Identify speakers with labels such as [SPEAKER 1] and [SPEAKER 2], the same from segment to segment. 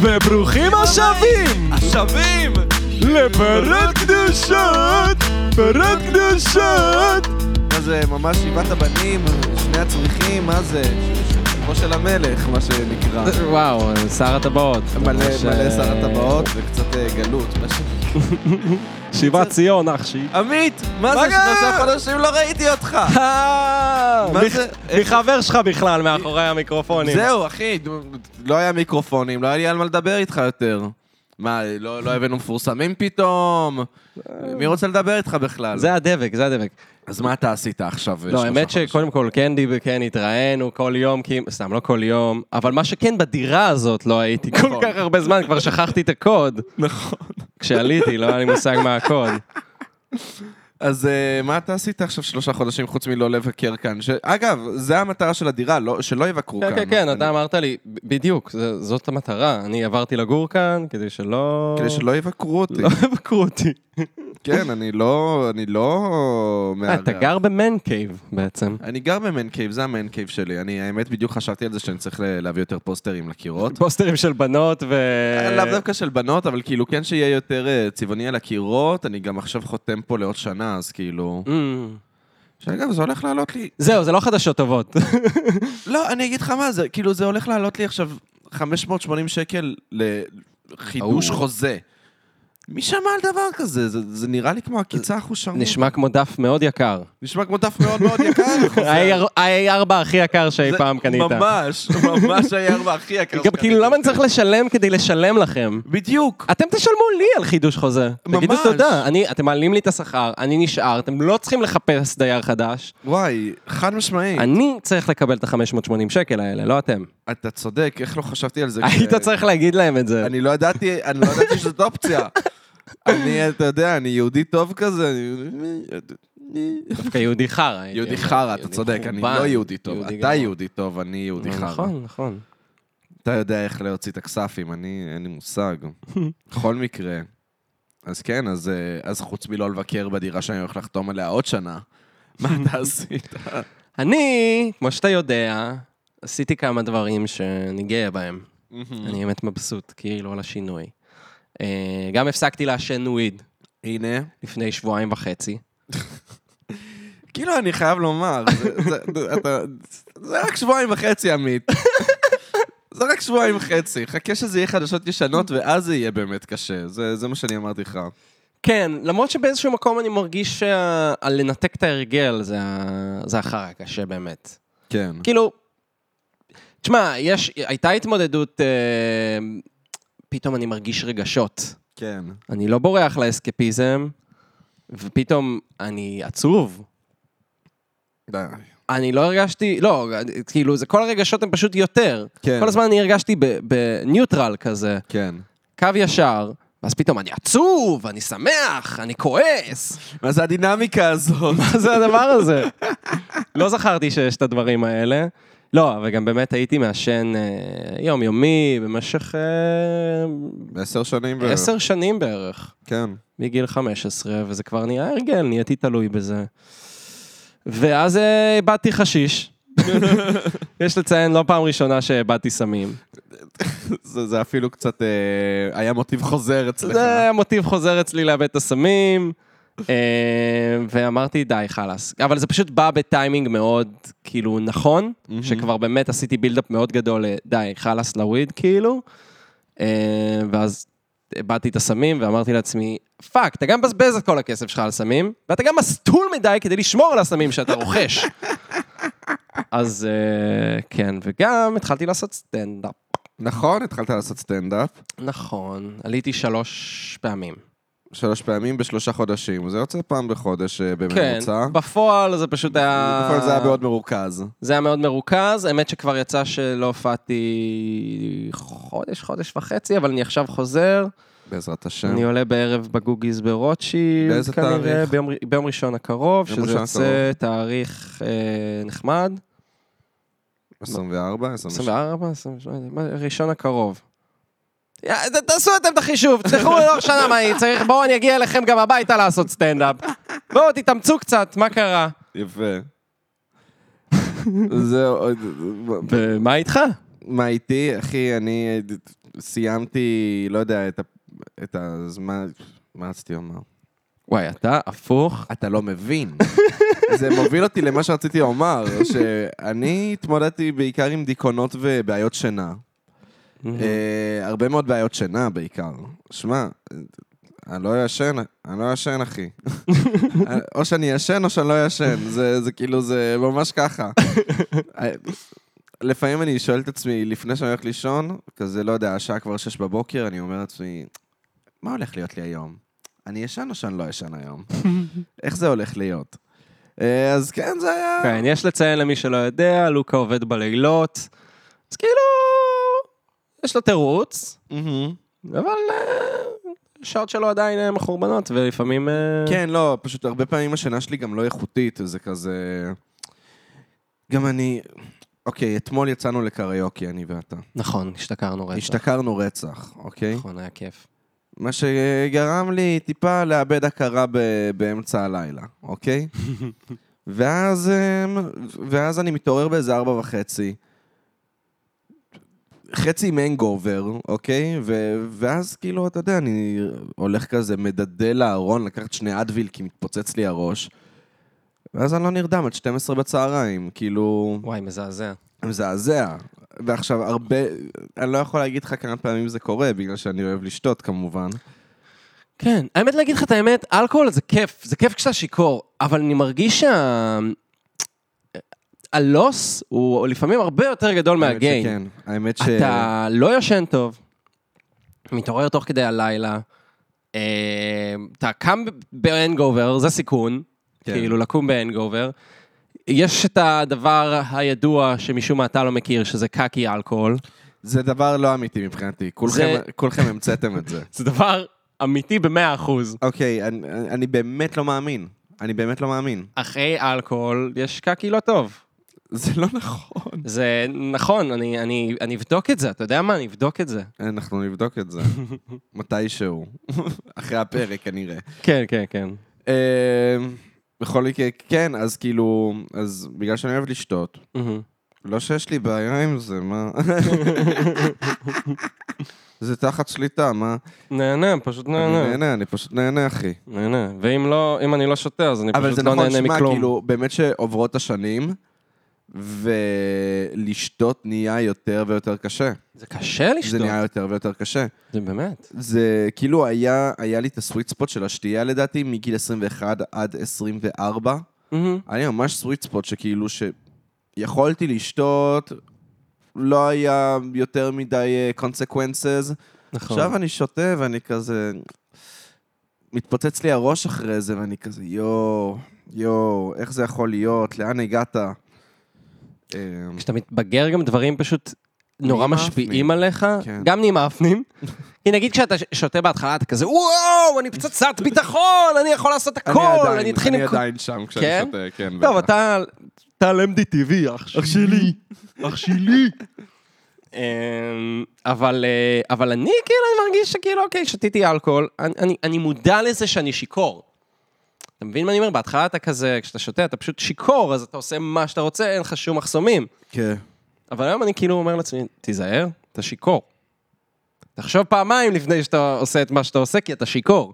[SPEAKER 1] וברוכים השבים!
[SPEAKER 2] השבים!
[SPEAKER 1] לפרק קדושות! פרק קדושות!
[SPEAKER 2] מה זה, ממש שבעת הבנים, שני הצריחים, מה זה? כמו של המלך, מה שנקרא.
[SPEAKER 3] וואו, שר הטבעות.
[SPEAKER 2] מלא
[SPEAKER 3] ממש,
[SPEAKER 2] מלא
[SPEAKER 3] אה,
[SPEAKER 2] שר הטבעות, זה קצת אה, גלות. מה ש-
[SPEAKER 3] שיבת ציון, אח שלי.
[SPEAKER 2] עמית, מה זה,
[SPEAKER 1] מה קרה?
[SPEAKER 2] שלושה חודשים לא ראיתי אותך. אה, מה
[SPEAKER 3] מח-
[SPEAKER 2] זה?
[SPEAKER 3] מחבר שלך בכלל, מאחורי המיקרופונים.
[SPEAKER 2] זהו, אחי, לא היה מיקרופונים, לא היה לי על מה לדבר איתך יותר. מה, לא לא הבאנו מפורסמים פתאום? מי רוצה לדבר איתך בכלל?
[SPEAKER 3] אה. זה הדבק, זה הדבק.
[SPEAKER 2] אז מה אתה עשית עכשיו? אה,
[SPEAKER 3] לא,
[SPEAKER 2] שלושה
[SPEAKER 3] האמת
[SPEAKER 2] חודשים?
[SPEAKER 3] שקודם כל קנדי וכן התראינו כל יום, כי... סתם, לא כל יום, אבל מה שכן בדירה הזאת לא הייתי כל
[SPEAKER 2] נכון.
[SPEAKER 3] כך הרבה זמן, כבר שכחתי את הקוד.
[SPEAKER 2] נכון.
[SPEAKER 3] כשעליתי, לא היה לי מושג מה הקוד.
[SPEAKER 2] אז אה, מה אתה עשית עכשיו שלושה חודשים חוץ מלא לבקר כאן? ש- אגב, זה המטרה של הדירה, לא- שלא יבקרו כאן.
[SPEAKER 3] כן, כן, כן,
[SPEAKER 2] אני-
[SPEAKER 3] אתה אמרת לי, ב- בדיוק, זה- זאת המטרה. אני עברתי לגור כאן כדי שלא...
[SPEAKER 2] כדי שלא יבקרו אותי.
[SPEAKER 3] לא יבקרו אותי.
[SPEAKER 2] כן, אני לא... אני לא...
[SPEAKER 3] אה, אתה
[SPEAKER 2] מארח.
[SPEAKER 3] גר במן קייב בעצם.
[SPEAKER 2] אני גר במן קייב, זה המן קייב שלי. אני, האמת, בדיוק חשבתי על זה שאני צריך ל- להביא יותר פוסטרים לקירות. אה,
[SPEAKER 3] פוסטרים של בנות ו...
[SPEAKER 2] לאו דווקא של בנות, אבל כאילו כן שיהיה יותר אה, צבעוני על הקירות, אני גם עכשיו חותם פה לעוד שנה, אז כאילו...
[SPEAKER 3] Mm.
[SPEAKER 2] שאגב, זה הולך לעלות לי...
[SPEAKER 3] זהו, זה לא חדשות טובות.
[SPEAKER 2] לא, אני אגיד לך מה זה, כאילו זה הולך לעלות לי עכשיו 580 שקל לחידוש
[SPEAKER 3] אוו.
[SPEAKER 2] חוזה. מי שמע על דבר כזה? זה, זה נראה לי כמו עקיצה אחושרמוט.
[SPEAKER 3] נשמע כמו דף מאוד יקר.
[SPEAKER 2] נשמע כמו דף מאוד מאוד יקר. החוזה.
[SPEAKER 3] ה-A4 הכי יקר שאי
[SPEAKER 2] זה
[SPEAKER 3] פעם קנית.
[SPEAKER 2] ממש, ממש היה הרבה הכי יקר.
[SPEAKER 3] גם כאילו,
[SPEAKER 2] שקניתי.
[SPEAKER 3] למה אני צריך לשלם כדי לשלם לכם?
[SPEAKER 2] בדיוק.
[SPEAKER 3] אתם תשלמו לי על חידוש חוזה. תגידו
[SPEAKER 2] ממש.
[SPEAKER 3] תודה. אני, אתם מעלים לי את השכר, אני נשאר, אתם לא צריכים לחפש דייר חדש.
[SPEAKER 2] וואי, חד משמעי.
[SPEAKER 3] אני צריך לקבל את ה-580 שקל האלה, לא אתם.
[SPEAKER 2] אתה צודק, איך לא חשבתי על זה?
[SPEAKER 3] היית
[SPEAKER 2] כש-
[SPEAKER 3] צריך להגיד להם את זה.
[SPEAKER 2] אני לא ידעתי, אני לא ידעתי שזאת אופציה. אני, אתה יודע, אני יהודי טוב כזה, אני...
[SPEAKER 3] דווקא יהודי חרא. הייתי
[SPEAKER 2] יהודי
[SPEAKER 3] אומר.
[SPEAKER 2] חרא, אתה צודק, אני
[SPEAKER 3] חורבן.
[SPEAKER 2] לא יהודי טוב. אתה
[SPEAKER 3] גרוע.
[SPEAKER 2] יהודי טוב, אני יהודי חרא.
[SPEAKER 3] נכון, נכון.
[SPEAKER 2] אתה יודע איך להוציא את הכספים, אני, אין לי מושג. בכל מקרה. אז כן, אז, אה, אז חוץ מלא לבקר בדירה שאני הולך לחתום עליה עוד שנה, מה אתה עשית?
[SPEAKER 3] אני, כמו שאתה יודע, עשיתי כמה דברים שאני גאה בהם.
[SPEAKER 2] Mm.
[SPEAKER 3] אני באמת מבסוט, כאילו, על השינוי. אה, גם הפסקתי לעשן וויד
[SPEAKER 2] הנה.
[SPEAKER 3] לפני שבועיים וחצי.
[SPEAKER 2] כאילו, אני חייב לומר, זה- זה- אתה- זה רק שבועיים וחצי, עמית. זה רק שבועיים וחצי. חכה שזה יהיה חדשות ישנות, ואז זה יהיה באמת קשה. זה זה מה שאני אמרתי לך.
[SPEAKER 3] כן, למרות שבאיזשהו מקום אני מרגיש שלנתק את ההרגל זה, ה- זה החרא הקשה באמת.
[SPEAKER 2] כן.
[SPEAKER 3] כאילו, תשמע, יש, הייתה התמודדות, אה, פתאום אני מרגיש רגשות.
[SPEAKER 2] כן.
[SPEAKER 3] אני לא בורח לאסקפיזם, ופתאום אני עצוב.
[SPEAKER 2] די.
[SPEAKER 3] אני לא הרגשתי, לא, כאילו, זה כל הרגשות הם פשוט יותר.
[SPEAKER 2] כן.
[SPEAKER 3] כל הזמן אני הרגשתי ב- בניוטרל כזה,
[SPEAKER 2] כן.
[SPEAKER 3] קו ישר, ואז פתאום אני עצוב, אני שמח, אני כועס.
[SPEAKER 2] מה זה הדינמיקה הזאת?
[SPEAKER 3] מה זה הדבר הזה? לא זכרתי שיש את הדברים האלה. לא, אבל גם באמת הייתי מעשן אה, יומיומי במשך אה,
[SPEAKER 2] עשר שנים. ו-
[SPEAKER 3] עשר שנים בערך,
[SPEAKER 2] כן.
[SPEAKER 3] מגיל 15, וזה כבר נהיה הרגל, נהייתי תלוי בזה. ואז אה, איבדתי חשיש. יש לציין, לא פעם ראשונה שאיבדתי סמים.
[SPEAKER 2] זה זה אפילו קצת אה, היה מוטיב חוזר אצלך.
[SPEAKER 3] זה היה מוטיב חוזר אצלי לאבד את הסמים, אה, ואמרתי, די, חלאס. אבל זה פשוט בא בטיימינג מאוד, כאילו, נכון, שכבר באמת עשיתי בילדאפ מאוד גדול, אה, די, חלאס לוויד, כאילו. אה, ואז איבדתי את הסמים ואמרתי לעצמי, פאק, אתה גם מבזבז את כל הכסף שלך על סמים, ואתה גם מסטול מדי כדי לשמור על הסמים שאתה רוכש. אז אה, כן, וגם התחלתי לעשות סטנדאפ.
[SPEAKER 2] נכון, התחלת לעשות סטנדאפ.
[SPEAKER 3] נכון, עליתי שלוש פעמים.
[SPEAKER 2] שלוש פעמים בשלושה חודשים. זה יוצא פעם בחודש אה,
[SPEAKER 3] כן,
[SPEAKER 2] בממוצע.
[SPEAKER 3] בפועל זה פשוט היה...
[SPEAKER 2] בפועל זה היה מאוד מרוכז.
[SPEAKER 3] זה היה מאוד מרוכז, האמת שכבר יצא שלא הופעתי חודש, חודש וחצי, אבל אני עכשיו חוזר.
[SPEAKER 2] בעזרת השם.
[SPEAKER 3] אני עולה בערב בגוגיז ברוטשילד,
[SPEAKER 2] כן. באיזה תאריך?
[SPEAKER 3] ביום, ר- ביום ראשון הקרוב,
[SPEAKER 2] ביום
[SPEAKER 3] שזה
[SPEAKER 2] ראשון
[SPEAKER 3] יוצא תאריך אה, נחמד,
[SPEAKER 2] 24, 26.
[SPEAKER 3] 24, 28, מה, ראשון הקרוב. יא, ת- תעשו אתם את החישוב, תשלחו לי לא שנה מה היא צריך, בואו אני אגיע אליכם גם הביתה לעשות סטנדאפ. בואו תתאמצו קצת, מה קרה?
[SPEAKER 2] יפה. זהו, עוד-
[SPEAKER 3] ומה איתך?
[SPEAKER 2] מה איתי? אחי, אני... אה, סיימתי, לא יודע, את, ה... את הזמן... מה רציתי לומר?
[SPEAKER 3] וואי, אתה הפוך.
[SPEAKER 2] אתה לא מבין. זה מוביל אותי למה שרציתי לומר, שאני התמודדתי בעיקר עם דיכאונות ובעיות שינה. אה, הרבה מאוד בעיות שינה בעיקר. שמע, אני לא ישן, אני לא ישן, אחי. אה, או שאני ישן או שאני לא ישן, זה, זה כאילו, זה ממש ככה. אה, לפעמים אני שואל את עצמי, לפני שאני הולך לישון, כזה, לא יודע, השעה כבר שש בבוקר, אני אומר לעצמי, מה הולך להיות לי היום? אני ישן או שאני לא ישן היום? איך זה הולך להיות? אה, אז כן, זה היה...
[SPEAKER 3] כן, יש לציין למי שלא יודע, לוקה עובד בלילות, אז כאילו, יש לו תירוץ,
[SPEAKER 2] מהמם.
[SPEAKER 3] אבל אה, השעות שלו עדיין אה, מחורבנות, ולפעמים... אה,
[SPEAKER 2] כן, לא, פשוט הרבה פעמים השינה שלי גם לא איכותית, זה כזה... גם אני... אוקיי, אתמול יצאנו לקריוקי, אני ואתה.
[SPEAKER 3] נכון, השתכרנו רצח.
[SPEAKER 2] השתכרנו רצח, אוקיי?
[SPEAKER 3] נכון, היה כיף.
[SPEAKER 2] מה שגרם לי טיפה לאבד הכרה ב- באמצע הלילה, אוקיי? ואז, אמ, ואז אני מתעורר באיזה ארבע וחצי. חצי עם הנגובר, אוקיי? ו- ואז כאילו, אתה יודע, אני הולך כזה, מדדל לארון, לקחת שני אדוויל כי מתפוצץ לי הראש. ואז אני לא נרדם עד 12 בצהריים, כאילו...
[SPEAKER 3] וואי, מזעזע.
[SPEAKER 2] מזעזע. ועכשיו, הרבה... אני לא יכול להגיד לך כמה פעמים זה קורה, בגלל שאני אוהב לשתות, כמובן.
[SPEAKER 3] כן, האמת להגיד לך את האמת, אלכוהול זה כיף, זה כיף כשאתה שיכור, אבל אני מרגיש שה... אה, הלוס הוא לפעמים הרבה יותר גדול
[SPEAKER 2] האמת
[SPEAKER 3] מהגיין.
[SPEAKER 2] שכן, האמת ש...
[SPEAKER 3] אתה לא ישן טוב, מתעורר תוך כדי הלילה, אה, אתה קם בהנגובר, זה סיכון,
[SPEAKER 2] כן.
[SPEAKER 3] כאילו לקום בהנגובר. יש את הדבר הידוע שמשום מה אתה לא מכיר, שזה קקי אלכוהול.
[SPEAKER 2] זה דבר לא אמיתי מבחינתי, כולכם-
[SPEAKER 3] זה-
[SPEAKER 2] כולכם המצאתם את זה.
[SPEAKER 3] זה דבר אמיתי במאה אחוז.
[SPEAKER 2] אוקיי, אני- אני באמת לא מאמין. אני באמת לא מאמין.
[SPEAKER 3] אחרי אלכוהול יש קקי לא טוב.
[SPEAKER 2] זה לא נכון.
[SPEAKER 3] זה נכון, אני, אני, אני אבדוק את זה, אתה יודע מה? אני אבדוק את זה.
[SPEAKER 2] אנחנו נבדוק את זה. מתישהו. אחרי הפרק, כנראה.
[SPEAKER 3] כן, כן, כן.
[SPEAKER 2] אה, בכל מקרה, כן, אז כאילו... אז בגלל שאני אוהב לשתות, לא שיש לי בעיה עם זה, מה? זה תחת שליטה, מה?
[SPEAKER 3] נהנה, פשוט
[SPEAKER 2] אני
[SPEAKER 3] נהנה.
[SPEAKER 2] נהנה, אני פשוט נהנה, אחי.
[SPEAKER 3] נהנה. ואם לא, אם אני לא שותה, אז אני
[SPEAKER 2] אבל
[SPEAKER 3] פשוט
[SPEAKER 2] זה
[SPEAKER 3] לא
[SPEAKER 2] נכון,
[SPEAKER 3] נהנה
[SPEAKER 2] שמע,
[SPEAKER 3] מכלום.
[SPEAKER 2] כאילו, באמת שעוברות השנים, ולשתות נהיה יותר ויותר קשה.
[SPEAKER 3] זה קשה
[SPEAKER 2] זה
[SPEAKER 3] לשתות.
[SPEAKER 2] נהיה יותר ויותר קשה.
[SPEAKER 3] זה באמת.
[SPEAKER 2] זה כאילו היה, היה לי את הסוויט ספוט של השתייה לדעתי, מגיל 21 עד 24. היה לי ממש סוויט ספוט שכאילו שיכולתי לשתות, לא היה יותר מדי אה, קונסקוונסס.
[SPEAKER 3] נכון.
[SPEAKER 2] עכשיו אני שותה ואני כזה... מתפוצץ לי הראש אחרי זה, ואני כזה, יואו, יואו, איך זה יכול להיות? לאן הגעת? אה,
[SPEAKER 3] כשאתה מתבגר גם דברים פשוט נורא
[SPEAKER 2] נהיים
[SPEAKER 3] משפיעים
[SPEAKER 2] מאפנים.
[SPEAKER 3] עליך,
[SPEAKER 2] כן.
[SPEAKER 3] גם נמאפנים. כי נגיד כשאתה ש- שותה בהתחלה, אתה כזה, וואו, אני פצצת ביטחון, אני יכול לעשות
[SPEAKER 2] אני
[SPEAKER 3] הכל,
[SPEAKER 2] עדיין-
[SPEAKER 3] אני אתחיל
[SPEAKER 2] אני
[SPEAKER 3] עם... כל-"
[SPEAKER 2] עדיין שם כשאני
[SPEAKER 3] כן?
[SPEAKER 2] שותה, כן.
[SPEAKER 3] טוב,
[SPEAKER 2] בטח.
[SPEAKER 3] אתה... אתה על MDTV, אח שלי. אח שלי. אמ, אבל, אה, אבל אני כאילו, אני מרגיש שכאילו, אוקיי, שתיתי אלכוהול, אני, אני, אני מודע לזה שאני שיכור. אתה מבין מה אני אומר? בהתחלה אתה כזה, כשאתה שותה, אתה פשוט שיכור, אז אתה עושה מה שאתה רוצה, אין לך שום מחסומים.
[SPEAKER 2] כן.
[SPEAKER 3] אבל היום אני כאילו אומר לעצמי, תיזהר, אתה שיכור. תחשוב פעמיים לפני שאתה עושה את מה שאתה עושה, כי אתה שיכור.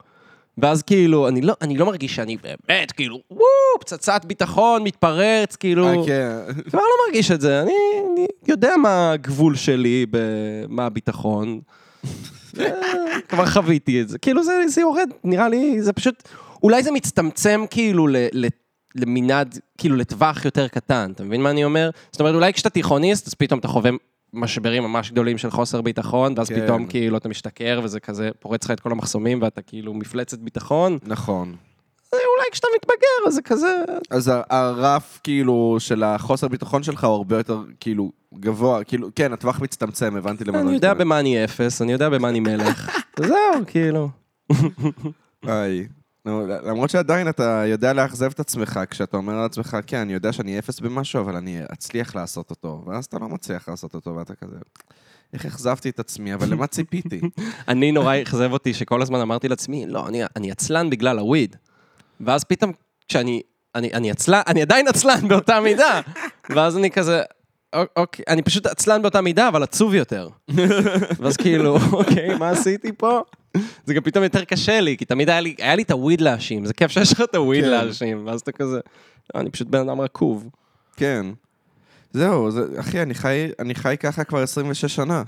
[SPEAKER 3] ואז כאילו, אני לא, אני לא מרגיש שאני באמת, כאילו, וואו, פצצת ביטחון, מתפרץ, כאילו...
[SPEAKER 2] אה, כן.
[SPEAKER 3] כבר לא מרגיש את זה, אני, אני יודע מה הגבול שלי, ב- מה הביטחון. אה, כבר חוויתי את זה. כאילו זה, זה יורד, נראה לי, זה פשוט, אולי זה מצטמצם כאילו ל, ל, למנעד, כאילו לטווח יותר קטן, אתה מבין מה אני אומר? זאת אומרת, אולי כשאתה תיכוניסט, אז פתאום אתה חווה משברים ממש גדולים של חוסר ביטחון, ואז
[SPEAKER 2] כן.
[SPEAKER 3] פתאום כאילו אתה משתכר וזה כזה פורץ לך את כל המחסומים ואתה כאילו מפלצת ביטחון.
[SPEAKER 2] נכון.
[SPEAKER 3] זה אולי כשאתה מתבגר, אז זה כזה,
[SPEAKER 2] אז ה- הרף, כאילו, של החוסר ביטחון שלך הוא הרבה יותר, כאילו, גבוה. כאילו, כן, הטווח מצטמצם, הבנתי למה לא
[SPEAKER 3] אני יודע במה אני אפס, אני יודע במה אני מלך. זהו, כאילו.
[SPEAKER 2] איי. נו, למרות שעדיין אתה יודע לאכזב את עצמך, כשאתה אומר לעצמך, כן, אני יודע שאני אפס במשהו, אבל אני אצליח לעשות אותו. ואז אתה לא מצליח לעשות אותו, ואתה כזה... איך אכזבתי את עצמי, אבל למה ציפיתי?
[SPEAKER 3] אני נורא אכזב אותי שכל הזמן אמרתי לעצמי, לא, אני- אני עצלן בגלל הוויד. ואז פתאום, כשאני, אני אני עצלן, אני עדיין עצלן באותה מידה. ואז אני כזה, "אוק- אוקיי, אני פשוט עצלן באותה מידה, אבל עצוב יותר. ואז כאילו, אוקיי, מה עשיתי פה? זה גם פתאום יותר קשה לי, כי תמיד היה לי, היה לי את הוויד להאשים, זה כיף שיש לך את הוויד
[SPEAKER 2] כן.
[SPEAKER 3] להאשים, ואז אתה כזה, "לא, אני פשוט בן אדם רקוב.
[SPEAKER 2] כן. זהו, זה, אחי, אני חי, אני חי ככה כבר 26 שנה.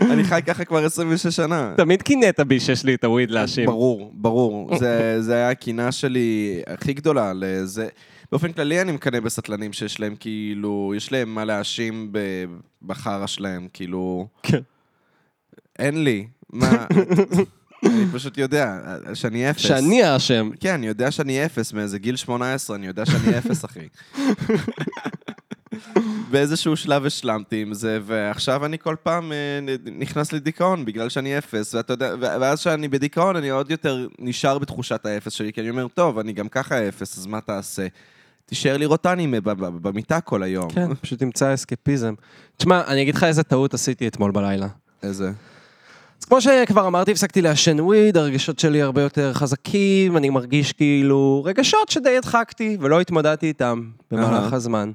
[SPEAKER 2] אני חי ככה כבר 26 שנה.
[SPEAKER 3] תמיד קינאת בי שיש לי את הוויד להאשים.
[SPEAKER 2] ברור, ברור. זה, זה היה הקינה שלי הכי גדולה לזה. באופן כללי אני מקנא בסטלנים שיש להם כאילו, יש להם מה להאשים ב- בחרא שלהם, כאילו...
[SPEAKER 3] כן.
[SPEAKER 2] אין לי. מה... אני פשוט יודע שאני אפס.
[SPEAKER 3] שאני האשם.
[SPEAKER 2] כן, אני יודע שאני אפס מאיזה גיל 18, אני יודע שאני אפס, אחי. באיזשהו שלב השלמתי עם זה, ועכשיו אני כל פעם אה, נ- נכנס לדיכאון בגלל שאני אפס, ואתה יודע, ו- ואז כשאני בדיכאון אני עוד יותר נשאר בתחושת האפס שלי, כי אני אומר, טוב, אני גם ככה אפס, אז מה תעשה? תישאר לראות אנימה ב- ב- במיטה כל היום.
[SPEAKER 3] כן, פשוט תמצא אסקפיזם. תשמע, אני אגיד לך איזה טעות עשיתי אתמול בלילה.
[SPEAKER 2] איזה?
[SPEAKER 3] אז כמו שכבר אמרתי, הפסקתי לעשן וויד, הרגשות שלי הרבה יותר חזקים, אני מרגיש כאילו רגשות שדי הדחקתי ולא התמודדתי איתם במהלך
[SPEAKER 2] אהה.
[SPEAKER 3] הזמן.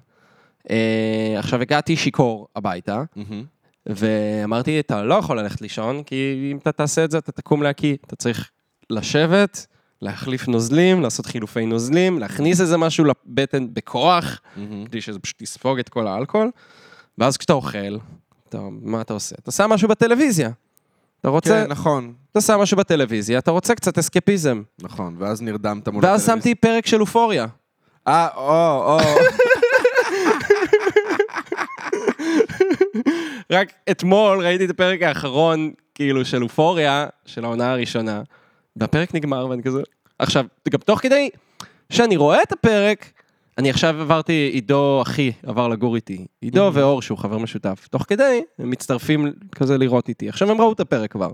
[SPEAKER 3] אה, עכשיו הגעתי שיכור הביתה,
[SPEAKER 2] מהמם.
[SPEAKER 3] ואמרתי, אתה לא יכול ללכת לישון, כי אם אתה תעשה את זה, אתה תקום להקיא. אתה צריך לשבת, להחליף נוזלים, לעשות חילופי נוזלים, להכניס איזה משהו לבטן בכוח,
[SPEAKER 2] מהמם.
[SPEAKER 3] כדי שזה פשוט יספוג את כל האלכוהול, ואז כשאתה אוכל, אתה, מה אתה עושה? אתה שם משהו בטלוויזיה. אתה רוצה,
[SPEAKER 2] כן, נכון,
[SPEAKER 3] אתה שם משהו בטלוויזיה, אתה רוצה קצת אסקפיזם.
[SPEAKER 2] נכון, ואז נרדמת מול
[SPEAKER 3] ואז שמתי פרק של אופוריה.
[SPEAKER 2] אה, או, או.
[SPEAKER 3] רק אתמול ראיתי את הפרק האחרון, כאילו, של אופוריה, של העונה הראשונה, והפרק נגמר ואני כזה... עכשיו, גם תוך כדי שאני רואה את הפרק, אני עכשיו עברתי, עידו אחי עבר לגור איתי. עידו ואור, שהוא חבר משותף. תוך כדי, הם מצטרפים כזה לראות איתי. עכשיו הם ראו את הפרק כבר.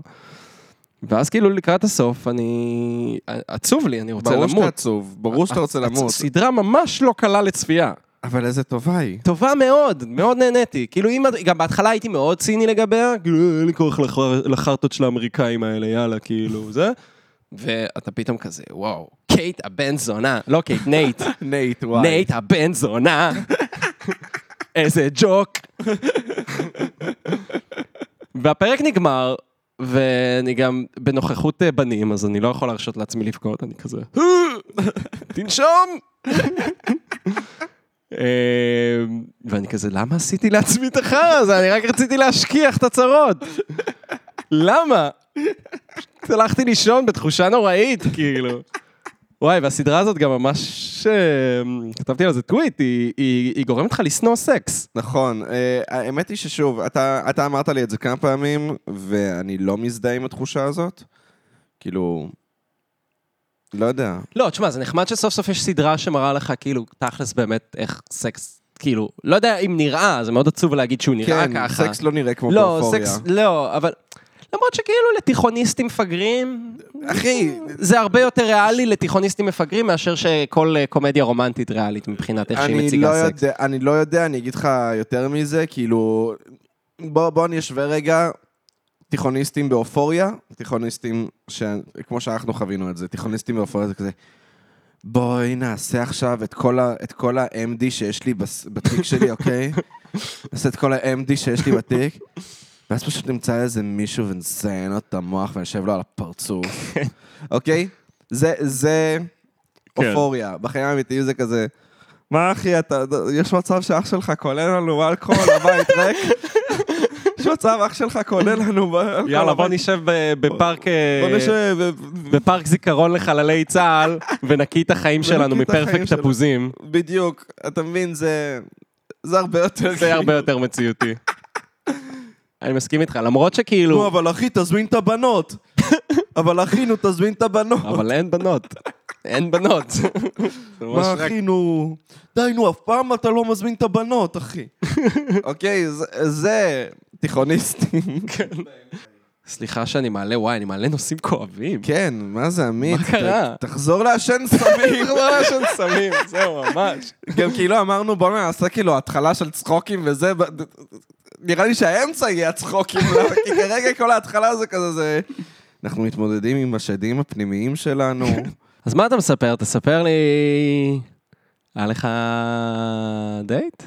[SPEAKER 3] ואז כאילו לקראת הסוף, אני... עצוב לי, אני רוצה
[SPEAKER 2] ברור שאתה
[SPEAKER 3] למות. אה,
[SPEAKER 2] עצוב, ברור שאתה רוצה למות,
[SPEAKER 3] סדרה ממש לא קלה לצפייה.
[SPEAKER 2] אבל איזה טובה היא.
[SPEAKER 3] טובה מאוד, מאוד נהניתי. כאילו אם, גם בהתחלה הייתי מאוד ציני לגביה, כאילו אין לי כוח לחר- לחרטות של האמריקאים האלה, יאללה, כאילו, זה. ואתה פתאום כזה, וואו, קייט הבן זונה, לא קייט, נייט,
[SPEAKER 2] נייט, וואי.
[SPEAKER 3] נייט הבן זונה, איזה ג'וק. והפרק נגמר, ואני גם בנוכחות אה, בנים, אז אני לא יכול להרשות לעצמי לבכות, אני כזה, תנשום! אה, ואני כזה, למה עשיתי לעצמי את החרא הזה? אני רק רציתי להשכיח את הצרות. למה? פשוט הלכתי לישון בתחושה נוראית, כאילו. וואי, והסדרה הזאת גם ממש... אה, כתבתי על זה טוויט, היא- היא היא גורמת לך לשנוא סקס.
[SPEAKER 2] נכון, אה, האמת היא ששוב, אתה, אתה אמרת לי את זה כמה פעמים, ואני לא מזדהה עם התחושה הזאת. כאילו, לא יודע.
[SPEAKER 3] לא, תשמע, זה נחמד שסוף סוף יש סדרה שמראה לך, כאילו, תכלס באמת איך סקס, כאילו, לא יודע אם נראה, זה מאוד עצוב להגיד שהוא נראה
[SPEAKER 2] כן,
[SPEAKER 3] ככה.
[SPEAKER 2] סקס לא נראה כמו
[SPEAKER 3] לא,
[SPEAKER 2] פרפוריה.
[SPEAKER 3] סקס, לא, אבל... למרות שכאילו לתיכוניסטים מפגרים,
[SPEAKER 2] אחי,
[SPEAKER 3] זה הרבה יותר ריאלי לתיכוניסטים מפגרים מאשר שכל אה, קומדיה רומנטית ריאלית מבחינת איך שהיא
[SPEAKER 2] אני
[SPEAKER 3] מציגה
[SPEAKER 2] לא,
[SPEAKER 3] סקס.
[SPEAKER 2] יודע, אני לא יודע, אני אגיד לך יותר מזה, כאילו, בוא, בוא אני אשווה רגע תיכוניסטים באופוריה, תיכוניסטים, ש... כמו שאנחנו חווינו את זה, תיכוניסטים באופוריה זה כזה, בואי נעשה עכשיו את כל, ה... את כל ה-MD שיש לי בס... בתיק שלי, אוקיי? נעשה את כל ה-MD שיש לי בתיק. ואז פשוט נמצא איזה מישהו ונזיין לו את המוח ונשב לו על הפרצוף, אוקיי? זה, זה
[SPEAKER 3] כן.
[SPEAKER 2] אופוריה. בחיים האמיתיים זה כזה, מה אחי, אתה, יש מצב שאח שלך קונה לנו אלכוהול, הבית ריק? יש מצב אח שלך קונה לנו אלכוהול.
[SPEAKER 3] יאללה, בוא
[SPEAKER 2] הבית-
[SPEAKER 3] נשב ב- בפארק... אה,
[SPEAKER 2] בוא נשב,
[SPEAKER 3] בפארק זיכרון לחללי צה"ל, ונקיא את החיים שלנו
[SPEAKER 2] ונקיא את החיים
[SPEAKER 3] מפרפקט
[SPEAKER 2] שלנו.
[SPEAKER 3] תפוזים.
[SPEAKER 2] בדיוק, אתה מבין, זה... זה הרבה יותר...
[SPEAKER 3] זה הרבה יותר מציאותי. אני מסכים איתך, למרות
[SPEAKER 2] נו,
[SPEAKER 3] שכאילו...
[SPEAKER 2] אבל אחי, תזמין את הבנות. אבל אחי, נו, תזמין את הבנות.
[SPEAKER 3] אבל אין בנות. אין בנות. זה ממש
[SPEAKER 2] מה
[SPEAKER 3] רק-
[SPEAKER 2] אחי, נו... די, נו, אף פעם אתה לא מזמין את הבנות, אחי. אוקיי, זה- זה תיכוניסטים.
[SPEAKER 3] סליחה שאני מעלה, וואי, אני מעלה נושאים כואבים.
[SPEAKER 2] כן, מה זה, עמית?
[SPEAKER 3] מה קרה?
[SPEAKER 2] ת- תחזור לעשן סמים.
[SPEAKER 3] כבר יש עוד סמים, זהו, ממש.
[SPEAKER 2] גם כאילו אמרנו, בוא נעשה כאילו התחלה של צחוקים וזה, ב- נראה לי שהאמצע יהיה הצחוקים, לא? כי כרגע כל ההתחלה זה כזה, זה... אנחנו מתמודדים עם השדים הפנימיים שלנו.
[SPEAKER 3] אז מה אתה מספר? תספר לי... היה לך דייט?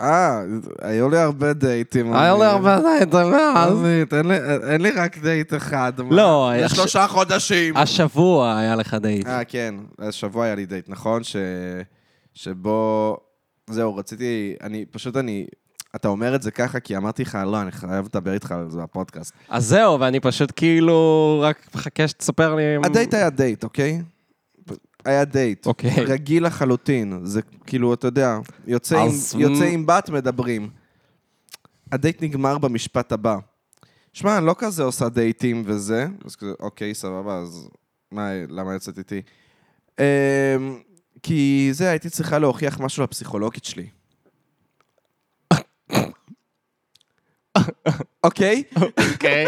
[SPEAKER 2] אה, היו לי הרבה דייטים.
[SPEAKER 3] היה לי הרבה דייטים מאז.
[SPEAKER 2] עזבי, תן לי- אין לי רק דייט אחד. מה?
[SPEAKER 3] לא,
[SPEAKER 2] זה
[SPEAKER 3] הש-
[SPEAKER 2] שלושה חודשים.
[SPEAKER 3] אה, השבוע היה לך דייט.
[SPEAKER 2] אה, כן, השבוע היה לי דייט, נכון? ש... שבו... זהו, רציתי... אני... פשוט אני... אתה אומר את זה ככה, כי אמרתי לך, לא, אני חייב לדבר איתך על זה בפודקאסט.
[SPEAKER 3] אז זהו, ואני פשוט כאילו רק מחכה שתספר לי... אם-
[SPEAKER 2] הדייט היה דייט, אוקיי? היה דייט.
[SPEAKER 3] אוקיי.
[SPEAKER 2] רגיל לחלוטין. זה כאילו, אתה יודע, יוצא, עם,
[SPEAKER 3] אז-
[SPEAKER 2] יוצא עם בת, מדברים. הדייט נגמר במשפט הבא. שמע, אני לא כזה עושה דייטים וזה. אז כזה, אוקיי, סבבה, אז מה, למה יצאת איתי? אמ, כי זה, הייתי צריכה להוכיח משהו לפסיכולוגית שלי. אוקיי?
[SPEAKER 3] אוקיי.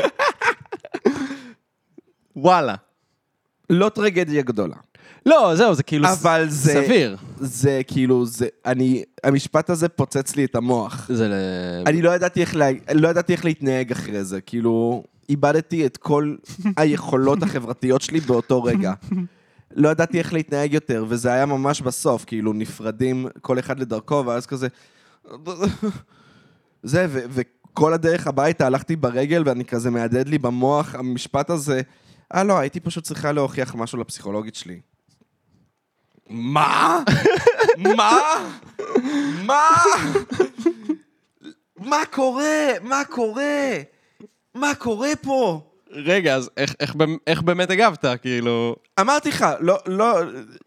[SPEAKER 3] וואלה.
[SPEAKER 2] לא טרגדיה גדולה.
[SPEAKER 3] לא, זהו, זה כאילו ס-
[SPEAKER 2] אבל זה...
[SPEAKER 3] סביר.
[SPEAKER 2] זה כאילו, זה, אני, המשפט הזה פוצץ לי את המוח.
[SPEAKER 3] זה ל-
[SPEAKER 2] אני לא ידעתי איך, לה, לא ידעתי איך להתנהג אחרי זה, כאילו, איבדתי את כל היכולות החברתיות שלי באותו רגע. לא ידעתי איך להתנהג יותר, וזה היה ממש בסוף, כאילו, נפרדים כל אחד לדרכו, ואז כזה... זה, ו- וכל הדרך הביתה הלכתי ברגל, ואני כזה מהדהד לי במוח המשפט הזה, אה, לא, הייתי פשוט צריכה להוכיח משהו לפסיכולוגית שלי. מה? מה? מה? מה קורה? מה קורה? מה קורה פה?
[SPEAKER 3] רגע, אז איך- איך במ- איך באמת הגבת? כאילו,
[SPEAKER 2] אמרתי לך, לא, לא,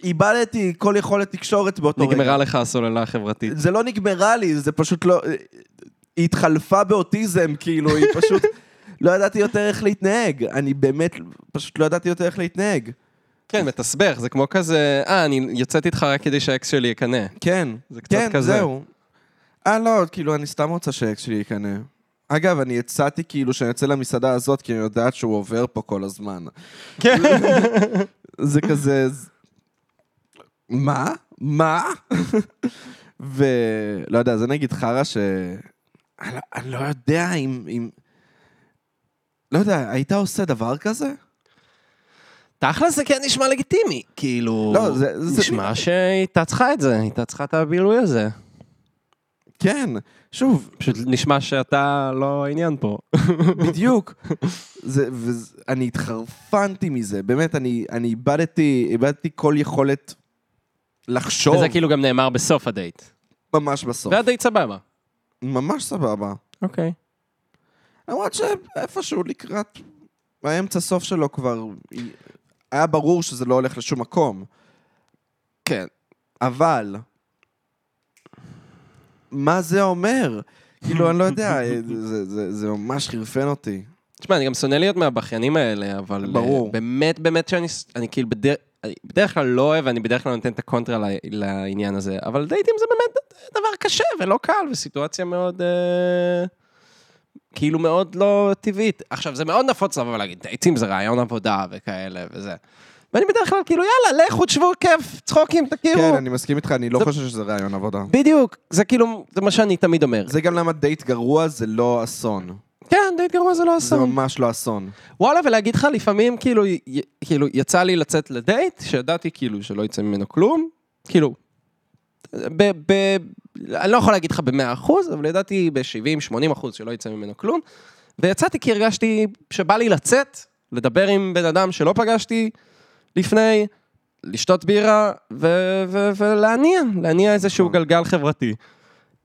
[SPEAKER 2] איבדתי כל יכולת תקשורת באותו לא, רגע.
[SPEAKER 3] נגמרה לך הסוללה החברתית.
[SPEAKER 2] זה לא נגמרה לי, זה פשוט לא... היא התחלפה באוטיזם, כאילו, היא פשוט... לא ידעתי יותר איך להתנהג. אני באמת פשוט לא ידעתי יותר איך להתנהג.
[SPEAKER 3] כן, מתסבך, זה כמו כזה, אה, אני יוצאת איתך רק כדי שהאקס שלי יקנא.
[SPEAKER 2] כן.
[SPEAKER 3] זה קצת
[SPEAKER 2] כן,
[SPEAKER 3] כזה.
[SPEAKER 2] זהו. אה, לא, כאילו, אני סתם רוצה שהאקס שלי יקנא. אגב, אני הצעתי כאילו שאני אצא למסעדה הזאת, כי אני יודעת שהוא עובר פה כל הזמן.
[SPEAKER 3] כן.
[SPEAKER 2] זה כזה... ז- מה? מה? ולא יודע, זה נגיד חרא ש... אני לא- אני לא יודע אם... אם- לא יודע, היית עושה דבר כזה?
[SPEAKER 3] תכל'ס זה כן נשמע לגיטימי, כאילו...
[SPEAKER 2] לא, זה- זה-
[SPEAKER 3] נשמע שהיא תצחה את זה, היא תצחה את הבילוי הזה.
[SPEAKER 2] כן, שוב,
[SPEAKER 3] פשוט נשמע שאתה לא העניין פה.
[SPEAKER 2] בדיוק. זה, וזה, אני התחרפנתי מזה, באמת, אני, אני איבדתי, איבדתי כל יכולת לחשוב
[SPEAKER 3] וזה כאילו גם נאמר בסוף הדייט.
[SPEAKER 2] ממש בסוף.
[SPEAKER 3] והיה דייט סבבה.
[SPEAKER 2] ממש סבבה.
[SPEAKER 3] אוקיי.
[SPEAKER 2] למרות שאיפשהו לקראת האמצע סוף שלו כבר היה ברור שזה לא הולך לשום מקום.
[SPEAKER 3] כן.
[SPEAKER 2] אבל, מה זה אומר? כאילו, אני לא יודע, זה, זה, זה ממש חירפן אותי.
[SPEAKER 3] תשמע, אני גם שונא להיות מהבכיינים האלה, אבל... אה,
[SPEAKER 2] ברור.
[SPEAKER 3] באמת, באמת שאני ס- אני כאילו בדרך... אני בדרך כלל לא אוהב, אני בדרך כלל נותן את הקונטרה ל- לעניין הזה, אבל דייטים זה באמת דבר קשה ולא קל, וסיטואציה מאוד... אה, כאילו מאוד לא טבעית. עכשיו, זה מאוד נפוץ לבוא ולהגיד, דייטים זה רעיון עבודה וכאלה וזה. ואני בדרך כלל כאילו, יאללה, לכו, תשבו, כיף, צחוקים, תכירו.
[SPEAKER 2] כן, אני מסכים איתך, אני לא
[SPEAKER 3] זה-
[SPEAKER 2] חושב שזה רעיון עבודה.
[SPEAKER 3] בדיוק, זה כאילו, זה מה שאני תמיד אומר.
[SPEAKER 2] זה גם למה דייט גרוע זה לא אסון.
[SPEAKER 3] כן, דייט גרוע זה לא
[SPEAKER 2] זה
[SPEAKER 3] אסון.
[SPEAKER 2] ממש לא אסון.
[SPEAKER 3] וואלה, ולהגיד לך, לפעמים כאילו, י- כאילו, יצא לי לצאת לדייט, שידעתי כאילו שלא יצא ממנו כלום, כאילו, ב... ב אני לא יכול להגיד לך במאה אחוז, אבל ידעתי ב-70-80 אחוז שלא יצא ממנו כלום, ויצאתי כי הרגשתי שבא לי לצאת, לדבר עם בן אדם שלא פגשתי לפני, לשתות בירה, ו- ו- ולהניע, להניע איזשהו גלגל חברתי.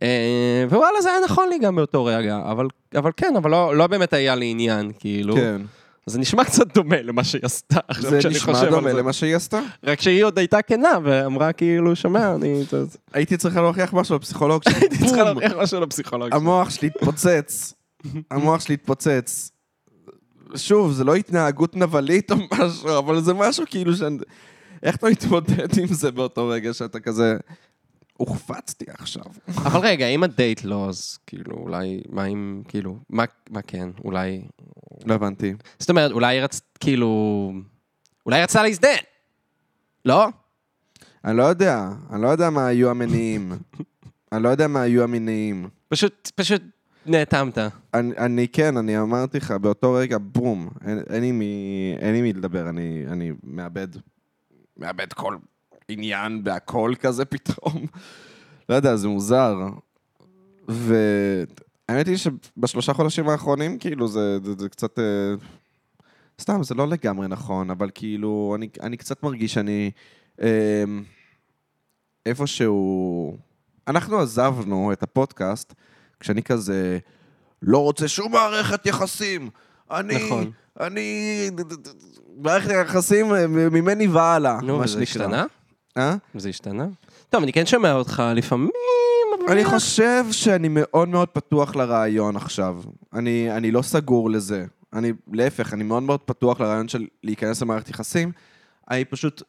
[SPEAKER 3] אה, ווואלה, זה היה נכון לי גם באותו רגע, אבל, אבל כן, אבל לא, לא באמת היה לי עניין, כאילו.
[SPEAKER 2] כן.
[SPEAKER 3] זה נשמע קצת דומה למה שהיא עשתה עכשיו
[SPEAKER 2] זה
[SPEAKER 3] כשאני
[SPEAKER 2] נשמע
[SPEAKER 3] חושב
[SPEAKER 2] דומה
[SPEAKER 3] על זה.
[SPEAKER 2] למה שהיא עשתה.
[SPEAKER 3] רק שהיא עוד הייתה כנה ואמרה כאילו, שומע, אני... אתה-
[SPEAKER 2] הייתי צריכה להוכיח משהו לפסיכולוג שלי.
[SPEAKER 3] הייתי צריכה
[SPEAKER 2] בום.
[SPEAKER 3] להוכיח משהו לפסיכולוג.
[SPEAKER 2] המוח שלי התפוצץ. המוח שלי התפוצץ. שוב, זה לא התנהגות נבלית או משהו, אבל זה משהו כאילו שאני... איך אתה מתמודד עם זה באותו רגע שאתה כזה... הוחפצתי עכשיו.
[SPEAKER 3] אבל רגע, אם הדייט לא, אז כאילו, אולי, מה אם, כאילו, מה מה כן, אולי...
[SPEAKER 2] לא הבנתי.
[SPEAKER 3] זאת אומרת, אולי רצ... כאילו... אולי רצה להזדהן. לא?
[SPEAKER 2] אני לא יודע, אני לא יודע מה היו המניעים. אני לא יודע מה היו המניעים.
[SPEAKER 3] פשוט, פשוט נאטמת.
[SPEAKER 2] אה, אני, אני כן, אני אמרתי לך, באותו רגע, בום, אין, אין, לי, מי, אין לי מי לדבר, אני, אני מאבד, מאבד כל עניין בהכל כזה פתאום. לא יודע, זה מוזר. והאמת היא שבשלושה חודשים האחרונים, כאילו, זה, זה, זה קצת... אה, סתם, זה לא לגמרי נכון, אבל כאילו, אני, אני קצת מרגיש שאני... אה, איפשהו... אנחנו עזבנו את הפודקאסט כשאני כזה לא רוצה שום מערכת יחסים. אני...
[SPEAKER 3] נכון.
[SPEAKER 2] אני... מערכת היחסים אה, ממני והלאה,
[SPEAKER 3] נו,
[SPEAKER 2] מה
[SPEAKER 3] וזה
[SPEAKER 2] שנקרא.
[SPEAKER 3] השתנה?
[SPEAKER 2] אה?
[SPEAKER 3] זה השתנה? טוב, אני כן שומע אותך לפעמים, אבל...
[SPEAKER 2] אני חושב שאני מאוד מאוד פתוח לרעיון עכשיו. אני, אני לא סגור לזה. אני, להפך, אני מאוד מאוד פתוח לרעיון של להיכנס למערכת יחסים. אני פשוט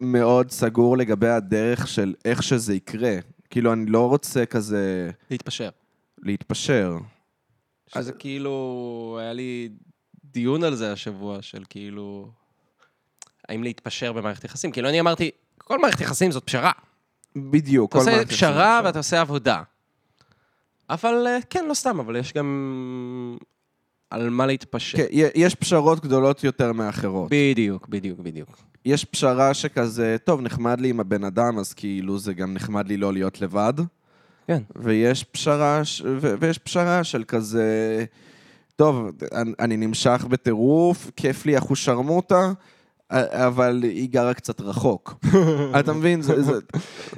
[SPEAKER 2] מאוד סגור לגבי הדרך של איך שזה יקרה. כאילו, אני לא רוצה כזה
[SPEAKER 3] להתפשר.
[SPEAKER 2] להתפשר.
[SPEAKER 3] שזה כאילו, היה לי דיון על זה השבוע, של כאילו, האם להתפשר במערכת יחסים? כאילו, אני אמרתי, כל מערכת יחסים זאת פשרה.
[SPEAKER 2] בדיוק.
[SPEAKER 3] אתה
[SPEAKER 2] כל
[SPEAKER 3] עושה
[SPEAKER 2] מערכת יחסים
[SPEAKER 3] פשרה
[SPEAKER 2] אפשר.
[SPEAKER 3] ואתה עושה עבודה. אבל אה, כן, לא סתם, אבל יש גם על מה להתפשר.
[SPEAKER 2] כן, י- יש פשרות גדולות יותר מאחרות.
[SPEAKER 3] בדיוק, בדיוק, בדיוק.
[SPEAKER 2] יש פשרה שכזה, טוב, נחמד לי עם הבן אדם, אז כאילו זה גם נחמד לי לא להיות לבד.
[SPEAKER 3] כן.
[SPEAKER 2] ויש פשרה, ש... ו... ויש פשרה של כזה, טוב, אני, אני נמשך בטירוף, כיף לי אחושרמוטה, א- אבל היא גרה קצת רחוק. אתה מבין? זה, זה...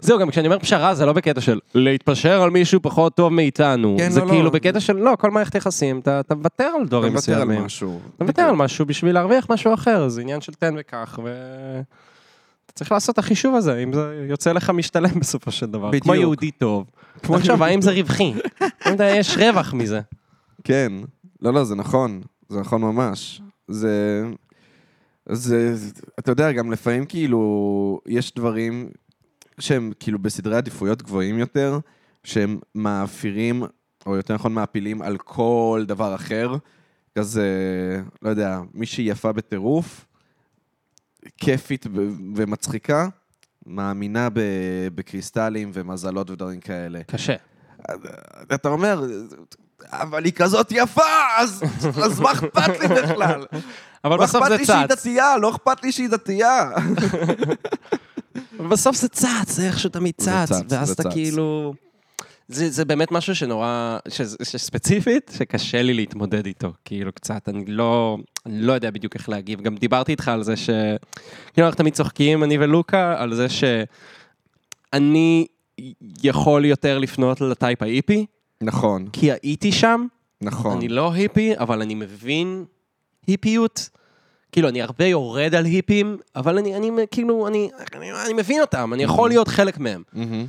[SPEAKER 3] זהו, גם כשאני אומר פשרה, זה לא בקטע של להתפשר על מישהו פחות טוב מאיתנו.
[SPEAKER 2] כן,
[SPEAKER 3] זה
[SPEAKER 2] לא, לא.
[SPEAKER 3] כאילו בקטע של, לא, כל מערכת יחסים, אתה אתה מוותר על
[SPEAKER 2] אתה
[SPEAKER 3] דברים
[SPEAKER 2] מוותר על
[SPEAKER 3] מסוימים.
[SPEAKER 2] משהו.
[SPEAKER 3] אתה מוותר על משהו בשביל להרוויח משהו אחר, זה עניין של תן וקח, ו... אתה צריך לעשות את החישוב הזה, אם זה יוצא לך משתלם בסופו של דבר.
[SPEAKER 2] בדיוק.
[SPEAKER 3] כמו יהודי טוב.
[SPEAKER 2] כמו
[SPEAKER 3] עכשיו, האם זה רווחי? האם אתה- יש רווח מזה?
[SPEAKER 2] כן. לא, לא, זה נכון. זה נכון ממש. זה... זה... זה- אתה יודע, גם לפעמים כאילו, יש דברים שהם כאילו בסדרי עדיפויות גבוהים יותר, שהם מאפירים, או יותר נכון מעפילים על כל דבר אחר. כזה, לא יודע, מישהי יפה בטירוף, כיפית ו- ומצחיקה, מאמינה ב- בקריסטלים ומזלות ודברים כאלה.
[SPEAKER 3] קשה.
[SPEAKER 2] אתה אומר, אבל היא כזאת יפה, אז, אז מה אכפת לי בכלל?
[SPEAKER 3] אבל
[SPEAKER 2] מה
[SPEAKER 3] בסוף
[SPEAKER 2] אכפת
[SPEAKER 3] זה
[SPEAKER 2] לי שהיא
[SPEAKER 3] צץ.
[SPEAKER 2] דתייה, לא אכפת לי שהיא דתייה.
[SPEAKER 3] אבל בסוף זה צץ, זה איכשהו תמיד
[SPEAKER 2] זה
[SPEAKER 3] צץ,
[SPEAKER 2] צץ,
[SPEAKER 3] ואז
[SPEAKER 2] זה
[SPEAKER 3] אתה
[SPEAKER 2] צץ.
[SPEAKER 3] כאילו... זה, זה באמת משהו שנורא, ש, שספציפית, שקשה לי להתמודד איתו, כאילו קצת, אני לא, אני לא יודע בדיוק איך להגיב. גם דיברתי איתך על זה ש... כאילו אנחנו תמיד צוחקים, אני ולוקה, על זה שאני יכול יותר לפנות לטייפ ההיפי,
[SPEAKER 2] נכון,
[SPEAKER 3] כי הייתי שם,
[SPEAKER 2] נכון.
[SPEAKER 3] אני לא היפי, אבל אני מבין היפיות. כאילו, אני הרבה יורד על היפים, אבל אני, אני כאילו, אני, אני, אני מבין אותם, אני יכול
[SPEAKER 2] Mm.
[SPEAKER 3] להיות חלק מהם.
[SPEAKER 2] מהמם.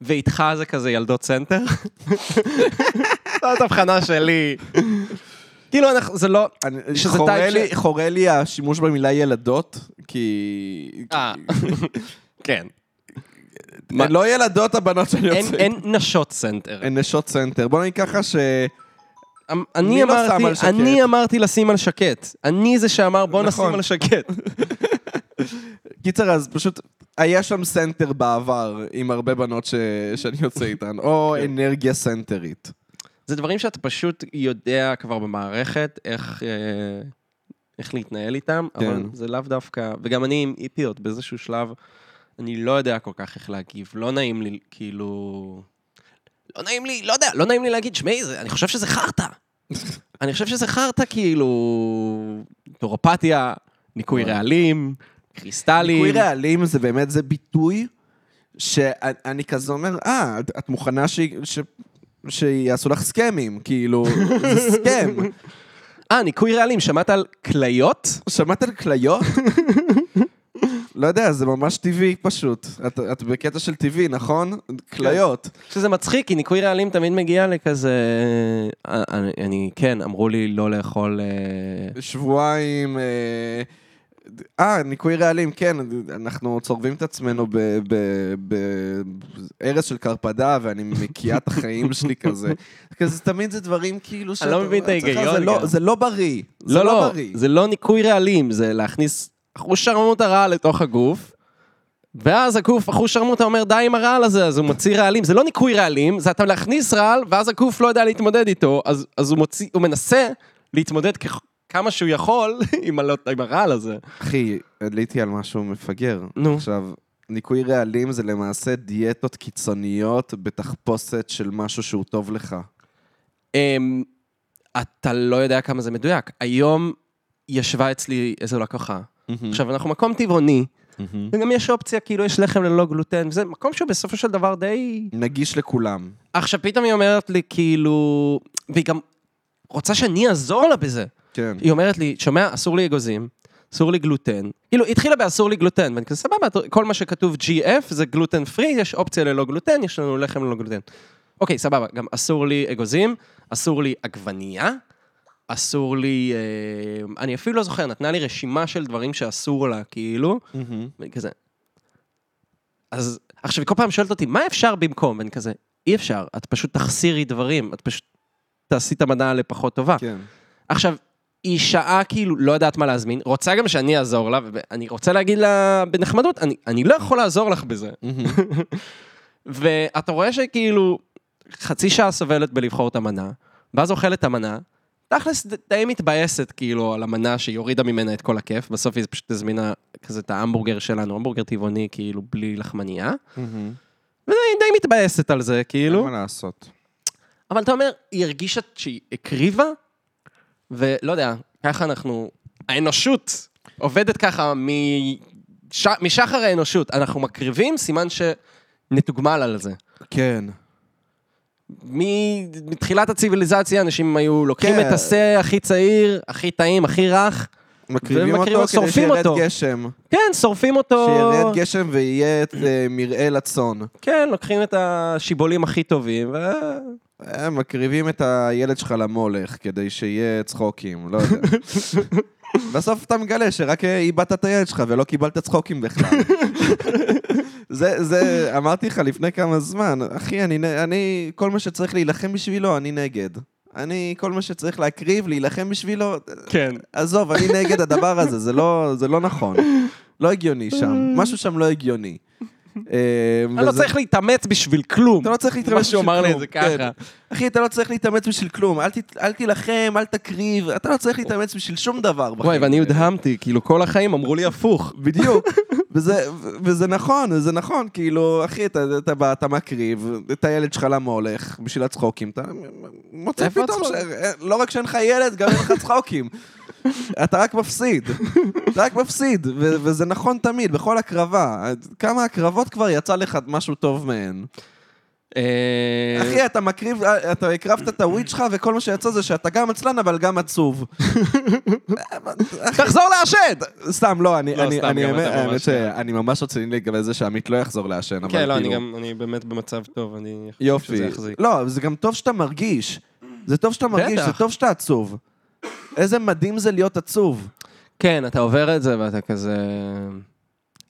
[SPEAKER 3] ואיתך זה כזה ילדות סנטר? זאת הבחנה שלי. כאילו, אנחנו, זה לא...
[SPEAKER 2] אני-
[SPEAKER 3] שזה
[SPEAKER 2] חורה
[SPEAKER 3] טייפ ש-
[SPEAKER 2] לי- חורה לי השימוש במילה ילדות, כי...
[SPEAKER 3] אה, כן. מה-
[SPEAKER 2] הן לא ילדות הבנות שאני
[SPEAKER 3] אין,
[SPEAKER 2] יוצא.
[SPEAKER 3] אין נשות סנטר.
[SPEAKER 2] הן נשות סנטר. בוא נגיד ככה ש...
[SPEAKER 3] אמ- אני
[SPEAKER 2] מי לא שם על
[SPEAKER 3] אמרתי,
[SPEAKER 2] שקט?
[SPEAKER 3] אני אמרתי לשים על שקט. אני זה שאמר בוא נשים
[SPEAKER 2] נכון.
[SPEAKER 3] על שקט.
[SPEAKER 2] קיצר, אז פשוט היה שם סנטר בעבר עם הרבה בנות ש... שאני יוצא איתן, או
[SPEAKER 3] כן.
[SPEAKER 2] אנרגיה סנטרית.
[SPEAKER 3] זה דברים שאתה פשוט יודע כבר במערכת איך, אה, איך להתנהל איתם, כן. אבל
[SPEAKER 2] כן.
[SPEAKER 3] זה לאו דווקא, וגם אני עם איפיות באיזשהו שלב, אני לא יודע כל כך איך להגיב, לא נעים לי, כאילו... לא נעים לי, לא יודע, לא נעים לי להגיד, שמעי, זה- אני חושב שזה חרטא. אני חושב שזה חרטא, כאילו... טורופתיה, ניקוי רעלים, קריסטלים.
[SPEAKER 2] ניקוי רעלים זה באמת, זה ביטוי שאני כזה אומר, אה, את- את מוכנה ש... ש... שיעשו לך סקמים, כאילו, זה סקם.
[SPEAKER 3] אה, ניקוי רעלים, שמעת על כליות?
[SPEAKER 2] שמעת על כליות? לא יודע, זה ממש טבעי פשוט. את, את בקטע של טבעי, נכון? כליות.
[SPEAKER 3] אה, כן, לא
[SPEAKER 2] שבועיים... אה, אה, ניקוי רעלים, כן, אנחנו צורבים את עצמנו ב- ב- ב- בארץ של קרפדה, ואני מקיאה את החיים שלי כזה. כזה, תמיד זה דברים כאילו שאתה...
[SPEAKER 3] לא מבין את
[SPEAKER 2] אתה צריך-
[SPEAKER 3] ההיגיון
[SPEAKER 2] זה לא-
[SPEAKER 3] גם.
[SPEAKER 2] זה לא בריא. זה
[SPEAKER 3] לא, לא,
[SPEAKER 2] בריא.
[SPEAKER 3] זה לא ניקוי רעלים, זה להכניס אחוש שרמוט הרעל לתוך הגוף, ואז הגוף, אחוש שרמוט אומר די עם הרעל הזה, אז הוא מוציא רעלים. זה לא ניקוי רעלים, זה אתה להכניס רעל, ואז הגוף לא יודע להתמודד איתו, אז, אז הוא, מוציא, הוא מנסה להתמודד ככ... כמה שהוא יכול עם, הלא, עם הרעל הזה.
[SPEAKER 2] אחי, עליתי על משהו מפגר.
[SPEAKER 3] נו.
[SPEAKER 2] עכשיו, ניקוי רעלים זה למעשה דיאטות קיצוניות בתחפושת של משהו שהוא טוב לך.
[SPEAKER 3] אמ, אתה לא יודע כמה זה מדויק. היום ישבה אצלי איזו לקוחה. עכשיו, אנחנו מקום טבעוני, וגם יש אופציה, כאילו, יש לחם ללא גלוטן, וזה מקום שהוא בסופו של דבר די...
[SPEAKER 2] נגיש לכולם.
[SPEAKER 3] עכשיו, פתאום היא אומרת לי, כאילו... והיא גם רוצה שאני אעזור לה בזה.
[SPEAKER 2] כן.
[SPEAKER 3] היא אומרת לי, שומע, אסור לי אגוזים, אסור לי גלוטן. כאילו, היא התחילה באסור לי גלוטן, ואני כזה, סבבה, אתה- כל מה שכתוב GF זה גלוטן פרי, יש אופציה ללא גלוטן, יש לנו לחם ללא גלוטן. אוקיי, סבבה, גם אסור לי אגוזים, אסור לי עגבנייה, אסור לי... אה, אני אפילו לא זוכר, נתנה לי רשימה של דברים שאסור לה, כאילו, ואני כזה... אז עכשיו, היא כל פעם שואלת אותי, מה אפשר במקום? ואני כזה, אי אפשר, את פשוט תחסירי דברים, את פשוט תעשי את המנה לפחות טובה.
[SPEAKER 2] כן.
[SPEAKER 3] עכשיו, היא שעה כאילו לא יודעת מה להזמין, רוצה גם שאני אעזור לה, ואני רוצה להגיד לה בנחמדות, אני, אני לא יכול לעזור לך בזה. ואתה רואה שכאילו חצי שעה סובלת בלבחור את המנה, ואז אוכלת את המנה, תכלס ד- די מתבאסת כאילו על המנה שהיא הורידה ממנה את כל הכיף, בסוף היא פשוט הזמינה כזה את ההמבורגר שלנו, המבורגר טבעוני כאילו בלי לחמנייה, והיא די מתבאסת על זה כאילו.
[SPEAKER 2] אין מה לעשות.
[SPEAKER 3] אבל אתה אומר, היא הרגישה שהיא הקריבה, ולא יודע, ככה אנחנו... האנושות עובדת ככה מש... משחר האנושות. אנחנו מקריבים, סימן שנתוגמל על זה.
[SPEAKER 2] כן.
[SPEAKER 3] מ... מתחילת הציוויליזציה אנשים היו לוקחים
[SPEAKER 2] כן.
[SPEAKER 3] את השה הכי צעיר, הכי טעים, הכי רך,
[SPEAKER 2] מקריבים
[SPEAKER 3] ומקריבים,
[SPEAKER 2] אותו כדי
[SPEAKER 3] שורפים
[SPEAKER 2] שירד
[SPEAKER 3] אותו.
[SPEAKER 2] גשם.
[SPEAKER 3] כן, שורפים אותו.
[SPEAKER 2] שירד גשם ויהיה את אה, מרעה לצאן.
[SPEAKER 3] כן, לוקחים את השיבולים הכי טובים, ו...
[SPEAKER 2] אה, מקריבים את הילד שלך למולך כדי שיהיה צחוקים, לא יודע. בסוף אתה מגלה שרק אה, איבדת את הילד שלך ולא קיבלת צחוקים בכלל. זה, זה, אמרתי לך לפני כמה זמן, אחי, אני, נ- אני, כל מה שצריך להילחם בשבילו, אני נגד. אני, כל מה שצריך להקריב, להילחם בשבילו,
[SPEAKER 3] כן.
[SPEAKER 2] עזוב, אני נגד הדבר הזה, זה לא, זה לא נכון. לא הגיוני שם, משהו שם לא הגיוני. אה,
[SPEAKER 3] Mm. אני לא
[SPEAKER 2] וזה-
[SPEAKER 3] צריך להתאמץ בשביל כלום.
[SPEAKER 2] אתה לא צריך להתאמץ
[SPEAKER 3] מה שהוא
[SPEAKER 2] בשביל
[SPEAKER 3] אמר
[SPEAKER 2] כלום.
[SPEAKER 3] לי את זה
[SPEAKER 2] כן.
[SPEAKER 3] ככה.
[SPEAKER 2] אחי, אתה לא צריך להתאמץ בשביל כלום. אל, ת, אל תילחם, אל תקריב, אתה לא צריך להתאמץ בשביל שום דבר בחיים. לא
[SPEAKER 3] וואי, ואני הודהמתי, כאילו כל החיים אמרו לי הפוך.
[SPEAKER 2] בדיוק. וזה, ו- וזה נכון, זה נכון, כאילו, אחי, אתה, אתה בא, אתה מקריב, את הילד שלך למה הולך, בשביל הצחוקים, אתה מוצא
[SPEAKER 3] איפה
[SPEAKER 2] פתאום, ש...
[SPEAKER 3] הצחוק?
[SPEAKER 2] לא רק שאין לך ילד, גם אין לך צחוקים. אתה רק מפסיד, אתה רק מפסיד, ו- וזה נכון תמיד, בכל הקרבה. כמה הקרבות כבר יצא לך משהו טוב מהן.
[SPEAKER 3] אה,
[SPEAKER 2] אחי, אתה מקריב, אתה הקרבת את הוויד שלך, וכל מה שיצא זה שאתה גם עצלן, אבל גם עצוב.
[SPEAKER 3] תחזור לעשן!
[SPEAKER 2] סתם, לא, אני,
[SPEAKER 3] לא,
[SPEAKER 2] אני,
[SPEAKER 3] סתם,
[SPEAKER 2] אני,
[SPEAKER 3] גם
[SPEAKER 2] האמת-
[SPEAKER 3] אתה ממש-
[SPEAKER 2] האמת שאני ממש רציני לגבי זה שעמית לא יחזור לעשן, אבל
[SPEAKER 3] כן,
[SPEAKER 2] כאילו...
[SPEAKER 3] לא, אני גם, אני באמת במצב טוב, אני חושב שזה
[SPEAKER 2] יופי.
[SPEAKER 3] יחזיק.
[SPEAKER 2] לא, זה גם טוב שאתה מרגיש. זה טוב שאתה מרגיש,
[SPEAKER 3] בטח.
[SPEAKER 2] זה טוב שאתה עצוב. איזה מדהים זה להיות עצוב.
[SPEAKER 3] כן, אתה עובר את זה ואתה כזה...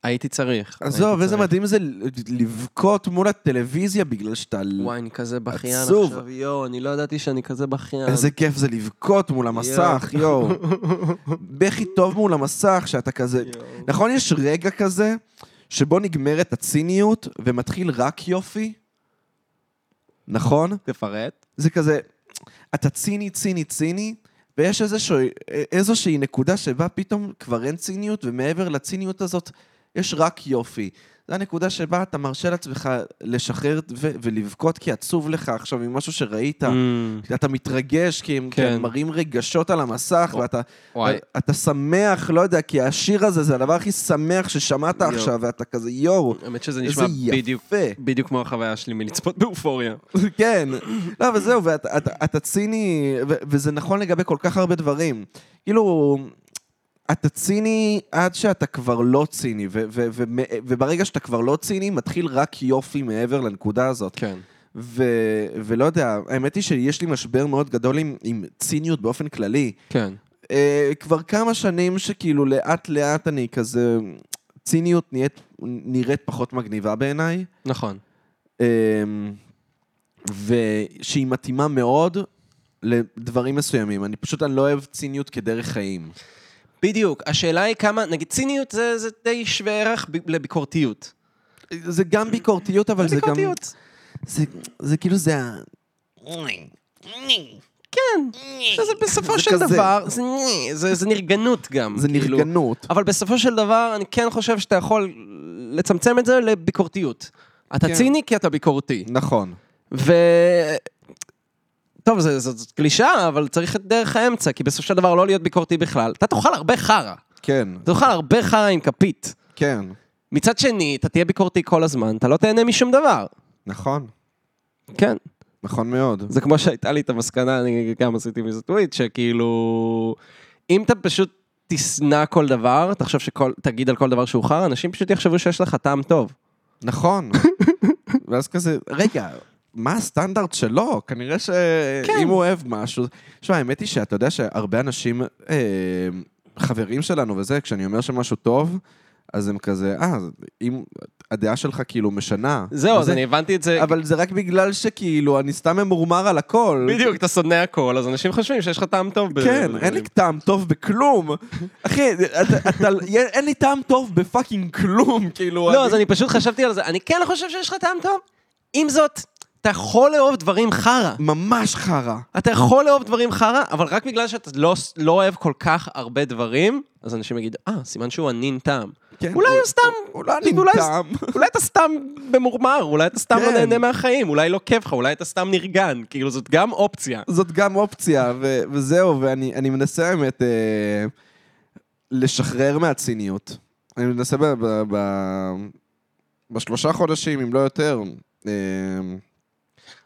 [SPEAKER 3] הייתי צריך.
[SPEAKER 2] עזוב,
[SPEAKER 3] הייתי
[SPEAKER 2] איזה
[SPEAKER 3] צריך.
[SPEAKER 2] מדהים זה ל- לבכות מול הטלוויזיה בגלל שאתה... ל-
[SPEAKER 3] וואי, אני כזה בכיין
[SPEAKER 2] עצוב.
[SPEAKER 3] עכשיו, יואו, אני לא ידעתי שאני כזה בכיין.
[SPEAKER 2] איזה כיף זה לבכות מול המסך, יואו. בכי טוב מול המסך, שאתה כזה... נכון, יש רגע כזה, שבו נגמרת הציניות ומתחיל רק יופי? נכון?
[SPEAKER 3] תפרט.
[SPEAKER 2] זה כזה, אתה ציני, ציני, ציני, ויש איזשהו, איזושהי נקודה שבה פתאום כבר אין ציניות, ומעבר לציניות הזאת יש רק יופי. זו הנקודה שבה אתה מרשה לעצמך לשחרר ו- ולבכות כי עצוב לך עכשיו ממשהו
[SPEAKER 3] Mm.
[SPEAKER 2] שראית. אתה מתרגש כי הם
[SPEAKER 3] כן.
[SPEAKER 2] כן. מראים רגשות על המסך, ואתה
[SPEAKER 3] וואי.
[SPEAKER 2] אתה שמח, לא יודע, כי השיר הזה זה הדבר הכי שמח ששמעת
[SPEAKER 3] יואו.
[SPEAKER 2] עכשיו, ואתה כזה יואו,
[SPEAKER 3] האמת שזה
[SPEAKER 2] איזה
[SPEAKER 3] נשמע בדיוק,
[SPEAKER 2] יפה.
[SPEAKER 3] בדיוק כמו החוויה שלי מלצפות באופוריה.
[SPEAKER 2] כן, לא, אבל זהו, ואתה אתה- אתה ציני, ו- וזה נכון לגבי כל כך הרבה דברים. כאילו, אתה ציני עד שאתה כבר לא ציני, ו- ו- ו- וברגע שאתה כבר לא ציני, מתחיל רק יופי מעבר לנקודה הזאת.
[SPEAKER 3] כן.
[SPEAKER 2] ו- ולא יודע, האמת היא שיש לי משבר מאוד גדול עם, עם ציניות באופן כללי.
[SPEAKER 3] כן.
[SPEAKER 2] אה, כבר כמה שנים שכאילו לאט לאט אני כזה, ציניות נהיית, נראית פחות מגניבה בעיניי.
[SPEAKER 3] נכון.
[SPEAKER 2] אמ, ושהיא מתאימה מאוד לדברים מסוימים. אני פשוט, אני לא אוהב ציניות כדרך חיים.
[SPEAKER 3] בדיוק, השאלה היא כמה, נגיד ציניות זה, זה די שווה ערך ב- לביקורתיות.
[SPEAKER 2] זה גם ביקורתיות, אבל זה גם...
[SPEAKER 3] ביקורתיות.
[SPEAKER 2] זה, זה כאילו, זה ה...
[SPEAKER 3] כן. שזה בסופו
[SPEAKER 2] זה
[SPEAKER 3] של
[SPEAKER 2] כזה.
[SPEAKER 3] דבר, זה, זה, זה נרגנות גם.
[SPEAKER 2] זה
[SPEAKER 3] כאילו.
[SPEAKER 2] נרגנות.
[SPEAKER 3] אבל בסופו של דבר, אני כן חושב שאתה יכול לצמצם את זה לביקורתיות. אתה
[SPEAKER 2] כן.
[SPEAKER 3] ציני כי אתה ביקורתי.
[SPEAKER 2] נכון.
[SPEAKER 3] ו... טוב, זו- זו- זאת קלישאה, אבל צריך את דרך האמצע, כי בסופו של דבר לא להיות ביקורתי בכלל. אתה תאכל הרבה חרא.
[SPEAKER 2] כן,
[SPEAKER 3] אתה תאכל הרבה חרא עם כפית.
[SPEAKER 2] כן,
[SPEAKER 3] מצד שני, אתה תהיה ביקורתי כל הזמן, אתה לא תהנה משום דבר.
[SPEAKER 2] נכון.
[SPEAKER 3] כן.
[SPEAKER 2] נכון מאוד.
[SPEAKER 3] זה כמו שהייתה לי את המסקנה, אני גם עשיתי מזה טוויט, שכאילו... אם אתה פשוט תשנא כל דבר, תחשוב שכל... תגיד על כל דבר שהוא חרא, אנשים פשוט יחשבו שיש לך טעם טוב.
[SPEAKER 2] נכון. ואז כזה, רגע, מה הסטנדרט שלו? כנראה שאם
[SPEAKER 3] כן.
[SPEAKER 2] הוא אוהב משהו... תשמע, האמת היא שאתה יודע שהרבה אנשים, אה, חברים שלנו וזה, כשאני אומר שמשהו טוב, אז הם כזה, אה, אם הדעה שלך כאילו משנה.
[SPEAKER 3] זהו, אז
[SPEAKER 2] וזה-
[SPEAKER 3] אני הבנתי את זה.
[SPEAKER 2] אבל זה רק בגלל שכאילו, אני סתם ממורמר על הכל.
[SPEAKER 3] בדיוק, אתה שונא הכל, אז אנשים חושבים שיש לך טעם טוב. ב-
[SPEAKER 2] כן, אין לי טעם טוב בכלום. אחי, אתה- אתה- אין לי טעם טוב בפאקינג כלום, כאילו.
[SPEAKER 3] לא, אז אני פשוט חשבתי על זה. אני כן חושב שיש לך טעם טוב. עם זאת, אתה יכול לאהוב דברים חרא.
[SPEAKER 2] ממש חרא.
[SPEAKER 3] אתה יכול לאהוב דברים חרא, אבל רק בגלל שאתה לא, לא אוהב כל כך הרבה דברים, אז אנשים יגידו, אה, סימן שהוא ענין טעם.
[SPEAKER 2] כן,
[SPEAKER 3] אולי הוא סתם,
[SPEAKER 2] אולי
[SPEAKER 3] אני
[SPEAKER 2] אולי-
[SPEAKER 3] טעם. אולי אתה סתם במורמר, אולי אתה סתם לא
[SPEAKER 2] כן.
[SPEAKER 3] נהנה מהחיים, אולי לא כיף לך, אולי אתה סתם נרגן, כאילו זאת גם אופציה.
[SPEAKER 2] זאת גם אופציה, ו- וזהו, ואני אני מנסה האמת אה, לשחרר מהציניות. אני מנסה ב- ב- ב- בשלושה חודשים, אם לא יותר. אה,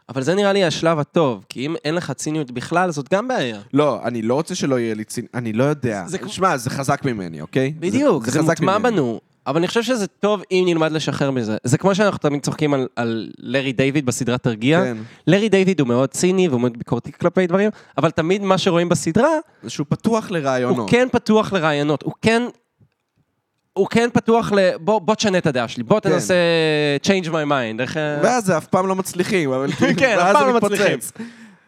[SPEAKER 3] אבל זה נראה לי השלב הטוב, כי אם אין לך ציניות בכלל, זאת גם בעיה.
[SPEAKER 2] לא, אני לא רוצה שלא יהיה לי ציניות, אני לא יודע.
[SPEAKER 3] זה כמו-
[SPEAKER 2] שמע, זה חזק ממני, אוקיי?
[SPEAKER 3] בדיוק, זה, זה, זה
[SPEAKER 2] חזק
[SPEAKER 3] מוטמע
[SPEAKER 2] ממני.
[SPEAKER 3] בנו. אבל אני חושב שזה טוב אם נלמד לשחרר מזה. זה כמו שאנחנו תמיד צוחקים על, על לארי דיוויד בסדרה תרגיע.
[SPEAKER 2] כן,
[SPEAKER 3] לארי דיוויד הוא מאוד ציני והוא מאוד ביקורתי כלפי דברים, אבל תמיד מה שרואים בסדרה,
[SPEAKER 2] שהוא פתוח
[SPEAKER 3] הוא
[SPEAKER 2] לרעיונות.
[SPEAKER 3] כן פתוח לרעיונות, הוא כן... הוא כן פתוח ל... בוא, בוא תשנה את הדעה שלי, בוא
[SPEAKER 2] כן.
[SPEAKER 3] תנסה change my mind, איך... אה,
[SPEAKER 2] ואז זה אף פעם לא מצליחים, אבל כאילו,
[SPEAKER 3] כן, אף
[SPEAKER 2] ואז
[SPEAKER 3] פעם
[SPEAKER 2] זה
[SPEAKER 3] לא
[SPEAKER 2] מתפוצץ.
[SPEAKER 3] מצליחים.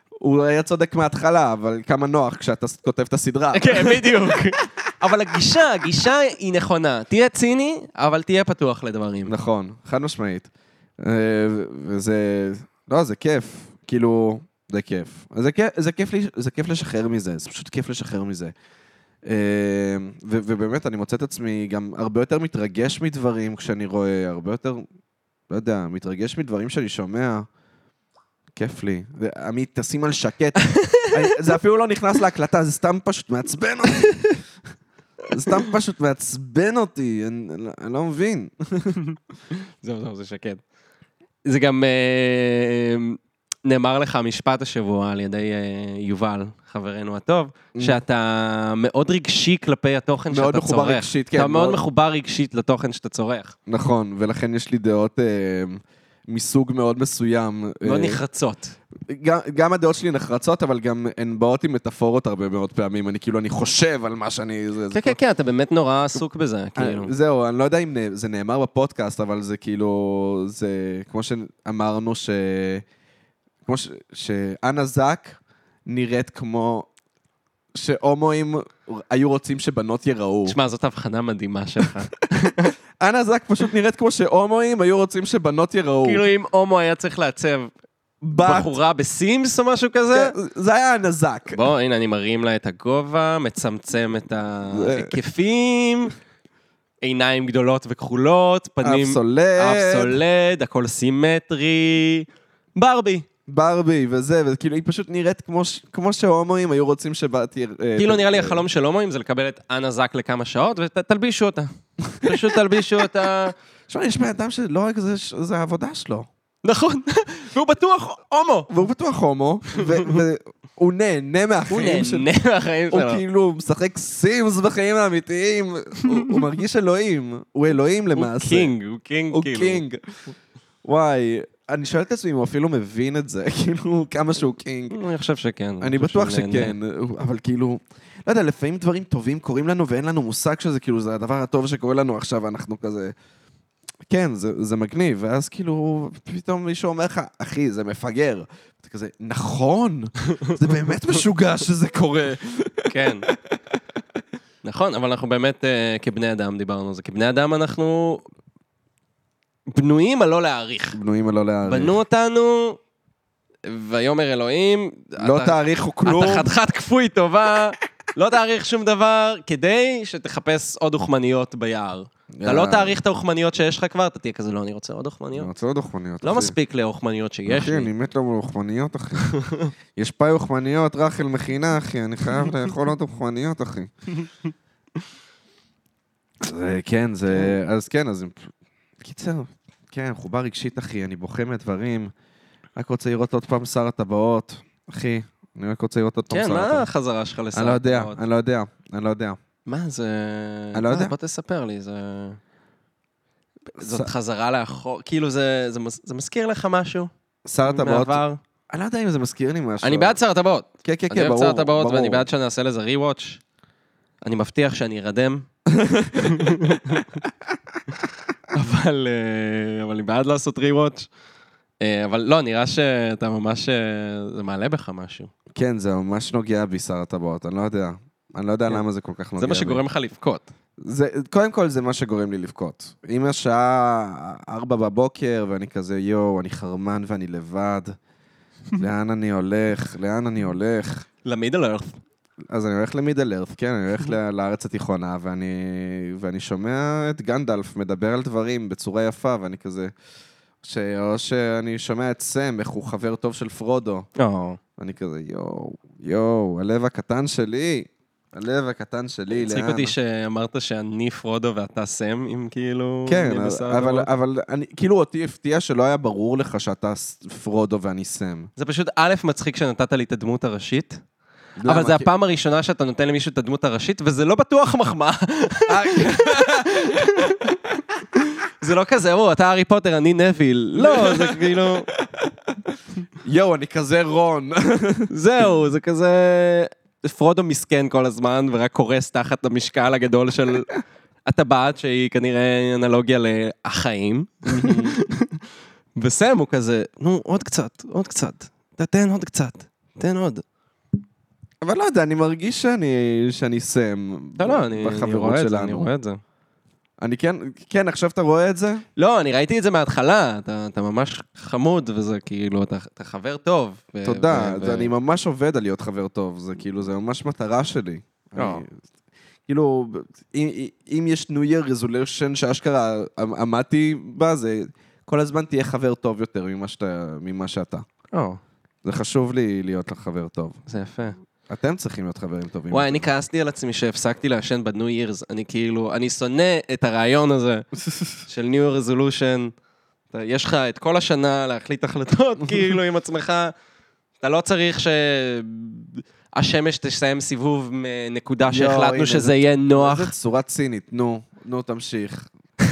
[SPEAKER 2] הוא היה צודק מההתחלה, אבל כמה נוח כשאתה ס- כותב את הסדרה.
[SPEAKER 3] כן, בדיוק. אבל הגישה, הגישה היא נכונה. תהיה ציני, אבל תהיה פתוח לדברים.
[SPEAKER 2] נכון, חד משמעית. אה, ו- וזה, לא, זה כיף. כאילו, זה כיף. זה כיף, זה כיף, לי, זה כיף לשחרר מזה, זה פשוט כיף לשחרר מזה. אה, ו- ובאמת, אני מוצא את עצמי גם הרבה יותר מתרגש מדברים כשאני רואה, הרבה יותר, לא יודע, מתרגש מדברים שאני שומע. כיף לי. ו- עמית, תשים על שקט. אני- זה אפילו לא נכנס להקלטה, זה סתם פשוט מעצבן אותי. זה סתם פשוט מעצבן אותי, אני, אני לא מבין.
[SPEAKER 3] זהו, זהו, זה שקט. זה גם אה, נאמר לך משפט השבוע על ידי אה, יובל, חברנו הטוב, שאתה מאוד רגשי כלפי התוכן שאתה
[SPEAKER 2] Mm. מאוד
[SPEAKER 3] צורך.
[SPEAKER 2] מחובר רגשית, כן,
[SPEAKER 3] אתה מאוד
[SPEAKER 2] מאוד-
[SPEAKER 3] מחובר רגשית לתוכן שאתה צורך.
[SPEAKER 2] נכון, ולכן יש לי דעות אה, מסוג מאוד מסוים.
[SPEAKER 3] מאוד
[SPEAKER 2] אה,
[SPEAKER 3] נחרצות.
[SPEAKER 2] גם, גם הדעות שלי נחרצות, אבל גם הן באות עם מטאפורות הרבה מאוד פעמים. אני כאילו, אני חושב על מה שאני... זה,
[SPEAKER 3] כן,
[SPEAKER 2] זה
[SPEAKER 3] כן, כן, אתה באמת נורא עסוק בזה,
[SPEAKER 2] אה,
[SPEAKER 3] כאילו.
[SPEAKER 2] זהו, אני לא יודע אם נה- זה נאמר בפודקאסט, אבל זה כאילו, זה כמו שאמרנו, ש... כמו ש... שאנה זק נראית כמו שהומואים היו רוצים שבנות יראו.
[SPEAKER 3] תשמע, זאת הבחנה מדהימה שלך.
[SPEAKER 2] אנה זק פשוט נראית כמו שהומואים היו רוצים שבנות יראו.
[SPEAKER 3] כאילו אם הומו היה צריך לעצב
[SPEAKER 2] בת
[SPEAKER 3] בחורה בסימס או משהו כזה,
[SPEAKER 2] זה היה הנזק.
[SPEAKER 3] בוא, הנה, אני מרים לה את הגובה, מצמצם את ההיקפים, עיניים גדולות וכחולות, פנים...
[SPEAKER 2] אף סולד,
[SPEAKER 3] אף סולד, הכל סימטרי. ברבי.
[SPEAKER 2] ברבי וזה, וכאילו היא פשוט נראית כמו ש- כמו שהומואים היו רוצים שבת יר... אה,
[SPEAKER 3] כאילו
[SPEAKER 2] ת-
[SPEAKER 3] נראה לי
[SPEAKER 2] אה,
[SPEAKER 3] החלום של הומואים זה לקבל את אנה זק לכמה שעות ותלבישו אותה. פשוט תלבישו אותה.
[SPEAKER 2] תשמע, יש בן אדם שלא רק זה, ש- זה העבודה שלו.
[SPEAKER 3] נכון, והוא בטוח הומו.
[SPEAKER 2] והוא בטוח הומו, ו- והוא נהנה
[SPEAKER 3] הוא
[SPEAKER 2] מהחיים שלו.
[SPEAKER 3] נהנה מהחיים
[SPEAKER 2] הוא
[SPEAKER 3] שלו.
[SPEAKER 2] כאילו משחק סימס בחיים האמיתיים. הוא- הוא מרגיש אלוהים. הוא אלוהים
[SPEAKER 3] הוא
[SPEAKER 2] למעשה.
[SPEAKER 3] קינג, הוא קינג,
[SPEAKER 2] הוא
[SPEAKER 3] כאילו.
[SPEAKER 2] קינג. וואי, אני שואל את עצמי אם הוא אפילו מבין את זה, כאילו, כמה שהוא קינג.
[SPEAKER 3] אני חושב שכן.
[SPEAKER 2] אני
[SPEAKER 3] חושב
[SPEAKER 2] בטוח
[SPEAKER 3] שהוא נהנה.
[SPEAKER 2] שכן, אבל כאילו, לא יודע, לפעמים דברים טובים קורים לנו ואין לנו מושג שזה כאילו, זה הדבר הטוב שקורה לנו עכשיו, אנחנו כזה... כן, זה, זה מגניב, ואז כאילו, פתאום מישהו אומר לך, אחי, זה מפגר. אתה כזה, נכון, זה באמת משוגע שזה קורה.
[SPEAKER 3] כן. נכון, אבל אנחנו באמת אה, כבני אדם דיברנו על זה. כבני אדם אנחנו בנויים על לא להעריך.
[SPEAKER 2] בנויים על לא להעריך.
[SPEAKER 3] בנו אותנו, ויאמר אלוהים,
[SPEAKER 2] לא
[SPEAKER 3] אתה-
[SPEAKER 2] תעריכו כלום.
[SPEAKER 3] אתה חתיכת כפוי טובה, לא תעריך שום דבר, כדי שתחפש עוד דוכמניות ביער. אתה לא תעריך את האוכמניות שיש לך כבר, אתה תהיה כזה, לא, אני רוצה עוד
[SPEAKER 2] אני
[SPEAKER 3] אוכמניות.
[SPEAKER 2] רוצה עוד אוכמניות.
[SPEAKER 3] לא
[SPEAKER 2] אחי.
[SPEAKER 3] מספיק לאוכמניות שיש
[SPEAKER 2] אחי,
[SPEAKER 3] לי.
[SPEAKER 2] אני מת לו אוכמניות, אחי. יש פאי אוכמניות, רחל מכינה, אחי, אני חייב לאכול עוד אוכמניות, אחי. זה, כן, זה... אז כן, אז... קיצר, כן, חובה רגשית, אחי, אני בוכה מהדברים. רק רוצה לראות עוד פעם שר הטבעות, אחי. אני רק רוצה לראות עוד פעם
[SPEAKER 3] כן,
[SPEAKER 2] שר
[SPEAKER 3] מה
[SPEAKER 2] הטבעות.
[SPEAKER 3] החזרה שלך לסרט?
[SPEAKER 2] אני לא יודע,
[SPEAKER 3] מאוד?
[SPEAKER 2] אני לא יודע, אני לא יודע.
[SPEAKER 3] מה זה...
[SPEAKER 2] אני לא
[SPEAKER 3] מה,
[SPEAKER 2] יודע.
[SPEAKER 3] בוא תספר לי, זה... זאת
[SPEAKER 2] ס-
[SPEAKER 3] חזרה לאחור, כאילו זה, זה, מז- זה מזכיר לך משהו
[SPEAKER 2] שר הטבעות,
[SPEAKER 3] מהעבר?
[SPEAKER 2] אני לא יודע אם זה מזכיר לי משהו.
[SPEAKER 3] אני בעד שר הטבעות.
[SPEAKER 2] כן, כן,
[SPEAKER 3] אני
[SPEAKER 2] כן,
[SPEAKER 3] אוהב
[SPEAKER 2] ברור.
[SPEAKER 3] שר הטבעות
[SPEAKER 2] ברור.
[SPEAKER 3] ואני בעד שנעשה לזה rewatch. אני מבטיח שאני ארדם. אבל, אה, אבל אני בעד לעשות rewatch. אה, אבל לא, נראה שאתה ממש... אה, זה מעלה בך משהו.
[SPEAKER 2] כן, זה ממש נוגע בי, שר הטבעות, אני לא יודע. אני לא יודע
[SPEAKER 3] כן.
[SPEAKER 2] למה זה כל כך נוגע
[SPEAKER 3] זה מה
[SPEAKER 2] בי.
[SPEAKER 3] שגורם לך לבכות.
[SPEAKER 2] זה, קודם כל, זה מה שגורם לי לבכות. אם השעה ארבע בבוקר, ואני כזה, יואו, אני חרמן ואני לבד, לאן אני הולך? לאן אני הולך?
[SPEAKER 3] למידל ארת.
[SPEAKER 2] אז אני הולך למידל ארת, כן, אני הולך ל- לארץ התיכונה, ואני, ואני שומע את גנדלף מדבר על דברים בצורה יפה, ואני כזה... ש... או שאני שומע את סם, איך הוא חבר טוב של פרודו. ואני כזה, יואו, יואו, הלב הקטן שלי, הלב הקטן שלי,
[SPEAKER 3] הצחיק
[SPEAKER 2] לאן?
[SPEAKER 3] אותי שאמרת שאני פרודו ואתה סם, אם כאילו...
[SPEAKER 2] כן,
[SPEAKER 3] אני
[SPEAKER 2] אבל-
[SPEAKER 3] בשר
[SPEAKER 2] אבל,
[SPEAKER 3] הטבעות.
[SPEAKER 2] אבל אני, כאילו אותי הפתיע שלא היה ברור לך שאתה ס- פרודו ואני סם.
[SPEAKER 3] זה פשוט א', מצחיק שנתת לי את הדמות הראשית,
[SPEAKER 2] למה?
[SPEAKER 3] אבל זה
[SPEAKER 2] כי-
[SPEAKER 3] הפעם הראשונה שאתה נותן למישהו את הדמות הראשית, וזה לא בטוח מחמאה.
[SPEAKER 2] אה, כן.
[SPEAKER 3] זה לא כזה, או, אתה הארי פוטר, אני נביל. לא, זה כאילו...
[SPEAKER 2] יואו, אני כזה רון.
[SPEAKER 3] זהו, זה כזה... פרודו מסכן כל הזמן, ורק קורס תחת המשקל הגדול של הטבעת, שהיא כנראה אנלוגיה לחיים. וסם הוא כזה, נו, עוד קצת, עוד קצת. תתן עוד קצת, תן עוד.
[SPEAKER 2] אבל לא יודע, אני מרגיש שאני, שאני סם.
[SPEAKER 3] לא, לא, אני, אני
[SPEAKER 2] בחברות
[SPEAKER 3] רואה את זה,
[SPEAKER 2] שלנו.
[SPEAKER 3] אני רואה את זה.
[SPEAKER 2] אני כן, כן, עכשיו אתה רואה את זה?
[SPEAKER 3] לא, אני ראיתי את זה מההתחלה, אתה, אתה ממש חמוד, וזה כאילו, אתה, אתה חבר טוב. ו-
[SPEAKER 2] תודה,
[SPEAKER 3] ו-
[SPEAKER 2] זה- אני ממש עובד על להיות חבר טוב, זה כאילו, זה ממש מטרה שלי.
[SPEAKER 3] לא.
[SPEAKER 2] אני- כאילו, אם- אם יש New Year Resolution שאשכרה עמ- עמדתי בה, זה כל הזמן תהיה חבר טוב יותר ממה שאתה- ממה שאתה.
[SPEAKER 3] או,
[SPEAKER 2] זה חשוב לי להיות לך חבר טוב.
[SPEAKER 3] זה יפה.
[SPEAKER 2] אתם צריכים להיות חברים טובים.
[SPEAKER 3] וואי, אני כעסתי על עצמי שהפסקתי לעשן בניו ירס. אני כאילו, אני שונא את הרעיון הזה של ניו רזולושן. יש לך את כל השנה להחליט החלטות, כאילו, עם עצמך. אתה לא צריך שהשמש תסיים סיבוב מנקודה
[SPEAKER 2] יואו, הנה,
[SPEAKER 3] שהחלטנו
[SPEAKER 2] זה-
[SPEAKER 3] שזה יהיה נוח.
[SPEAKER 2] איזה צורה צינית, נו, נו, תמשיך.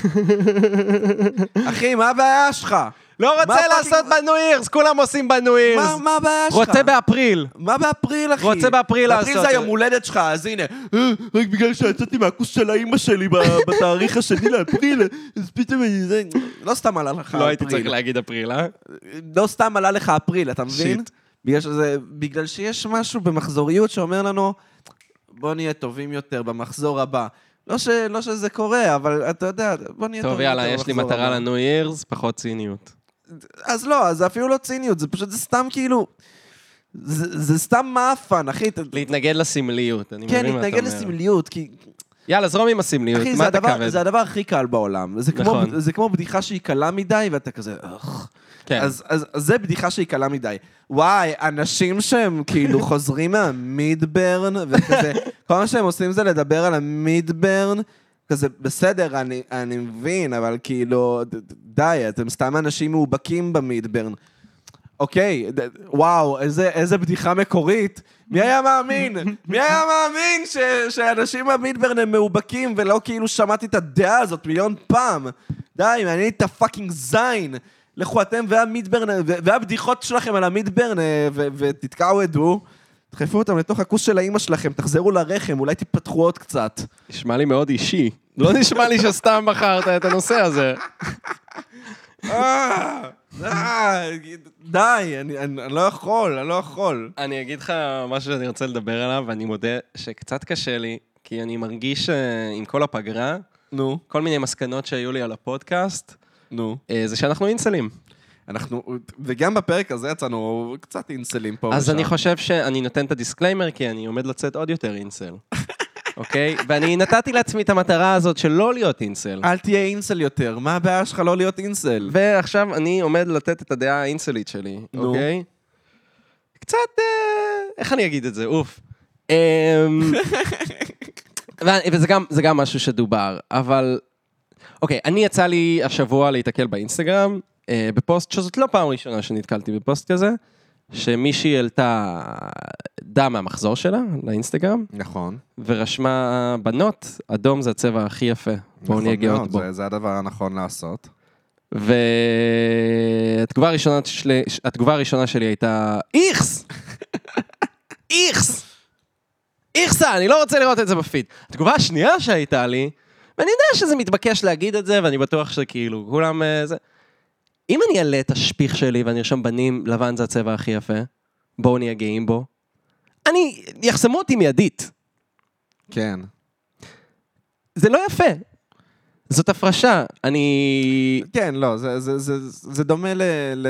[SPEAKER 2] אחי, מה הבעיה שלך?
[SPEAKER 3] לא
[SPEAKER 2] מה
[SPEAKER 3] רוצה
[SPEAKER 2] פאקינג-
[SPEAKER 3] לעשות בניו ירס, כולם עושים בניו ירס.
[SPEAKER 2] מה- אה, מה הבעיה שלך?
[SPEAKER 3] רוצה באפריל.
[SPEAKER 2] מה באפריל, אחי?
[SPEAKER 3] רוצה באפריל
[SPEAKER 2] באפריל
[SPEAKER 3] לעשות
[SPEAKER 2] זה
[SPEAKER 3] את
[SPEAKER 2] היום
[SPEAKER 3] זה.
[SPEAKER 2] הולדת שלך, אז הנה. אה, רק בגלל שיצאתי מהכוס של האימא שלי ב- בתאריך השני לאפריל, אז פתאום אני... זה- לא סתם עלה לך
[SPEAKER 3] לא הייתי
[SPEAKER 2] אפריל.
[SPEAKER 3] צריך להגיד אפריל, אה?
[SPEAKER 2] לא סתם עלה לך אפריל, אתה מבין?
[SPEAKER 3] שיט.
[SPEAKER 2] בגלל, שזה, בגלל שיש משהו במחזוריות שאומר לנו, בוא נהיה טובים יותר במחזור הבא. לא, ש, לא שזה קורה, אבל אתה יודע, בוא נהיה
[SPEAKER 3] טוב,
[SPEAKER 2] טובים
[SPEAKER 3] יאללה,
[SPEAKER 2] יותר
[SPEAKER 3] יש לי
[SPEAKER 2] במחזור
[SPEAKER 3] מטרה
[SPEAKER 2] הבא.
[SPEAKER 3] לניו ירס, פחות ציניות.
[SPEAKER 2] כן, אז לא, אז זה אפילו לא ציניות, זה פשוט, זה סתם כאילו... זה, זה סתם מאפן, אחי. אתה-
[SPEAKER 3] להתנגד לסמליות, אני
[SPEAKER 2] כן,
[SPEAKER 3] מבין מה אתה אומר.
[SPEAKER 2] להתנגד לסמליות, כי...
[SPEAKER 3] יאללה, זרום עם הסמליות,
[SPEAKER 2] אחי, זה
[SPEAKER 3] מה אתה
[SPEAKER 2] הדבר,
[SPEAKER 3] כבד?
[SPEAKER 2] זה הדבר הכי קל בעולם. זה כמו,
[SPEAKER 3] נכון.
[SPEAKER 2] זה כמו בדיחה שהיא קלה מדי, ואתה כזה... "אוח".
[SPEAKER 3] כן.
[SPEAKER 2] אז, אז, אז זה בדיחה שהיא קלה מדי. וואי, אנשים שהם כאילו חוזרים מהמידברן, וכזה, כל מה שהם עושים זה לדבר על המידברן, כזה, בסדר, אני, אני מבין, אבל כאילו, ד- ד- די, אתם סתם אנשים מאובקים במידברן. אוקיי, ד- וואו, איזה, איזה בדיחה מקורית. מי היה מאמין? מי היה מאמין ש, שאנשים במידברן הם מאובקים ולא כאילו שמעתי את הדעה הזאת מיליון פעם? די, מעניין את הפאקינג זין. לכו אתם והמידברן, ו- והבדיחות שלכם על המידברן, אה, ו- ותתקעו עדו. דחפו אותם לתוך הכוס של האימא שלכם, תחזרו לרחם, אולי תיפתחו עוד קצת.
[SPEAKER 3] נשמע לי מאוד אישי. לא נשמע לי שסתם בחרת את הנושא הזה.
[SPEAKER 2] אה, אה, די, אני- אני אני לא יכול, אני לא יכול.
[SPEAKER 3] אני אגיד לך משהו שאני רוצה לדבר עליו, ואני מודה שקצת קשה לי, כי אני מרגיש אה, עם כל הפגרה,
[SPEAKER 2] נו,
[SPEAKER 3] כל מיני מסקנות שהיו לי על הפודקאסט,
[SPEAKER 2] נו.
[SPEAKER 3] אה, זה שאנחנו אינסלים.
[SPEAKER 2] אנחנו, וגם בפרק הזה יצאנו קצת אינסלים פה
[SPEAKER 3] אז אני חושב שאני נותן את הדיסקליימר, כי אני עומד לצאת עוד יותר אינסל. אוקיי? ואני נתתי לעצמי את המטרה הזאת של לא להיות אינסל.
[SPEAKER 2] אל תהיה אינסל יותר, מה הבעיה שלך לא להיות אינסל?
[SPEAKER 3] ועכשיו אני עומד לתת את הדעה האינסלית שלי,
[SPEAKER 2] נו.
[SPEAKER 3] אוקיי? קצת, אה, איך אני אגיד את זה? אוף. אמ, ו- וזה גם, זה גם משהו שדובר, אבל... אוקיי, אני יצא לי השבוע להיתקל באינסטגרם, אה, בפוסט שזאת לא פעם ראשונה שנתקלתי בפוסט כזה, שמישהי העלתה דם מהמחזור שלה לאינסטגרם,
[SPEAKER 2] נכון.
[SPEAKER 3] ורשמה בנות, אדום זה הצבע הכי יפה, בואו
[SPEAKER 2] נכון
[SPEAKER 3] נהיה גאות
[SPEAKER 2] מאוד,
[SPEAKER 3] בו.
[SPEAKER 2] זה- זה הדבר הנכון לעשות.
[SPEAKER 3] והתגובה הראשונה, של... התגובה הראשונה שלי הייתה איכס! איכס! איכסה, אני לא רוצה לראות את זה בפיד. התגובה השנייה שהייתה לי, ואני יודע שזה מתבקש להגיד את זה, ואני בטוח שכאילו, כולם אה, זה... אם אני אעלה את השפיך שלי ואני ארשום בנים, לבן זה הצבע הכי יפה, בואו נהיה גאים בו, אני... יחסמו אותי מיידית.
[SPEAKER 2] כן.
[SPEAKER 3] זה לא יפה. זאת הפרשה. אני...
[SPEAKER 2] כן, לא, זה, זה, זה, זה דומה ל, ל...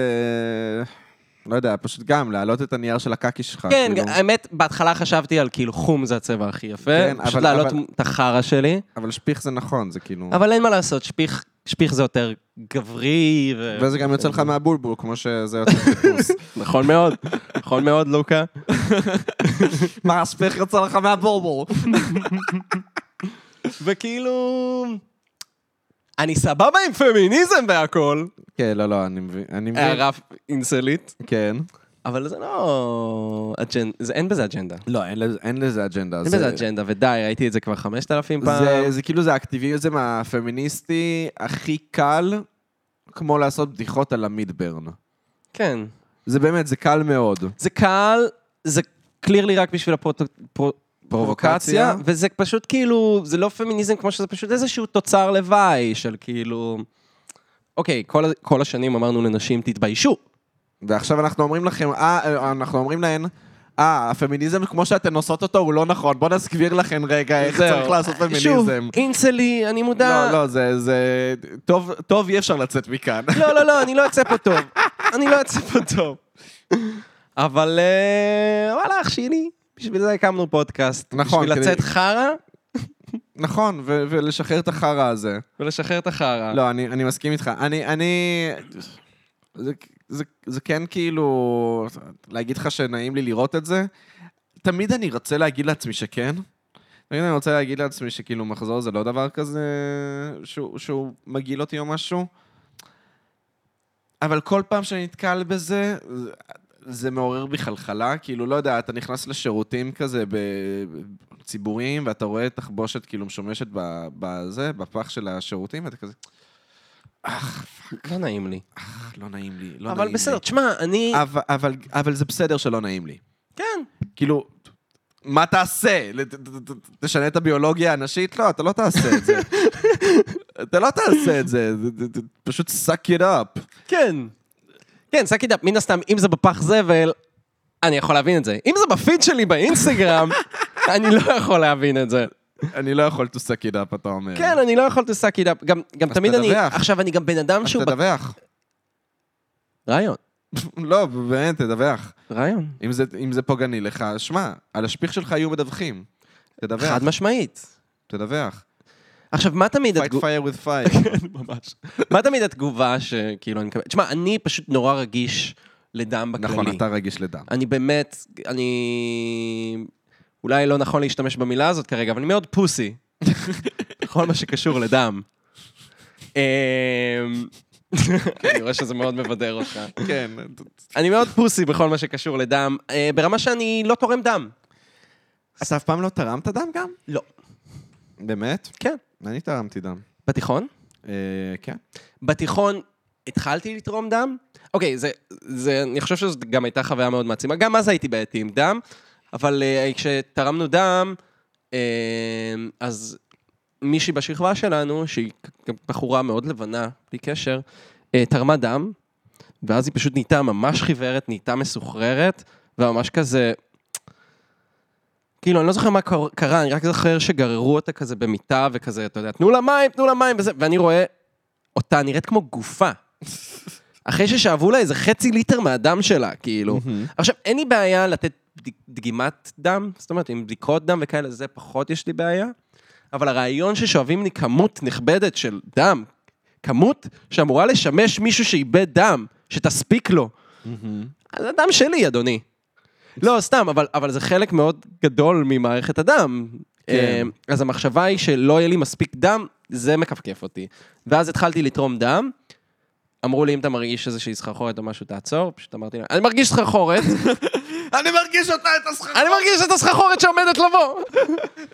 [SPEAKER 2] לא יודע, פשוט גם להעלות את הנייר של הקקי שלך.
[SPEAKER 3] כן,
[SPEAKER 2] כאילו.
[SPEAKER 3] האמת, בהתחלה חשבתי על כאילו חום זה הצבע הכי יפה,
[SPEAKER 2] כן,
[SPEAKER 3] פשוט
[SPEAKER 2] אבל-
[SPEAKER 3] להעלות
[SPEAKER 2] אבל-
[SPEAKER 3] את החרא שלי,
[SPEAKER 2] אבל שפיך זה נכון, זה כאילו...
[SPEAKER 3] אבל אין מה לעשות, שפיך, שפיך זה יותר גברי, ו...
[SPEAKER 2] וזה גם יוצא לך מהבולבול, כמו שזה יוצא מחיפוש.
[SPEAKER 3] נכון מאוד, נכון מאוד, לוקה.
[SPEAKER 2] מה, השפיך יוצא לך מהבולבול?
[SPEAKER 3] וכאילו... אני סבבה עם פמיניזם והכל,
[SPEAKER 2] כן, לא, לא, אני מבין. אני מבין.
[SPEAKER 3] הערה אינסלית,
[SPEAKER 2] כן.
[SPEAKER 3] אבל זה לא... אג'נ- זה- אין בזה אג'נדה.
[SPEAKER 2] לא, אין לזה- אין לזה אג'נדה.
[SPEAKER 3] אין
[SPEAKER 2] זה-
[SPEAKER 3] בזה אג'נדה, ודי, ראיתי את זה כבר 5,000 פעם.
[SPEAKER 2] זה, זה כאילו זה האקטיביזם הפמיניסטי הכי קל, כמו לעשות בדיחות על המידברן.
[SPEAKER 3] כן.
[SPEAKER 2] זה באמת, זה קל מאוד.
[SPEAKER 3] זה קהל, זה קלירלי רק בשביל הפרובוקציה,
[SPEAKER 2] פרובוקציה.
[SPEAKER 3] וזה פשוט כאילו, זה לא פמיניזם כמו שזה פשוט איזשהו תוצר לוואי של כאילו... אוקיי, כל, ה- כל השנים אמרנו לנשים, תתביישו.
[SPEAKER 2] ועכשיו אנחנו אומרים לכם, אה, אנחנו אומרים להן, אה, הפמיניזם כמו שאתן עושות אותו הוא לא נכון, בוא נסביר לכן רגע איך
[SPEAKER 3] זהו.
[SPEAKER 2] צריך לעשות
[SPEAKER 3] שוב,
[SPEAKER 2] פמיניזם.
[SPEAKER 3] אינסלי, אני מודע...
[SPEAKER 2] לא, לא, זה, זה, טוב, טוב, אי אפשר לצאת מכאן.
[SPEAKER 3] לא, לא, לא, אני לא אצא פה טוב. אני לא אצא פה טוב. אבל אה, וואלה, אח שלי, בשביל זה הקמנו פודקאסט.
[SPEAKER 2] נכון,
[SPEAKER 3] בשביל
[SPEAKER 2] כדי-
[SPEAKER 3] לצאת חרא
[SPEAKER 2] נכון, ו- ולשחרר את החרא הזה.
[SPEAKER 3] ולשחרר את החרא.
[SPEAKER 2] לא, אני, אני מסכים איתך. אני, אני... זה, זה, זה כן כאילו... להגיד לך שנעים לי לראות את זה? תמיד אני רוצה להגיד לעצמי שכן. תמיד אני רוצה להגיד לעצמי שכאילו מחזור זה לא דבר כזה שהוא, שהוא מגעיל אותי או משהו. אבל כל פעם שאני נתקל בזה, זה- זה מעורר בי חלחלה. כאילו, לא יודע, אתה נכנס לשירותים כזה בציבוריים, ואתה רואה תחבושת כאילו משומשת ב- בזה, בפח של השירותים, ואתה כזה...
[SPEAKER 3] לא נעים לי.
[SPEAKER 2] "אך, לא נעים לי, לא נעים לי.
[SPEAKER 3] אבל בסדר, תשמע, אני...
[SPEAKER 2] אבל, אבל, אבל זה בסדר שלא נעים לי.
[SPEAKER 3] אה, כן.
[SPEAKER 2] כאילו, מה תעשה? לת- ת- ת- תשנה את הביולוגיה הנשית? לא, אתה לא תעשה את זה. אתה לא תעשה את זה, ת- ת- ת- פשוט suck it up.
[SPEAKER 3] כן. כן, סאק אידאפ, מן הסתם, אם זה בפח זבל, אני יכול להבין את זה. אם זה בפיד שלי באינסטגרם, אני לא יכול להבין את זה.
[SPEAKER 2] אני לא יכול to suck it up, אתה אומר.
[SPEAKER 3] כן, אני לא יכול to suck it up. גם, גם
[SPEAKER 2] אז
[SPEAKER 3] תמיד אני...
[SPEAKER 2] תדווח.
[SPEAKER 3] עכשיו, אני גם בן אדם
[SPEAKER 2] אז
[SPEAKER 3] שהוא... בק-
[SPEAKER 2] תדווח.
[SPEAKER 3] רעיון.
[SPEAKER 2] לא, באמת, תדווח.
[SPEAKER 3] רעיון.
[SPEAKER 2] אם זה- אם זה פוגעני לך, שמע, על השפיך שלך יהיו מדווחים. תדווח,
[SPEAKER 3] חד משמעית.
[SPEAKER 2] תדווח.
[SPEAKER 3] עכשיו, מה תמיד
[SPEAKER 2] fight
[SPEAKER 3] התגובה...
[SPEAKER 2] fire with fire.
[SPEAKER 3] ממש. מה תמיד התגובה שכאילו אני מקבל... תשמע, אני פשוט נורא רגיש לדם בכללי.
[SPEAKER 2] נכון, אתה רגיש לדם.
[SPEAKER 3] אני באמת, אני... אולי לא נכון להשתמש במילה הזאת כרגע, אבל אני מאוד פוסי. בכל מה שקשור לדם. אמ, אני רואה שזה מאוד מבדר אותך.
[SPEAKER 2] כן.
[SPEAKER 3] אני מאוד פוסי בכל מה שקשור לדם, אה, ברמה שאני לא תורם דם.
[SPEAKER 2] אתה אף פעם לא תרמת דם גם?
[SPEAKER 3] לא.
[SPEAKER 2] באמת?
[SPEAKER 3] כן.
[SPEAKER 2] אני תרמתי דם.
[SPEAKER 3] בתיכון?
[SPEAKER 2] אה, כן.
[SPEAKER 3] בתיכון התחלתי לתרום דם. אוקיי, זה, זה, אני חושב שזאת גם הייתה חוויה מאוד מעצימה. גם אז הייתי בעייתי עם דם, אבל אה, כשתרמנו דם, אה, אז מישהי בשכבה שלנו, שהיא גם בחורה מאוד לבנה, בלי קשר, אה, תרמה דם, ואז היא פשוט נהייתה ממש חיוורת, נהייתה מסוחררת, וממש כזה... כאילו, אני לא זוכר מה קור- קרה, אני רק זוכר שגררו אותה כזה במיטה וכזה, אתה יודע, תנו לה מים, תנו לה מים וזה, ואני רואה אותה נראית כמו גופה. אחרי ששאבו לה איזה חצי ליטר מהדם שלה, כאילו. עכשיו, אין לי בעיה לתת בד- דגימת דם, זאת אומרת, עם בדיקות דם וכאלה, זה פחות יש לי בעיה. אבל הרעיון ששואבים לי כמות נכבדת של דם, כמות שאמורה לשמש מישהו שאיבד דם, שתספיק לו.
[SPEAKER 2] Mm-hmm.
[SPEAKER 3] אז הדם שלי, אדוני. לא, סתם, אבל, אבל זה חלק מאוד גדול ממערכת הדם.
[SPEAKER 2] כן.
[SPEAKER 3] אה, אז המחשבה היא שלא יהיה לי מספיק דם, זה מכפכף אותי. ואז התחלתי לתרום דם. אמרו לי, אם אתה מרגיש איזושהי סחרחורת או משהו, תעצור. פשוט אמרתי להם, אני מרגיש סחרחורת,
[SPEAKER 2] אני מרגיש אותה, את הסככה.
[SPEAKER 3] אני מרגיש את הסחרחורת שעומדת לבוא.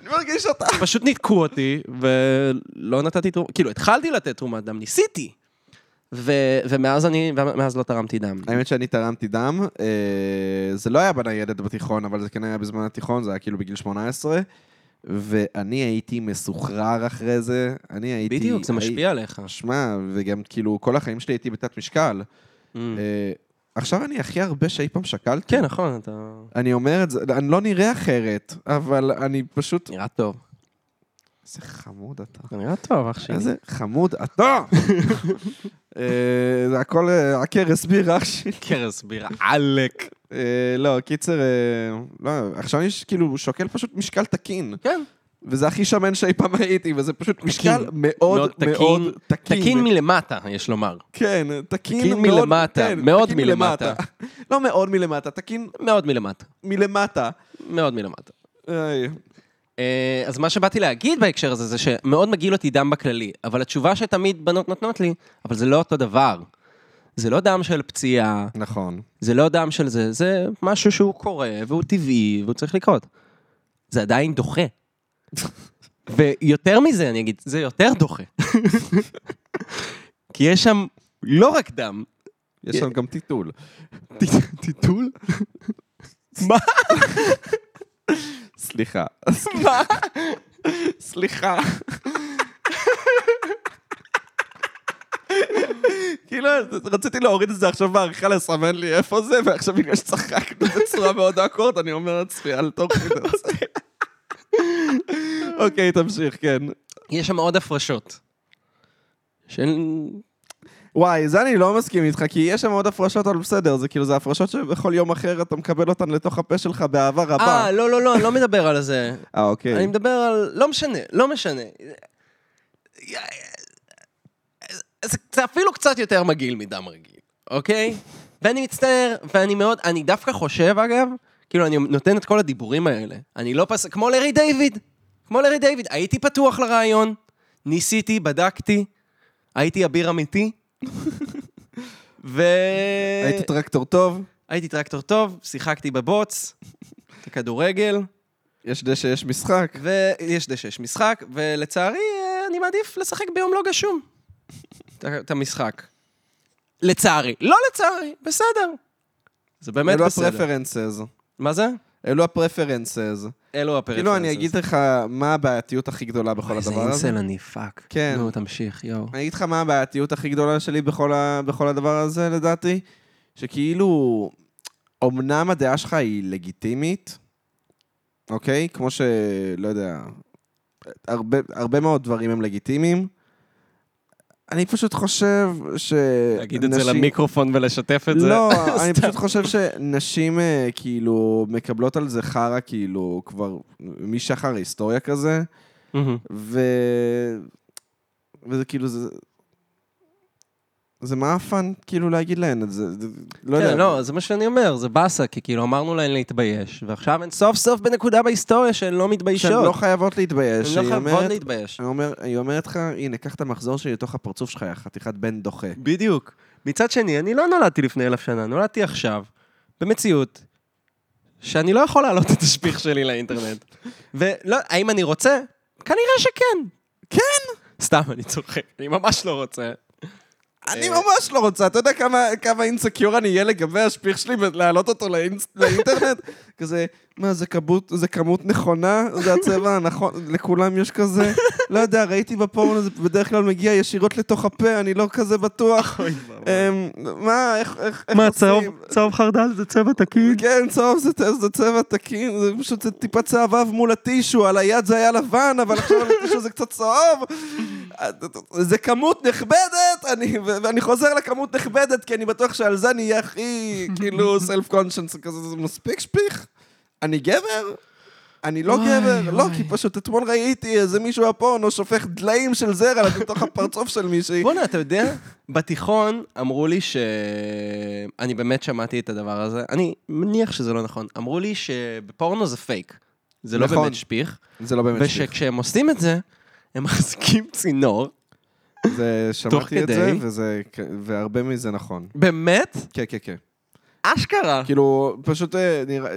[SPEAKER 2] אני מרגיש אותה.
[SPEAKER 3] פשוט ניתקו אותי, ולא נתתי תרומה, כאילו, התחלתי לתת תרומת דם, ניסיתי. ו- ומאז אני, ומאז לא תרמתי דם.
[SPEAKER 2] האמת שאני תרמתי דם, אה, זה לא היה בניידת בתיכון, אבל זה כן היה בזמן התיכון, זה היה כאילו בגיל 18, ואני הייתי מסוחרר אחרי זה, אני הייתי...
[SPEAKER 3] בדיוק, זה
[SPEAKER 2] הי-
[SPEAKER 3] משפיע עליך.
[SPEAKER 2] שמע, וגם כאילו כל החיים שלי הייתי בתת משקל.
[SPEAKER 3] Mm.
[SPEAKER 2] אה, עכשיו אני הכי הרבה שאי פעם שקלתי.
[SPEAKER 3] כן, נכון, אתה
[SPEAKER 2] אני אומר את זה, אני לא נראה אחרת, אבל אני פשוט...
[SPEAKER 3] נראה טוב.
[SPEAKER 2] איזה חמוד אתה.
[SPEAKER 3] אתה נראה טוב, אח שלי.
[SPEAKER 2] איזה חמוד אתה! אה, זה הכל אה, הכרס בירה אח שלי.
[SPEAKER 3] קרס בירה, עלק.
[SPEAKER 2] אה, לא, קיצר, אה, לא, עכשיו אני ש- כאילו שוקל פשוט משקל תקין,
[SPEAKER 3] כן.
[SPEAKER 2] וזה הכי שמן שאי פעם הייתי, וזה פשוט משקל מאוד
[SPEAKER 3] מאוד תקין.
[SPEAKER 2] מאוד תקין.
[SPEAKER 3] תקין מלמטה, יש לומר.
[SPEAKER 2] כן, תקין
[SPEAKER 3] תקין
[SPEAKER 2] מאוד-
[SPEAKER 3] מלמטה,
[SPEAKER 2] כן,
[SPEAKER 3] מאוד
[SPEAKER 2] תקין
[SPEAKER 3] מלמטה.
[SPEAKER 2] לא מאוד מלמטה, תקין
[SPEAKER 3] מאוד מלמטה.
[SPEAKER 2] מלמטה.
[SPEAKER 3] מאוד מלמטה.
[SPEAKER 2] איי,
[SPEAKER 3] אה, אז מה שבאתי להגיד בהקשר הזה, זה שמאוד מגעיל אותי דם בכללי, אבל התשובה שתמיד בנות נותנות לי, אבל זה לא אותו דבר. זה לא דם של פציעה,
[SPEAKER 2] נכון.
[SPEAKER 3] זה לא דם של זה, זה משהו שהוא קורה, והוא טבעי, והוא צריך לקרות. זה עדיין דוחה. ויותר מזה, אני אגיד, זה יותר דוחה. כי יש שם לא רק דם,
[SPEAKER 2] יש שם גם טיטול.
[SPEAKER 3] טיטול? מה?
[SPEAKER 2] סליחה.
[SPEAKER 3] מה?
[SPEAKER 2] סליחה. כאילו, רציתי להוריד את זה עכשיו בעריכה לסמן לי איפה זה, ועכשיו בגלל שצחקנו בצורה מאוד אקורד, אני אומר לעצמי, אל תוריד את זה. אוקיי, תמשיך, כן.
[SPEAKER 3] יש שם עוד הפרשות. של...
[SPEAKER 2] וואי, זה אני לא מסכים איתך, כי יש שם עוד הפרשות, אבל בסדר, זה כאילו, זה הפרשות שבכל יום אחר אתה מקבל אותן לתוך הפה שלך באהבה רבה.
[SPEAKER 3] אה, לא, לא, לא, אני לא מדבר על זה.
[SPEAKER 2] אה,
[SPEAKER 3] אני
[SPEAKER 2] אוקיי.
[SPEAKER 3] מדבר על... לא משנה, לא משנה. זה, זה אפילו קצת יותר מגעיל מדם רגיל, אוקיי? ואני מצטער, ואני מאוד... אני דווקא חושב, אגב, כאילו, אני נותן את כל הדיבורים האלה. אני לא פס... כמו לארי דיוויד. כמו לארי דיוויד. הייתי פתוח לרעיון, ניסיתי, בדקתי, הייתי אביר אמיתי, ו...
[SPEAKER 2] היית טרקטור טוב,
[SPEAKER 3] הייתי טרקטור טוב, שיחקתי בבוץ, כדורגל.
[SPEAKER 2] יש דשא, יש משחק.
[SPEAKER 3] ויש דשא, יש משחק, ולצערי, אה, אני מעדיף לשחק ביום לא גשום. את- את המשחק. לצערי. לא לצערי, בסדר. זה באמת
[SPEAKER 2] אלו
[SPEAKER 3] בסדר.
[SPEAKER 2] הפרפרנסס.
[SPEAKER 3] מה זה?
[SPEAKER 2] אלו הפרפרנסס.
[SPEAKER 3] אלו הפרפרנסס.
[SPEAKER 2] כאילו, אני אגיד לך מה הבעייתיות הכי גדולה בכל הדבר
[SPEAKER 3] איזה
[SPEAKER 2] הזה.
[SPEAKER 3] אינסל אני, פאק.
[SPEAKER 2] כן.
[SPEAKER 3] נו, תמשיך, יואו.
[SPEAKER 2] אני אגיד לך מה הבעייתיות הכי גדולה שלי בכל, ה... בכל הדבר הזה, לדעתי, שכאילו, אמנם הדעה שלך היא לגיטימית, אוקיי? כמו ש... לא יודע, הרבה, הרבה מאוד דברים הם לגיטימיים. אני פשוט חושב ש... נשים-
[SPEAKER 3] למיקרופון ולשתף
[SPEAKER 2] לא, אני
[SPEAKER 3] סתם.
[SPEAKER 2] פשוט חושב שנשים אה, כאילו מקבלות על זה חרא כאילו כבר משחר ההיסטוריה כזה,
[SPEAKER 3] מהמם.
[SPEAKER 2] ו... וזה כאילו זה... זה מאפן כאילו להגיד להן את זה, זה- לא יודע.
[SPEAKER 3] כן, לא, זה מה שאני אומר, זה באסה, כי כאילו אמרנו להן להתבייש, ועכשיו הן סוף סוף בנקודה בהיסטוריה שהן לא מתביישות.
[SPEAKER 2] שהן לא חייבות
[SPEAKER 3] הן
[SPEAKER 2] להתבייש.
[SPEAKER 3] לא
[SPEAKER 2] היא
[SPEAKER 3] חייבות
[SPEAKER 2] אומרת-
[SPEAKER 3] להתבייש.
[SPEAKER 2] היא אומר- היא אומרת לך, הנה, קח את המחזור שלי לתוך הפרצוף שלך, יא חתיכת בן דוחה.
[SPEAKER 3] בדיוק. מצד שני, אני לא נולדתי לפני אלף שנה, נולדתי עכשיו, במציאות שאני לא יכול להעלות את השפיך שלי לאינטרנט. ולא, האם אני רוצה? כנראה שכן. כן! סתם, אני צוחק, אני ממש לא רוצה.
[SPEAKER 2] אני ממש לא רוצה, אתה יודע כמה, כמה אינסקיור אני אהיה לגבי השפיך שלי ולהעלות אותו לאינס, לאינטרנט? כזה, מה, זה, כמות, זה כמות נכונה? זה הצבע הנכון? לכולם יש כזה? לא יודע, ראיתי בפורנו, זה בדרך כלל מגיע ישירות לתוך הפה, אני לא כזה בטוח. אמ, מה, איך, איך, איך עושים?
[SPEAKER 3] צהוב חרדל זה צבע תקין?
[SPEAKER 2] כן, צהוב זה, זה צבע תקין, זה פשוט זה טיפה צהבהב מול הטישו, על היד זה היה לבן, אבל עכשיו על הטישו זה קצת צהוב. זה כמות נכבדת, אני, ו- ואני חוזר לכמות נכבדת, כי אני בטוח שעל זה אני אהיה הכי, כאילו, סלף קונשנס כזה, זה מספיק שפיך? אני גבר? אני לא
[SPEAKER 3] וואי,
[SPEAKER 2] גבר, לא,
[SPEAKER 3] וואי.
[SPEAKER 2] כי פשוט אתמול ראיתי איזה מישהו הפורנו שופך דליים של זרע לתוך הפרצוף של מישהי.
[SPEAKER 3] בואנה, אתה יודע, בתיכון אמרו לי ש... אני באמת שמעתי את הדבר הזה. אני מניח שזה לא נכון. אמרו לי שבפורנו זה פייק. זה לא
[SPEAKER 2] נכון.
[SPEAKER 3] באמת שפיך.
[SPEAKER 2] זה לא באמת שפיך.
[SPEAKER 3] ושכשהם עושים את זה, הם מחזיקים צינור.
[SPEAKER 2] זה, שמעתי את
[SPEAKER 3] כדי.
[SPEAKER 2] זה, וזה, והרבה מזה נכון.
[SPEAKER 3] באמת?
[SPEAKER 2] כן, כן, כן.
[SPEAKER 3] אשכרה.
[SPEAKER 2] כאילו, פשוט אה, נראה...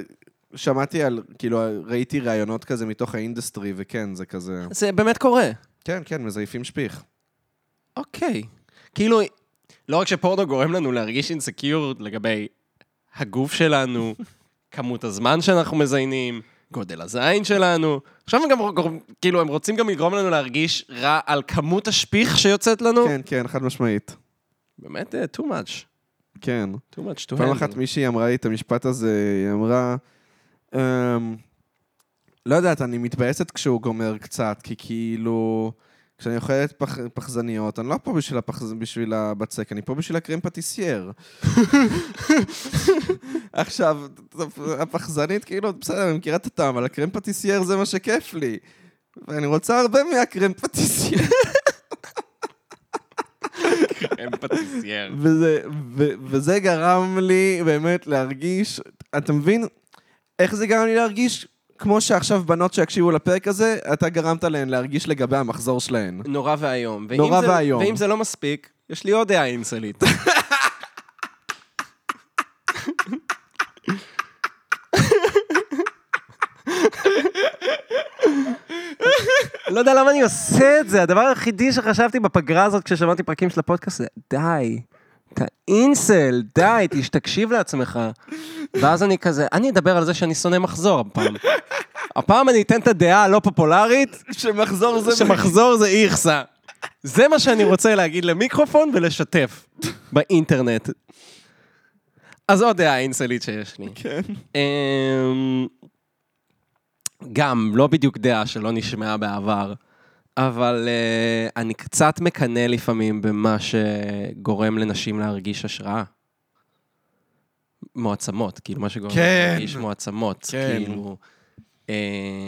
[SPEAKER 2] שמעתי על, כאילו, ראיתי ראיונות כזה מתוך האינדסטרי, וכן, זה כזה...
[SPEAKER 3] זה באמת קורה.
[SPEAKER 2] כן, כן, מזייפים שפיך.
[SPEAKER 3] אוקיי. כאילו, לא רק שפורנו גורם לנו להרגיש אינסקיור לגבי הגוף שלנו, כמות הזמן שאנחנו מזיינים, גודל הזין שלנו, עכשיו הם גם גורם, כאילו, הם רוצים גם לגרום לנו להרגיש רע על כמות השפיך שיוצאת לנו.
[SPEAKER 2] כן, כן, חד משמעית.
[SPEAKER 3] באמת, אה, too much.
[SPEAKER 2] כן.
[SPEAKER 3] too much to handle.
[SPEAKER 2] פעם אחת מישהי אמרה לי את המשפט הזה, היא אמרה, אמ, לא יודעת, אני מתבאסת כשהוא גומר קצת, כי כאילו, כשאני אוכלת פח, פחזניות, אני לא פה בשביל, הפחז... בשביל הבצק, אני פה בשביל הקרם פטיסייר. עכשיו, הפחזנית, כאילו, בסדר, אני מכירה את הטעם, אבל הקרם פטיסייר זה מה שכיף לי. ואני רוצה הרבה מהקרם פטיסייר.
[SPEAKER 3] אמפתיסייר.
[SPEAKER 2] וזה, ו, וזה גרם לי באמת להרגיש, אתה מבין? איך זה גרם לי להרגיש? כמו שעכשיו בנות שיקשיבו לפרק הזה, אתה גרמת להן להרגיש לגבי המחזור שלהן.
[SPEAKER 3] נורא ואיום. ואם
[SPEAKER 2] נורא
[SPEAKER 3] זה-
[SPEAKER 2] ואיום.
[SPEAKER 3] ואם זה לא מספיק, יש לי עוד דעה אינסלית. לא יודע למה אני עושה את זה, הדבר היחידי שחשבתי בפגרה הזאת כששמעתי פרקים של הפודקאסט זה די, אתה אינסל, די, תש- תקשיב לעצמך. ואז אני כזה, אני אדבר על זה שאני שונא מחזור הפעם. הפעם אני אתן את הדעה הלא פופולרית,
[SPEAKER 2] שמחזור זה...
[SPEAKER 3] שמחזור זה איכסה. זה מה שאני רוצה להגיד למיקרופון ולשתף באינטרנט. אז עוד דעה אינסלית שיש לי.
[SPEAKER 2] כן.
[SPEAKER 3] אמ, גם, לא בדיוק דעה שלא נשמעה בעבר, אבל אה, אני קצת מקנא לפעמים במה שגורם לנשים להרגיש השראה. מועצמות, כאילו, מה שגורם
[SPEAKER 2] כן.
[SPEAKER 3] להרגיש מועצמות,
[SPEAKER 2] כן.
[SPEAKER 3] כאילו. אמ,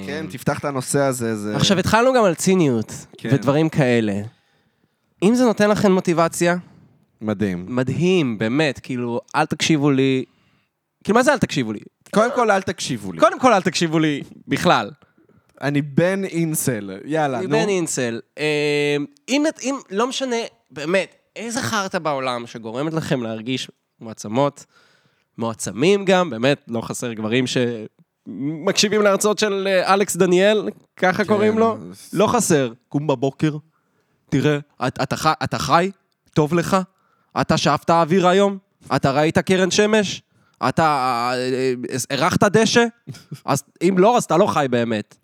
[SPEAKER 2] כן, תפתח את הנושא הזה, זה...
[SPEAKER 3] עכשיו, התחלנו גם על ציניות
[SPEAKER 2] כן.
[SPEAKER 3] ודברים כאלה. אם זה נותן לכם מוטיבציה,
[SPEAKER 2] מדהים.
[SPEAKER 3] מדהים, באמת, כאילו, אל תקשיבו לי. כאילו, מה זה אל תקשיבו לי?
[SPEAKER 2] קודם כל, אל תקשיבו לי.
[SPEAKER 3] קודם כל, אל תקשיבו לי בכלל.
[SPEAKER 2] אני בן אינסל, יאללה, נו.
[SPEAKER 3] בן אינסל, אה, אם, את- אם, לא משנה, באמת, איזה חרטא בעולם שגורמת לכם להרגיש מועצמות, מועצמים גם, באמת, לא חסר גברים שמקשיבים להרצאות של אה, אלכס דניאל, ככה קוראים לו,
[SPEAKER 2] אז-
[SPEAKER 3] לא חסר. קום בבוקר, תראה, את- אתה חי- אתה חי, טוב לך, אתה שאפת אוויר היום, אתה ראית קרן שמש, אתה אה, אה, הרחת דשא, אז אם לא, אז אתה לא חי באמת.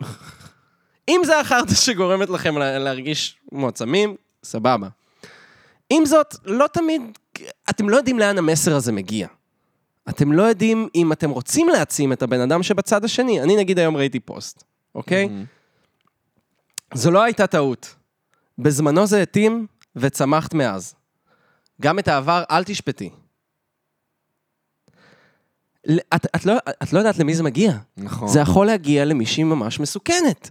[SPEAKER 3] אם זה החרטא שגורמת לכם לה- להרגיש מועצמים, סבבה. עם זאת, לא תמיד, אתם לא יודעים לאן המסר הזה מגיע. אתם לא יודעים אם אתם רוצים להעצים את הבן אדם שבצד השני. אני נגיד היום ראיתי פוסט, אוקיי?
[SPEAKER 2] Mhm.
[SPEAKER 3] זו לא הייתה טעות. בזמנו זה התאים וצמחת מאז. גם את העבר אל תשפטי. ל- את, את, לא, את לא יודעת למי זה מגיע.
[SPEAKER 2] נכון.
[SPEAKER 3] זה יכול להגיע למישהי ממש מסוכנת.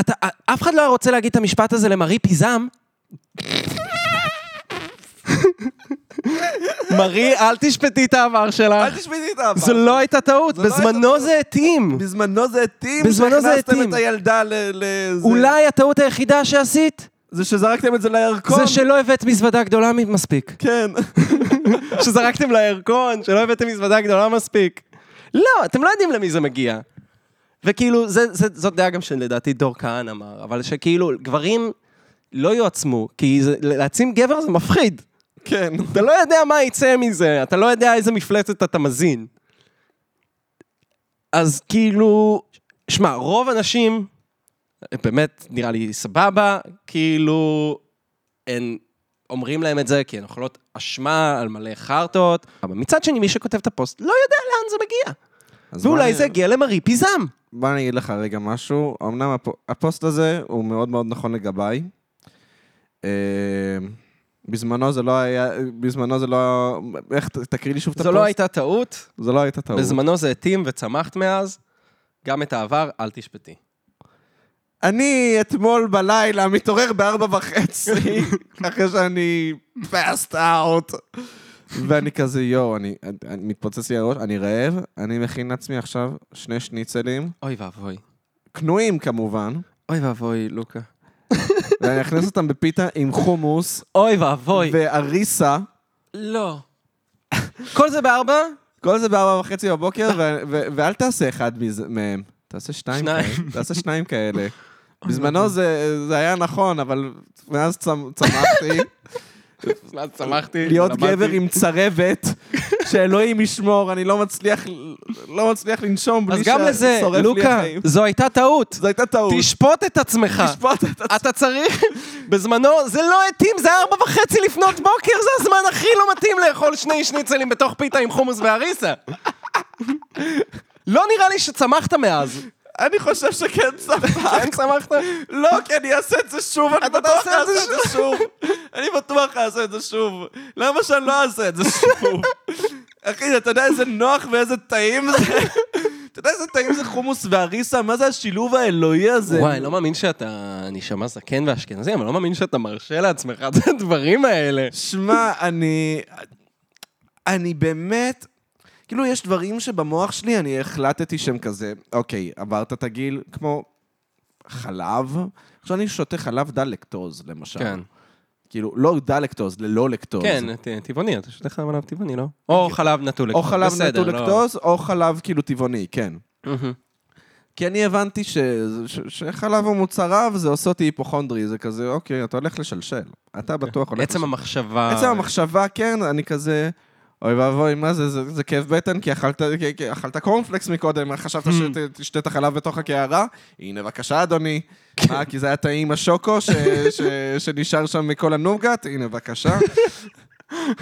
[SPEAKER 3] אתה, אף אחד לא היה רוצה להגיד את המשפט הזה למרי פיזם. מרי, אל תשפטי את העבר
[SPEAKER 2] אל
[SPEAKER 3] שלך.
[SPEAKER 2] תשמעי את העבר.
[SPEAKER 3] זו לא הייתה טעות,
[SPEAKER 2] זו לא הייתה
[SPEAKER 3] בזמנו
[SPEAKER 2] טעות.
[SPEAKER 3] זה התאים.
[SPEAKER 2] בזמנו זה התאים
[SPEAKER 3] בזמנו זה
[SPEAKER 2] שהכנסתם
[SPEAKER 3] התאים.
[SPEAKER 2] את הילדה ל... ל- זה-
[SPEAKER 3] אולי הטעות היחידה שעשית,
[SPEAKER 2] זה שזרקתם את זה לירקון.
[SPEAKER 3] זה שלא הבאת מזוודה גדולה מספיק.
[SPEAKER 2] כן.
[SPEAKER 3] שזרקתם לירקון, שלא הבאתם מזוודה גדולה מספיק. לא, אתם לא יודעים למי זה מגיע. וכאילו, זה, זה, זאת דעה גם שלדעתי דור כהן אמר, אבל שכאילו, גברים לא יועצמו, כי זה, להעצים גבר זה מפחיד.
[SPEAKER 2] כן.
[SPEAKER 3] אתה לא יודע מה יצא מזה, אתה לא יודע איזה מפלצת אתה מזין. אז כאילו, שמע, רוב הנשים, באמת, נראה לי סבבה, כאילו, הן אומרים להם את זה כי הן אוכלות אשמה על מלא חרטות, אבל מצד שני, מי שכותב את הפוסט לא יודע לאן זה מגיע.
[SPEAKER 2] אז בוא
[SPEAKER 3] ואולי
[SPEAKER 2] נ-
[SPEAKER 3] זה יגיע למרי פיזם.
[SPEAKER 2] בוא אני אגיד לך רגע משהו. אמנם הפ- הפוסט הזה הוא מאוד מאוד נכון לגביי. אה, בזמנו זה לא היה, בזמנו זה לא... איך, ת- תקריא לי שוב
[SPEAKER 3] זו
[SPEAKER 2] את הפוסט.
[SPEAKER 3] לא הייתה טעות,
[SPEAKER 2] זו לא הייתה טעות.
[SPEAKER 3] בזמנו זה התאים וצמחת מאז. גם את העבר, אל תשפטי.
[SPEAKER 2] אני אתמול בלילה מתעורר בארבע וחצי, אחרי שאני פאסט אאוט. ואני כזה, יואו, אני, אני מתפוצץ לי הראש, אני רעב, אני מכין לעצמי עכשיו שני שניצלים,
[SPEAKER 3] אוי ואבוי.
[SPEAKER 2] קנויים כמובן,
[SPEAKER 3] אוי ואבוי, לוקה.
[SPEAKER 2] ואני אכניס אותם בפיתה עם חומוס
[SPEAKER 3] אוי ואבוי.
[SPEAKER 2] והריסה.
[SPEAKER 3] לא. כל זה בארבע?
[SPEAKER 2] כל זה בארבע וחצי בבוקר, ו- ו- ואל תעשה אחד מזה- מהם. תעשה שתיים
[SPEAKER 3] שניים.
[SPEAKER 2] כאלה. תעשה שניים כאלה. בזמנו זה, זה היה נכון, אבל מאז צמ- צמחתי.
[SPEAKER 3] שמחתי.
[SPEAKER 2] להיות גבר עם צרבת, שאלוהים ישמור, אני לא מצליח, לא מצליח לנשום בלי
[SPEAKER 3] אז
[SPEAKER 2] ששורף
[SPEAKER 3] גם לזה,
[SPEAKER 2] לי
[SPEAKER 3] לוקה,
[SPEAKER 2] החיים.
[SPEAKER 3] זו הייתה טעות.
[SPEAKER 2] זו הייתה טעות.
[SPEAKER 3] תשפוט את עצמך.
[SPEAKER 2] תשפוט את
[SPEAKER 3] אתה צריך, בזמנו, זה לא התאים, זה היה ארבע וחצי לפנות בוקר, זה הזמן הכי לא מתאים לאכול שני שניצלים בתוך פיתה עם חומוס והריסה. לא נראה לי שצמחת מאז.
[SPEAKER 2] אני חושב שכן צמח.
[SPEAKER 3] כן צמחת?
[SPEAKER 2] לא, כי אני אעשה את זה שוב, אני
[SPEAKER 3] אתה
[SPEAKER 2] בטוח
[SPEAKER 3] תעשה את זה
[SPEAKER 2] אעשה את זה שוב. אני בטוח אעשה את זה שוב. למה שאני לא אעשה את זה שוב? אחי, אתה יודע איזה נוח ואיזה טעים זה? אתה יודע איזה טעים זה חומוס והריסה? מה זה השילוב האלוהי הזה?
[SPEAKER 3] וואי, לא מאמין שאתה נשמע זקן ואשכנזי, אבל לא מאמין שאתה מרשה לעצמך את הדברים האלה.
[SPEAKER 2] שמע, אני... אני באמת... כאילו, יש דברים שבמוח שלי אני החלטתי שהם כזה, אוקיי, עברת את הגיל, כמו חלב. עכשיו אני שותה חלב דל לקטוז, למשל.
[SPEAKER 3] כן.
[SPEAKER 2] כאילו, לא דל לקטוז, ללא לקטוז.
[SPEAKER 3] כן, ט- טבעוני, אתה שותה חלב עליו טבעוני, לא? או חלב נטול אוקיי.
[SPEAKER 2] או
[SPEAKER 3] לקטוז.
[SPEAKER 2] חלב
[SPEAKER 3] בסדר,
[SPEAKER 2] נטו
[SPEAKER 3] לא.
[SPEAKER 2] לקטוז, או חלב כאילו טבעוני, כן.
[SPEAKER 3] מהמם.
[SPEAKER 2] כי אני הבנתי ש... ש... שחלב הוא מוצריו, זה עושה אותי היפוכונדרי, זה כזה, אוקיי, אתה הולך לשלשל. אתה בטוח הולך
[SPEAKER 3] עצם המחשבה.
[SPEAKER 2] עצם המחשבה, כן, אני כזה... אוי ואבוי, מה זה, זה, זה כאב בטן, כי אכלת, כי, כי אכלת קורנפלקס מקודם, חשבת שתשתה את החלב בתוך הקערה? הנה, בבקשה, אדוני. אה, כי זה היה טעים השוקו ש, ש, שנשאר שם מכל הנוגת? הנה, בבקשה.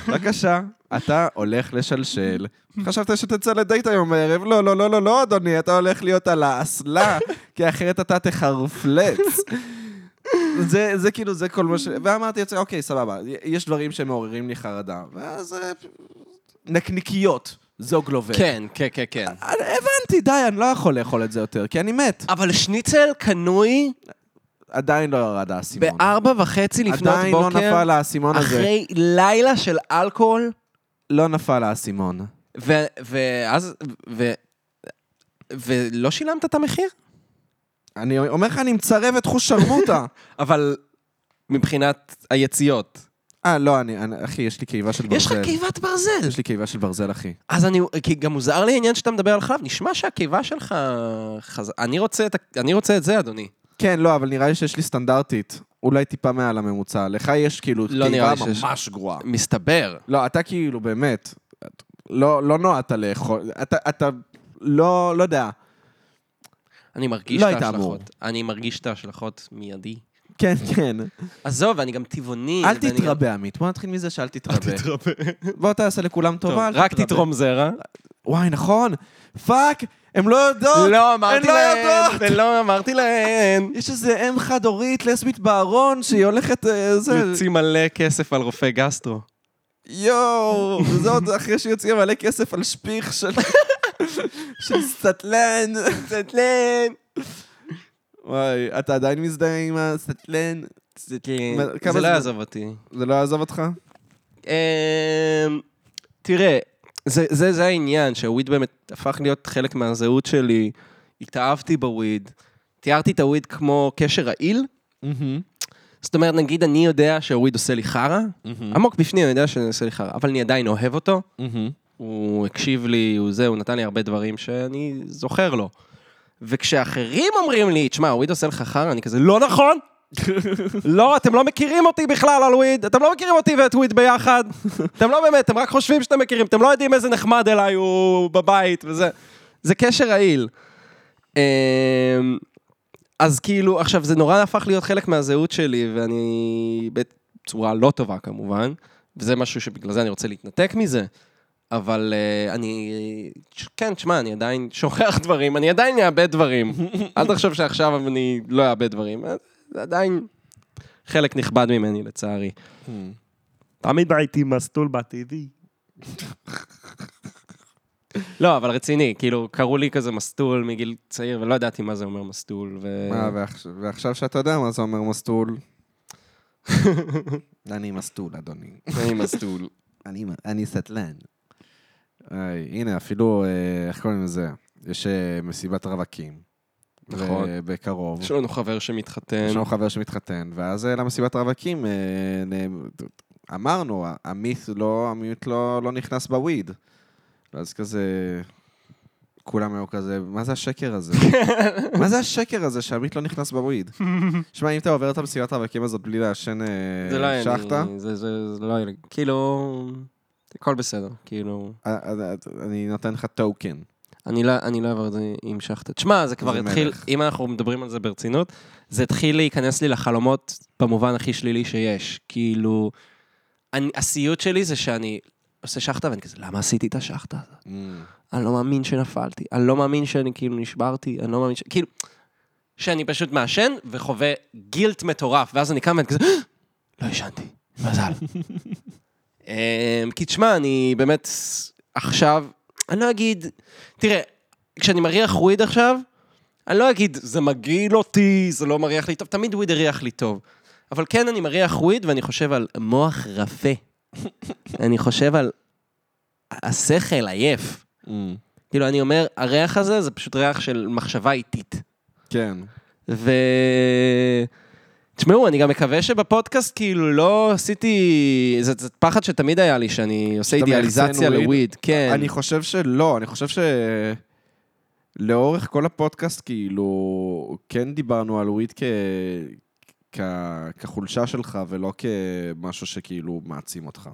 [SPEAKER 2] בבקשה, אתה הולך לשלשל. חשבת שתצא לדייט היום בערב? לא, לא, לא, לא, לא, אדוני, אתה הולך להיות על האסלה, כי אחרת אתה תחרפלץ. זה, זה כאילו, זה כל מה ש... ואמרתי לעצמי, אוקיי, סבבה, יש דברים שמעוררים לי חרדה. ואז... אה, נקניקיות, זוגלובק.
[SPEAKER 3] כן, כן, כן, כן.
[SPEAKER 2] אני- הבנתי, די, אני לא יכול לאכול את זה יותר, כי אני מת.
[SPEAKER 3] אבל שניצל קנוי
[SPEAKER 2] עדיין לא ירד האסימון.
[SPEAKER 3] בארבע וחצי לפנות
[SPEAKER 2] עדיין לא
[SPEAKER 3] בוקר,
[SPEAKER 2] נפל האסימון הזה.
[SPEAKER 3] אחרי לילה של אלכוהול,
[SPEAKER 2] לא נפל האסימון.
[SPEAKER 3] ו- ואז, ו- ולא שילמת את המחיר?
[SPEAKER 2] אני אומר לך, אני מצרב את חוש שרמוטה.
[SPEAKER 3] אבל מבחינת היציאות.
[SPEAKER 2] אה, לא, אני, אני- אחי, יש לי קיבה של ברזל.
[SPEAKER 3] יש לך קיבת ברזל.
[SPEAKER 2] יש לי קיבה של ברזל, אחי.
[SPEAKER 3] אז אני, כי גם מוזר לי העניין שאתה מדבר על חלב, נשמע שהקיבה שלך חז... אני רוצה את, ה- אני רוצה את זה, אדוני.
[SPEAKER 2] כן, לא, אבל נראה לי שיש לי סטנדרטית. אולי טיפה מעל הממוצע. לך יש כאילו
[SPEAKER 3] לא נראה
[SPEAKER 2] קיבה
[SPEAKER 3] לי שיש-
[SPEAKER 2] ממש גרועה.
[SPEAKER 3] מסתבר.
[SPEAKER 2] לא, אתה כאילו, באמת, את- לא, לא נועדת לאכול, אתה, אתה לא, לא יודע.
[SPEAKER 3] אני מרגיש
[SPEAKER 2] לא
[SPEAKER 3] את
[SPEAKER 2] היית אמור.
[SPEAKER 3] ההשלכות. אני מרגיש את ההשלכות מיידי.
[SPEAKER 2] כן, כן.
[SPEAKER 3] עזוב, אני גם טבעוני.
[SPEAKER 2] אל
[SPEAKER 3] ואני גם-
[SPEAKER 2] תתרבה, עמית. בוא נתחיל מזה שאל תתרבה.
[SPEAKER 3] תתרבה.
[SPEAKER 2] בוא תעשה לכולם
[SPEAKER 3] טוב,
[SPEAKER 2] טובה, אל
[SPEAKER 3] רק
[SPEAKER 2] תתרבה.
[SPEAKER 3] תתרום זרע.
[SPEAKER 2] וואי, נכון. פאק, הם לא יודעות.
[SPEAKER 3] לא
[SPEAKER 2] הן
[SPEAKER 3] אמרתי
[SPEAKER 2] לא
[SPEAKER 3] להן,
[SPEAKER 2] יודעות.
[SPEAKER 3] ולא אמרתי להן.
[SPEAKER 2] יש איזה אם חד-הורית לסבית בארון שהיא הולכת... אה, זה...
[SPEAKER 3] יוציא מלא כסף על רופא גסטרו.
[SPEAKER 2] יואו, וזה עוד אחרי שהיא הוציאה מלא כסף על שפיך של... של סטלן. סטלן. וואי, אתה עדיין מזדהה עם הסטלן?
[SPEAKER 3] זה
[SPEAKER 2] מה, כמה
[SPEAKER 3] לא
[SPEAKER 2] זמן?
[SPEAKER 3] יעזוב אותי.
[SPEAKER 2] זה לא יעזוב אותך?
[SPEAKER 3] אמ, תראה, זה- זה זה העניין, שהוויד באמת הפך להיות חלק מהזהות שלי. התאהבתי בוויד. תיארתי את הוויד כמו קשר רעיל. זאת אומרת, נגיד אני יודע שהוויד עושה לי חרא, Mm-hmm.
[SPEAKER 2] אמ-
[SPEAKER 3] עמוק בפנים אני יודע שזה עושה לי חרא, אבל אני עדיין אוהב אותו. הוא הקשיב לי, הוא זה, הוא נתן לי הרבה דברים שאני זוכר לו. וכשאחרים אומרים לי, תשמע, וויד עושה לך חרא, אני כזה, לא נכון! לא, אתם לא מכירים אותי בכלל על וויד, אתם לא מכירים אותי ואת וויד ביחד. אתם לא באמת, אתם רק חושבים שאתם מכירים, אתם לא יודעים איזה נחמד אליי הוא בבית וזה. זה קשר רעיל. אמ, אז כאילו, עכשיו, זה נורא הפך להיות חלק מהזהות שלי, ואני... בצורה לא טובה כמובן, וזה משהו שבגלל זה אני רוצה להתנתק מזה. אבל uh, אני... כן, תשמע, אני עדיין שוכח דברים, אני עדיין אאבד דברים. אל תחשוב שעכשיו אני לא אאבד דברים. זה עדיין חלק נכבד ממני, לצערי. תמיד הייתי מסטול בטבעי. לא, אבל רציני, כאילו, קראו לי כזה מסטול מגיל צעיר, ולא ידעתי מה זה אומר מסטול, ו...
[SPEAKER 2] מה, ועכשיו- ועכשיו שאתה יודע מה זה אומר מסטול. אני מסטול, אדוני.
[SPEAKER 3] אני מסטול.
[SPEAKER 2] אני, אני סטלן. היי, הנה, אפילו, אה, איך קוראים לזה? יש אה, מסיבת רווקים.
[SPEAKER 3] נכון.
[SPEAKER 2] ו- בקרוב.
[SPEAKER 3] יש לנו חבר שמתחתן.
[SPEAKER 2] יש לנו חבר שמתחתן, ואז אה, למסיבת רווקים אה, נ- אמרנו, ה- המיץ לא, המיעוט לא, לא נכנס בוויד. ואז כזה, כולם היו כזה, מה זה השקר הזה? מה זה השקר הזה שהמיט לא נכנס בוויד? שמע, אם אתה עובר את המסיבת רווקים הזאת בלי לעשן אה,
[SPEAKER 3] זה לא היה...
[SPEAKER 2] שחטה,
[SPEAKER 3] לי- זה- זה זה לא היה... לי- כאילו... הכל בסדר, כאילו...
[SPEAKER 2] אה, אה, אה, אני נותן לך טוקן.
[SPEAKER 3] אני לא, אני לא אעבור את זה עם שחטה. תשמע, זה כבר
[SPEAKER 2] זה
[SPEAKER 3] התחיל,
[SPEAKER 2] מלך.
[SPEAKER 3] אם אנחנו מדברים על זה ברצינות, זה התחיל להיכנס לי לחלומות במובן הכי שלילי שיש. כאילו, אני, הסיוט שלי זה שאני עושה שחטה ואני כזה, למה עשיתי את השחטה הזאת? אני לא מאמין שנפלתי, אני לא מאמין שאני כאילו נשברתי, אני לא מאמין ש... כאילו, שאני פשוט מעשן וחווה גילט מטורף, ואז אני קם ואני כזה, לא ישנתי, מזל. אמ, כי תשמע, אני באמת עכשיו, אני לא אגיד, תראה, כשאני מריח וויד עכשיו, אני לא אגיד, זה מגעיל אותי, זה לא מריח לי טוב, תמיד וויד הריח לי טוב. אבל כן, אני מריח וויד ואני חושב על מוח רפה. אני חושב על השכל עייף. כאילו, אני אומר, הריח הזה זה פשוט ריח של מחשבה איטית.
[SPEAKER 2] כן.
[SPEAKER 3] ו... תשמעו, אני גם מקווה שבפודקאסט כאילו לא עשיתי... זה, זה פחד שתמיד היה לי, שאני עושה
[SPEAKER 2] שאתה
[SPEAKER 3] אידיאליזציה
[SPEAKER 2] מאחסן וויד?
[SPEAKER 3] לוויד. כן.
[SPEAKER 2] אני חושב שלא, אני חושב ש... לאורך כל הפודקאסט, כאילו, כן דיברנו על וויד כ... כ... כחולשה שלך, ולא כמשהו שכאילו מעצים אותך.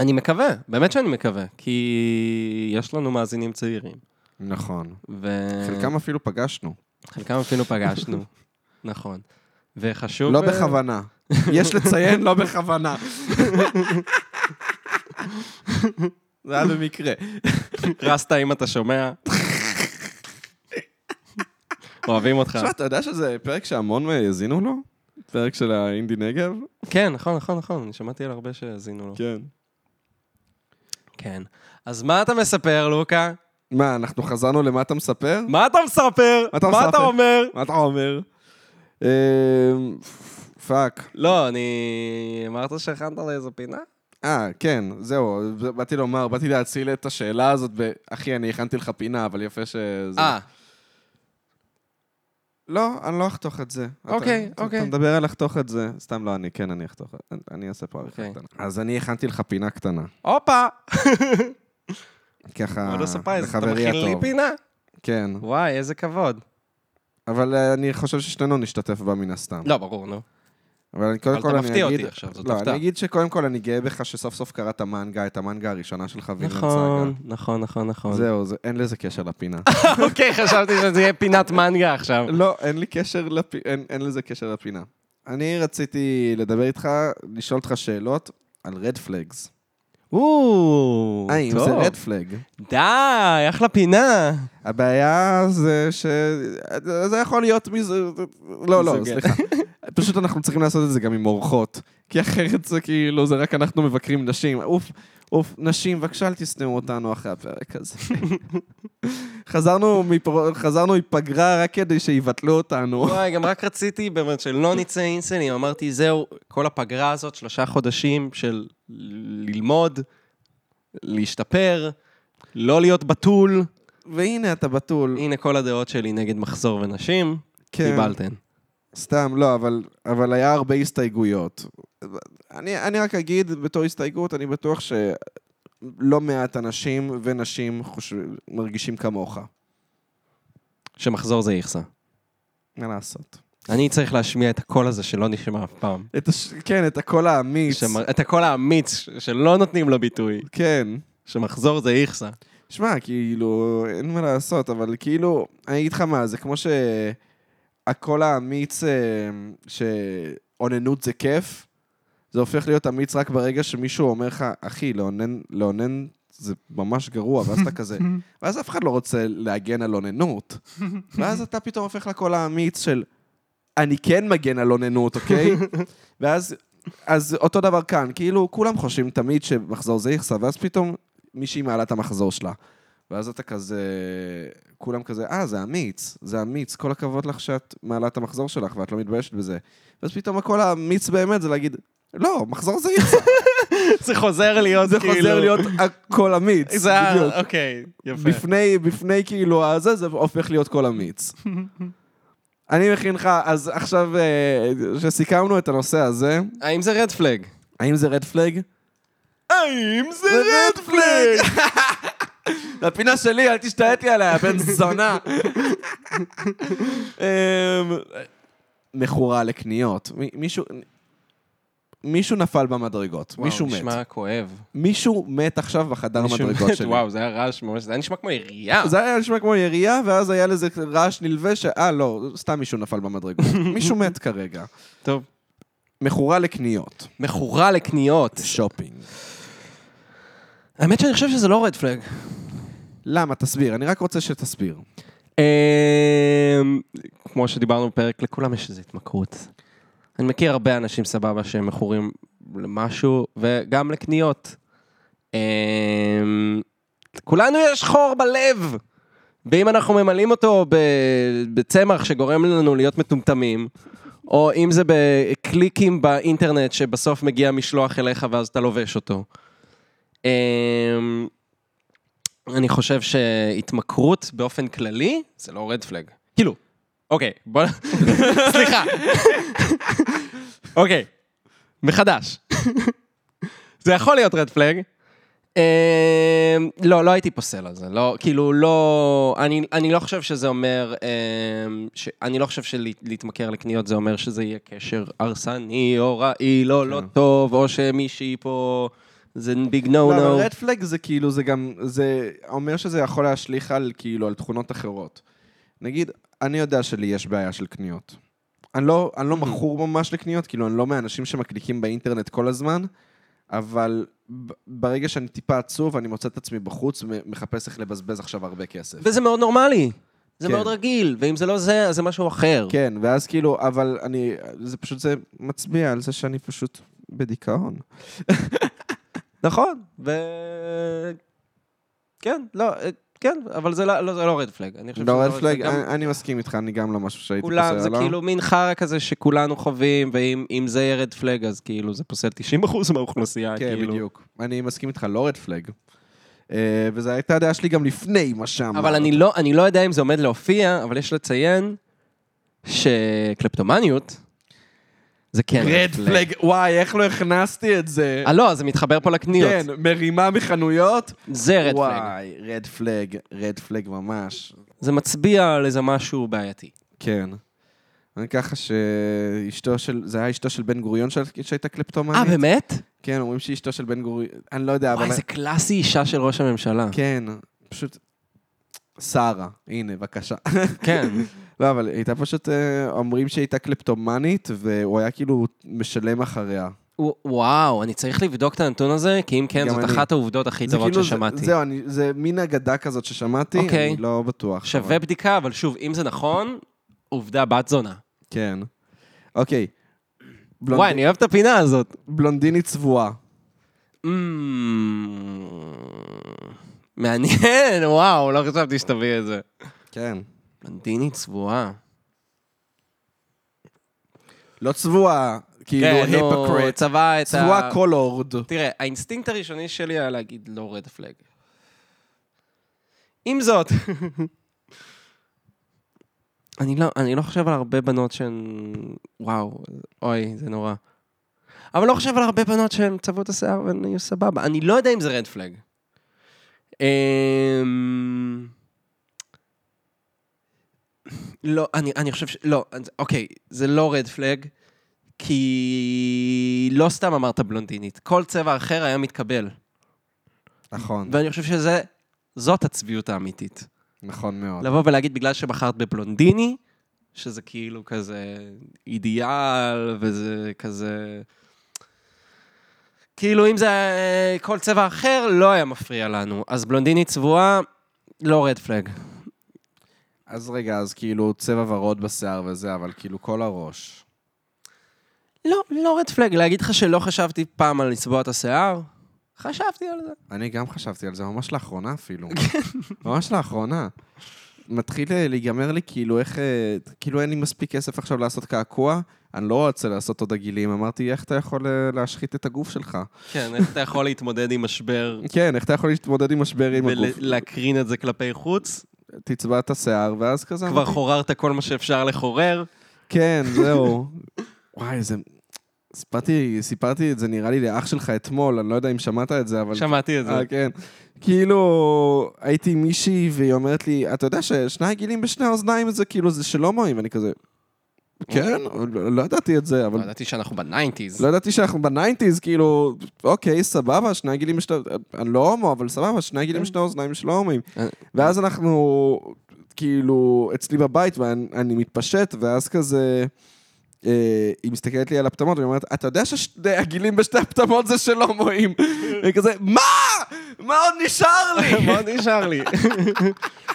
[SPEAKER 3] אני מקווה, באמת שאני מקווה, כי יש לנו מאזינים צעירים.
[SPEAKER 2] נכון.
[SPEAKER 3] ו...
[SPEAKER 2] חלקם אפילו פגשנו.
[SPEAKER 3] חלקם אפילו פגשנו, נכון. וחשוב...
[SPEAKER 2] לא
[SPEAKER 3] אה,
[SPEAKER 2] בכוונה. יש לציין, לא בכוונה. זה היה במקרה.
[SPEAKER 3] רסטה, אם אתה שומע. אוהבים אותך.
[SPEAKER 2] תשמע, אתה יודע שזה פרק שהמון האזינו לו? פרק של האינדי נגב?
[SPEAKER 3] כן, נכון, נכון, נכון, אני שמעתי על הרבה שהאזינו לו.
[SPEAKER 2] כן.
[SPEAKER 3] כן. אז מה אתה מספר, לוקה?
[SPEAKER 2] מה, אנחנו חזרנו למה אתה מספר?
[SPEAKER 3] מה אתה מספר?
[SPEAKER 2] מה אתה
[SPEAKER 3] מה אתה
[SPEAKER 2] מספר?
[SPEAKER 3] אומר?
[SPEAKER 2] מה אתה אומר? אמ, פאק.
[SPEAKER 3] לא, אני... אמרת שהכנת לאיזו פינה?
[SPEAKER 2] אה, כן, זהו, באתי לומר, באתי להציל את השאלה הזאת, ב- אחי, אני הכנתי לך פינה, אבל יפה שזה...
[SPEAKER 3] אה,
[SPEAKER 2] לא, אני לא אחתוך את זה. אתה-
[SPEAKER 3] אוקיי,
[SPEAKER 2] אתה-
[SPEAKER 3] אוקיי.
[SPEAKER 2] אתה מדבר על לחתוך את זה. סתם לא, אני כן, אני אחתוך. אני- אני אעשה פה עריכה
[SPEAKER 3] אוקיי.
[SPEAKER 2] קטנה. אז אני הכנתי לך פינה קטנה. אה,
[SPEAKER 3] הופה!
[SPEAKER 2] ככה,
[SPEAKER 3] עוד לא ספרייז, אתה
[SPEAKER 2] לחברי
[SPEAKER 3] מכין לי
[SPEAKER 2] הטוב.
[SPEAKER 3] פינה?
[SPEAKER 2] כן,
[SPEAKER 3] וואי, איזה כבוד.
[SPEAKER 2] אבל אה, אני חושב ששנינו נשתתף בה מן הסתם.
[SPEAKER 3] לא, ברור, נו.
[SPEAKER 2] אבל אני קודם
[SPEAKER 3] אבל
[SPEAKER 2] כל
[SPEAKER 3] אתה
[SPEAKER 2] אני
[SPEAKER 3] מפתיע אותי
[SPEAKER 2] אגיד-
[SPEAKER 3] עכשיו, זאת
[SPEAKER 2] לא,
[SPEAKER 3] הפתעה.
[SPEAKER 2] אני אגיד שקודם כל אני גאה בך שסוף סוף קראת מנגה, את המנגה הראשונה שלך, וילן סאגה.
[SPEAKER 3] נכון, נכון, נכון, נכון.
[SPEAKER 2] זהו, זה, אין לזה קשר לפינה.
[SPEAKER 3] אוקיי, חשבתי שזה יהיה פינת מנגה עכשיו.
[SPEAKER 2] לא, אין לי קשר לפינה, אין, אין לזה קשר לפינה. אני רציתי לדבר איתך, לשאול אותך שאלות על רד פלגס.
[SPEAKER 3] או,
[SPEAKER 2] האם
[SPEAKER 3] טוב.
[SPEAKER 2] זה רד פלג?
[SPEAKER 3] די, אחלה פינה.
[SPEAKER 2] הבעיה זה ש... זה יכול להיות מזה... לא, לא,
[SPEAKER 3] מיזוגן.
[SPEAKER 2] סליחה. פשוט אנחנו צריכים לעשות את זה גם עם אורחות. כי אחרת זה כאילו, זה רק אנחנו מבקרים נשים. אוף, אוף, נשים, בבקשה אל תשנאו אותנו אחרי הפרק הזה. חזרנו מפר- חזרנו מפגרה רק כדי שיבטלו אותנו.
[SPEAKER 3] וואי, גם רק רציתי באמת שלא נצא אינסלים, אמרתי, זהו, כל הפגרה הזאת, שלושה חודשים של ללמוד, להשתפר, לא להיות בתול.
[SPEAKER 2] והנה אתה בתול.
[SPEAKER 3] הנה כל הדעות שלי נגד מחזור ונשים,
[SPEAKER 2] כן.
[SPEAKER 3] קיבלתן.
[SPEAKER 2] סתם, לא, אבל, אבל היה הרבה הסתייגויות. אני, אני רק אגיד, בתור הסתייגות, אני בטוח שלא מעט אנשים ונשים חושב, מרגישים כמוך.
[SPEAKER 3] שמחזור זה איכסה.
[SPEAKER 2] מה לעשות?
[SPEAKER 3] אני צריך להשמיע את הקול הזה שלא נשמע אף פעם.
[SPEAKER 2] את הש... כן, את הקול האמיץ.
[SPEAKER 3] שמר- את הקול האמיץ ש- שלא נותנים לו ביטוי,
[SPEAKER 2] כן.
[SPEAKER 3] שמחזור זה איכסה.
[SPEAKER 2] שמע, כאילו, אין מה לעשות, אבל כאילו, אני אגיד לך מה, זה כמו שהקול האמיץ אה, שאוננות זה כיף, זה הופך להיות אמיץ רק ברגע שמישהו אומר לך, אחי, לאונן, לאונן זה ממש גרוע, ואז אתה כזה, ואז אף אחד לא רוצה להגן על אוננות, ואז אתה פתאום הופך לקול האמיץ של, אני כן מגן על אוננות, אוקיי? ואז... אז אותו דבר כאן, כאילו, כולם חושבים תמיד שמחזור זה איכסה, ואז פתאום מישהי מעלה את המחזור שלה. ואז אתה כזה, כולם כזה, אה, זה אמיץ, זה אמיץ, כל הכבוד לך שאת מעלה את המחזור שלך ואת לא מתביישת בזה. ואז פתאום הכל האמיץ באמת זה להגיד, לא, מחזור זה איץ,
[SPEAKER 3] זה חוזר להיות
[SPEAKER 2] זה
[SPEAKER 3] כאילו...
[SPEAKER 2] חוזר להיות הכל אמיץ.
[SPEAKER 3] זה ה-
[SPEAKER 2] בדיוק.
[SPEAKER 3] אוקיי, יפה.
[SPEAKER 2] בפני, בפני כאילו הזה, זה הופך להיות כל אמיץ. אני מכין לך, אז עכשיו, אה, שסיכמנו את הנושא הזה,
[SPEAKER 3] האם זה רד פלג?
[SPEAKER 2] האם זה רד פלג?
[SPEAKER 1] האם זה
[SPEAKER 2] רד פלג! הפינה שלי, אל תשתעט לי עליה, בן זונה. אמ, מכורה לקניות. מ- מישהו... מישהו נפל במדרגות, מישהו מת.
[SPEAKER 3] נשמע כואב.
[SPEAKER 2] מישהו מת עכשיו בחדר
[SPEAKER 3] מישהו
[SPEAKER 2] מדרגות
[SPEAKER 3] מת,
[SPEAKER 2] שלי.
[SPEAKER 3] וואו, זה היה רעש ממש, זה היה נשמע כמו עירייה.
[SPEAKER 2] זה היה נשמע כמו ירייה, ואז היה לזה רעש נלווה ש... אה, לא, סתם מישהו נפל במדרגות. מישהו מת כרגע.
[SPEAKER 3] טוב.
[SPEAKER 2] מכורה לקניות.
[SPEAKER 3] מכורה לקניות.
[SPEAKER 2] שופינג.
[SPEAKER 3] האמת שאני חושב שזה לא רד פלג.
[SPEAKER 2] למה? תסביר, אני רק רוצה שתסביר.
[SPEAKER 3] אמ, כמו שדיברנו בפרק, לכולם יש איזו התמכרות. אני מכיר הרבה אנשים סבבה שהם מכורים למשהו, וגם לקניות. אמ, כולנו יש חור בלב, ואם אנחנו ממלאים אותו ב- בצמח שגורם לנו להיות מטומטמים, או אם זה בקליקים באינטרנט שבסוף מגיע משלוח אליך ואז אתה לובש אותו. אמ, אני חושב שהתמכרות באופן כללי, זה לא רד פלג. כאילו, אוקיי, בוא... סליחה. אוקיי, מחדש. זה יכול להיות רד פלג. אמ, לא, לא הייתי פוסל על זה. לא, כאילו, לא... אני, אני לא חושב שזה אומר... אמ, ש, אני לא חושב שלהתמכר לקניות זה אומר שזה יהיה קשר הרסני או רעיל או לא
[SPEAKER 2] כן.
[SPEAKER 3] טוב, או שמישהי פה... זה ביג נו
[SPEAKER 2] לא,
[SPEAKER 3] נו.
[SPEAKER 2] אבל רד פלג זה כאילו, זה גם, זה אומר שזה יכול להשליך על כאילו, על תכונות אחרות. נגיד, אני יודע שלי יש בעיה של קניות. אני לא,
[SPEAKER 3] Mm-hmm.
[SPEAKER 2] אני לא מכור ממש לקניות, כאילו, אני לא מהאנשים שמקליקים באינטרנט כל הזמן, אבל ב- ברגע שאני טיפה עצוב, אני מוצא את עצמי בחוץ ומחפש איך לבזבז עכשיו הרבה כסף.
[SPEAKER 3] וזה מאוד נורמלי. זה
[SPEAKER 2] כן.
[SPEAKER 3] מאוד רגיל, ואם זה לא זה, אז זה משהו אחר.
[SPEAKER 2] כן, ואז כאילו, אבל אני, זה פשוט, זה מצביע על זה שאני פשוט בדיכאון.
[SPEAKER 3] נכון, ו... כן, לא, אה, כן, אבל זה לא- לא זה לא רד פלג. אני חושב שזה
[SPEAKER 2] לא, רד פלג,
[SPEAKER 3] גם
[SPEAKER 2] אני אני מסכים איתך, אני גם לא משהו שהייתי פוסל
[SPEAKER 3] כולם,
[SPEAKER 2] עליו.
[SPEAKER 3] זה כאילו מין חרא כזה שכולנו חווים, ואם אם זה יהיה רד פלג, אז כאילו זה פוסל 90% מהאוכלוסייה,
[SPEAKER 2] כן,
[SPEAKER 3] כאילו.
[SPEAKER 2] בדיוק. אני מסכים איתך, לא רד פלג. אה, וזו הייתה הדעה שלי גם לפני מה שאמרת.
[SPEAKER 3] אבל אני לא, אני לא יודע אם זה עומד להופיע, אבל יש לציין שקלפטומניות זה כן
[SPEAKER 2] רד פלג, וואי, איך לא הכנסתי את זה?
[SPEAKER 3] אה, לא, זה מתחבר פה לקניות.
[SPEAKER 2] כן, מרימה מחנויות?
[SPEAKER 3] זה רד פלג.
[SPEAKER 2] וואי, רד פלג, רד פלג ממש.
[SPEAKER 3] זה מצביע על איזה משהו בעייתי.
[SPEAKER 2] כן. אני ככה שאשתו של, זה היה אשתו של בן גוריון שה- שהייתה
[SPEAKER 3] אה,
[SPEAKER 2] קלפטומנית.
[SPEAKER 3] באמת?
[SPEAKER 2] כן, אומרים שהיא אשתו של בן גוריון, אני לא יודע, אבל...
[SPEAKER 3] וואי, זה קלאסי אישה של ראש הממשלה.
[SPEAKER 2] כן, פשוט... שרה, הנה, בבקשה.
[SPEAKER 3] כן.
[SPEAKER 2] לא, אבל היא הייתה פשוט, אה, אומרים שהיא הייתה קלפטומנית, והוא היה כאילו משלם אחריה.
[SPEAKER 3] ו- וואו, אני צריך לבדוק את הנתון הזה, כי אם כן,
[SPEAKER 2] גם
[SPEAKER 3] זאת
[SPEAKER 2] אני.
[SPEAKER 3] אחת העובדות הכי
[SPEAKER 2] זה
[SPEAKER 3] טובות
[SPEAKER 2] כאילו-
[SPEAKER 3] ששמעתי.
[SPEAKER 2] זה- זהו, אני- זה מין אגדה כזאת ששמעתי,
[SPEAKER 3] אוקיי.
[SPEAKER 2] אני לא בטוח.
[SPEAKER 3] שווה
[SPEAKER 2] אבל-
[SPEAKER 3] בדיקה, אבל שוב, אם זה נכון, עובדה בת זונה.
[SPEAKER 2] כן. אוקיי. בלונד-
[SPEAKER 3] וואי, אני אוהב את הפינה הזאת. Mm.
[SPEAKER 2] בלונדינית צבועה.
[SPEAKER 3] אמ, מעניין, וואו, לא חשבתי שתביא את זה.
[SPEAKER 2] כן.
[SPEAKER 3] בלונדינית צבועה.
[SPEAKER 2] לא צבועה, כאילו
[SPEAKER 3] כן, נו,
[SPEAKER 2] היפוקרט.
[SPEAKER 3] צבע את ה...
[SPEAKER 2] צבועה קולורד.
[SPEAKER 3] תראה, האינסטינקט הראשוני שלי היה להגיד לא רד פלג. עם זאת, אני לא, אני לא חושב על הרבה בנות שהן... וואו, אוי, זה נורא. אבל לא חושב על הרבה בנות שהן צבעו את השיער והן היו סבבה. אני לא יודע אם זה רד פלג. אמ... לא, אני, אני חושב ש... לא, אז- אוקיי, זה לא רד פלג, כי לא סתם אמרת בלונדינית. כל צבע אחר היה מתקבל.
[SPEAKER 2] נכון,
[SPEAKER 3] ואני חושב שזה... זאת הצביעות האמיתית.
[SPEAKER 2] נכון מאוד.
[SPEAKER 3] לבוא ולהגיד בגלל שבחרת בבלונדיני, שזה כאילו כזה אידיאל, וזה כזה... כאילו אם זה אה, כל צבע אחר, לא היה מפריע לנו. אז בלונדיני צבועה, לא רד פלג.
[SPEAKER 2] אז רגע, אז כאילו צבע ורוד בשיער וזה, אבל כאילו כל הראש.
[SPEAKER 3] לא, לא רד פלג. להגיד לך שלא חשבתי פעם על לצבוע את השיער? חשבתי על זה.
[SPEAKER 2] אני גם חשבתי על זה, ממש לאחרונה אפילו. ממש לאחרונה. מתחיל אה, להיגמר לי כאילו איך, אה, כאילו אין לי מספיק כסף עכשיו לעשות קעקוע, אני לא רוצה לעשות עוד עגילים. אמרתי, איך אתה יכול אה, להשחית את הגוף שלך?
[SPEAKER 3] כן, איך אתה יכול להתמודד עם משבר
[SPEAKER 2] כן, איך אתה יכול להתמודד עם משבר עם הגוף?
[SPEAKER 3] ולהקרין את זה כלפי חוץ?
[SPEAKER 2] תצבע את השיער, ואז כזה...
[SPEAKER 3] כבר
[SPEAKER 2] אמרתי,
[SPEAKER 3] חוררת כל מה שאפשר לחורר.
[SPEAKER 2] כן, זהו. וואי, זה... סיפרתי, סיפרתי את זה נראה לי לאח שלך אתמול, אני לא יודע אם שמעת את זה, אבל...
[SPEAKER 3] שמעתי את זה.
[SPEAKER 2] אה, כן. כאילו, הייתי עם מישהי, והיא אומרת לי, אתה יודע ששני הגילים בשני האוזניים זה כאילו, זה של הומואים, ואני כזה... כן, לא לא ידעתי את זה, אבל...
[SPEAKER 3] לא ידעתי שאנחנו בניינטיז.
[SPEAKER 2] לא ידעתי שאנחנו בניינטיז, כאילו, אוקיי, סבבה, שני הגילים בשני... אני לא הומו, אבל סבבה, שני הגילים בשני האוזניים של ההומואים.
[SPEAKER 3] כן. אה.
[SPEAKER 2] ואז אנחנו, כאילו, אצלי בבית, ואני אני מתפשט, ואז כזה... אה, היא מסתכלת לי על הפטמות, והיא אומרת, אתה יודע ששני הגילים בשתי הפטמות זה של הומואים? היא כזה, מה? מה עוד נשאר לי?
[SPEAKER 3] מה עוד נשאר לי?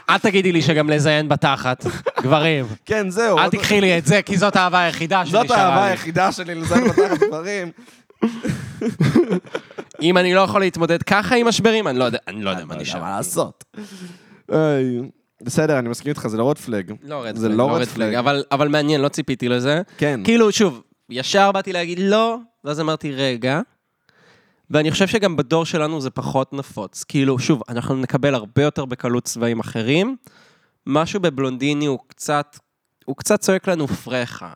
[SPEAKER 3] אל תגידי לי שגם לזיין בתחת, גברים.
[SPEAKER 2] כן, זהו.
[SPEAKER 3] אל תקחי לי את זה, כי זאת האהבה היחידה
[SPEAKER 2] זאת
[SPEAKER 3] שנשארה
[SPEAKER 2] האהבה
[SPEAKER 3] לי.
[SPEAKER 2] היחידה שלי לזיין בתחת דברים.
[SPEAKER 3] אם אני לא יכול להתמודד ככה עם משברים, אני לא יודע, אני לא יודע מה
[SPEAKER 2] לא יודע
[SPEAKER 3] נשאר.
[SPEAKER 2] מה
[SPEAKER 3] לי.
[SPEAKER 2] לעשות. איי, בסדר, אני מסכים איתך, זה לא רד פלג.
[SPEAKER 3] לא רד
[SPEAKER 2] זה
[SPEAKER 3] פלג,
[SPEAKER 2] לא
[SPEAKER 3] לא
[SPEAKER 2] רד
[SPEAKER 3] רד פלג,
[SPEAKER 2] פלג.
[SPEAKER 3] אבל- אבל מעניין, לא ציפיתי לזה.
[SPEAKER 2] כן.
[SPEAKER 3] כאילו, שוב, ישר באתי להגיד לא, ואז אמרתי, רגע. ואני חושב שגם בדור שלנו זה פחות נפוץ. כאילו, שוב, אנחנו נקבל הרבה יותר בקלות צבעים אחרים. משהו בבלונדיני הוא קצת, הוא קצת צועק לנו פרחה.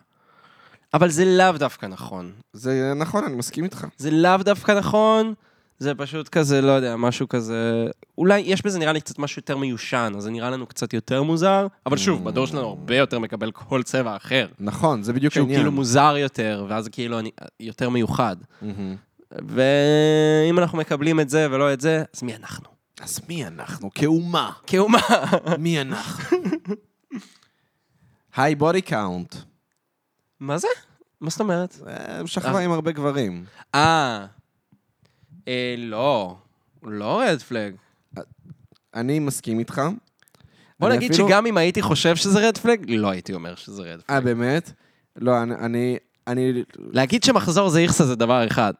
[SPEAKER 3] אבל זה לאו דווקא נכון.
[SPEAKER 2] זה נכון, אני מסכים איתך.
[SPEAKER 3] זה לאו דווקא נכון, זה פשוט כזה, לא יודע, משהו כזה... אולי יש בזה נראה לי קצת משהו יותר מיושן, אז זה נראה לנו קצת יותר מוזר, אבל שוב, בדור שלנו הרבה יותר מקבל כל צבע אחר.
[SPEAKER 2] נכון, זה בדיוק
[SPEAKER 3] שהוא
[SPEAKER 2] העניין.
[SPEAKER 3] כאילו מוזר יותר, ואז זה כאילו אני יותר מיוחד.
[SPEAKER 2] Mm-hmm.
[SPEAKER 3] ואם אנחנו מקבלים את זה ולא את זה, אז מי אנחנו?
[SPEAKER 2] אז מי אנחנו? כאומה.
[SPEAKER 3] כאומה.
[SPEAKER 2] מי אנחנו? היי בודי קאונט.
[SPEAKER 3] מה זה? מה זאת אומרת?
[SPEAKER 2] אה, שכבה עם הרבה גברים.
[SPEAKER 3] אה, אה, לא, לא רד פלג.
[SPEAKER 2] אני מסכים איתך.
[SPEAKER 3] בוא
[SPEAKER 2] אני
[SPEAKER 3] נגיד
[SPEAKER 2] אפילו-
[SPEAKER 3] שגם אם הייתי חושב שזה רד פלג, לא הייתי אומר שזה רד
[SPEAKER 2] אה,
[SPEAKER 3] פלג.
[SPEAKER 2] באמת? לא, אני- אני... אני...
[SPEAKER 3] להגיד שמחזור זה איכסה זה דבר אחד.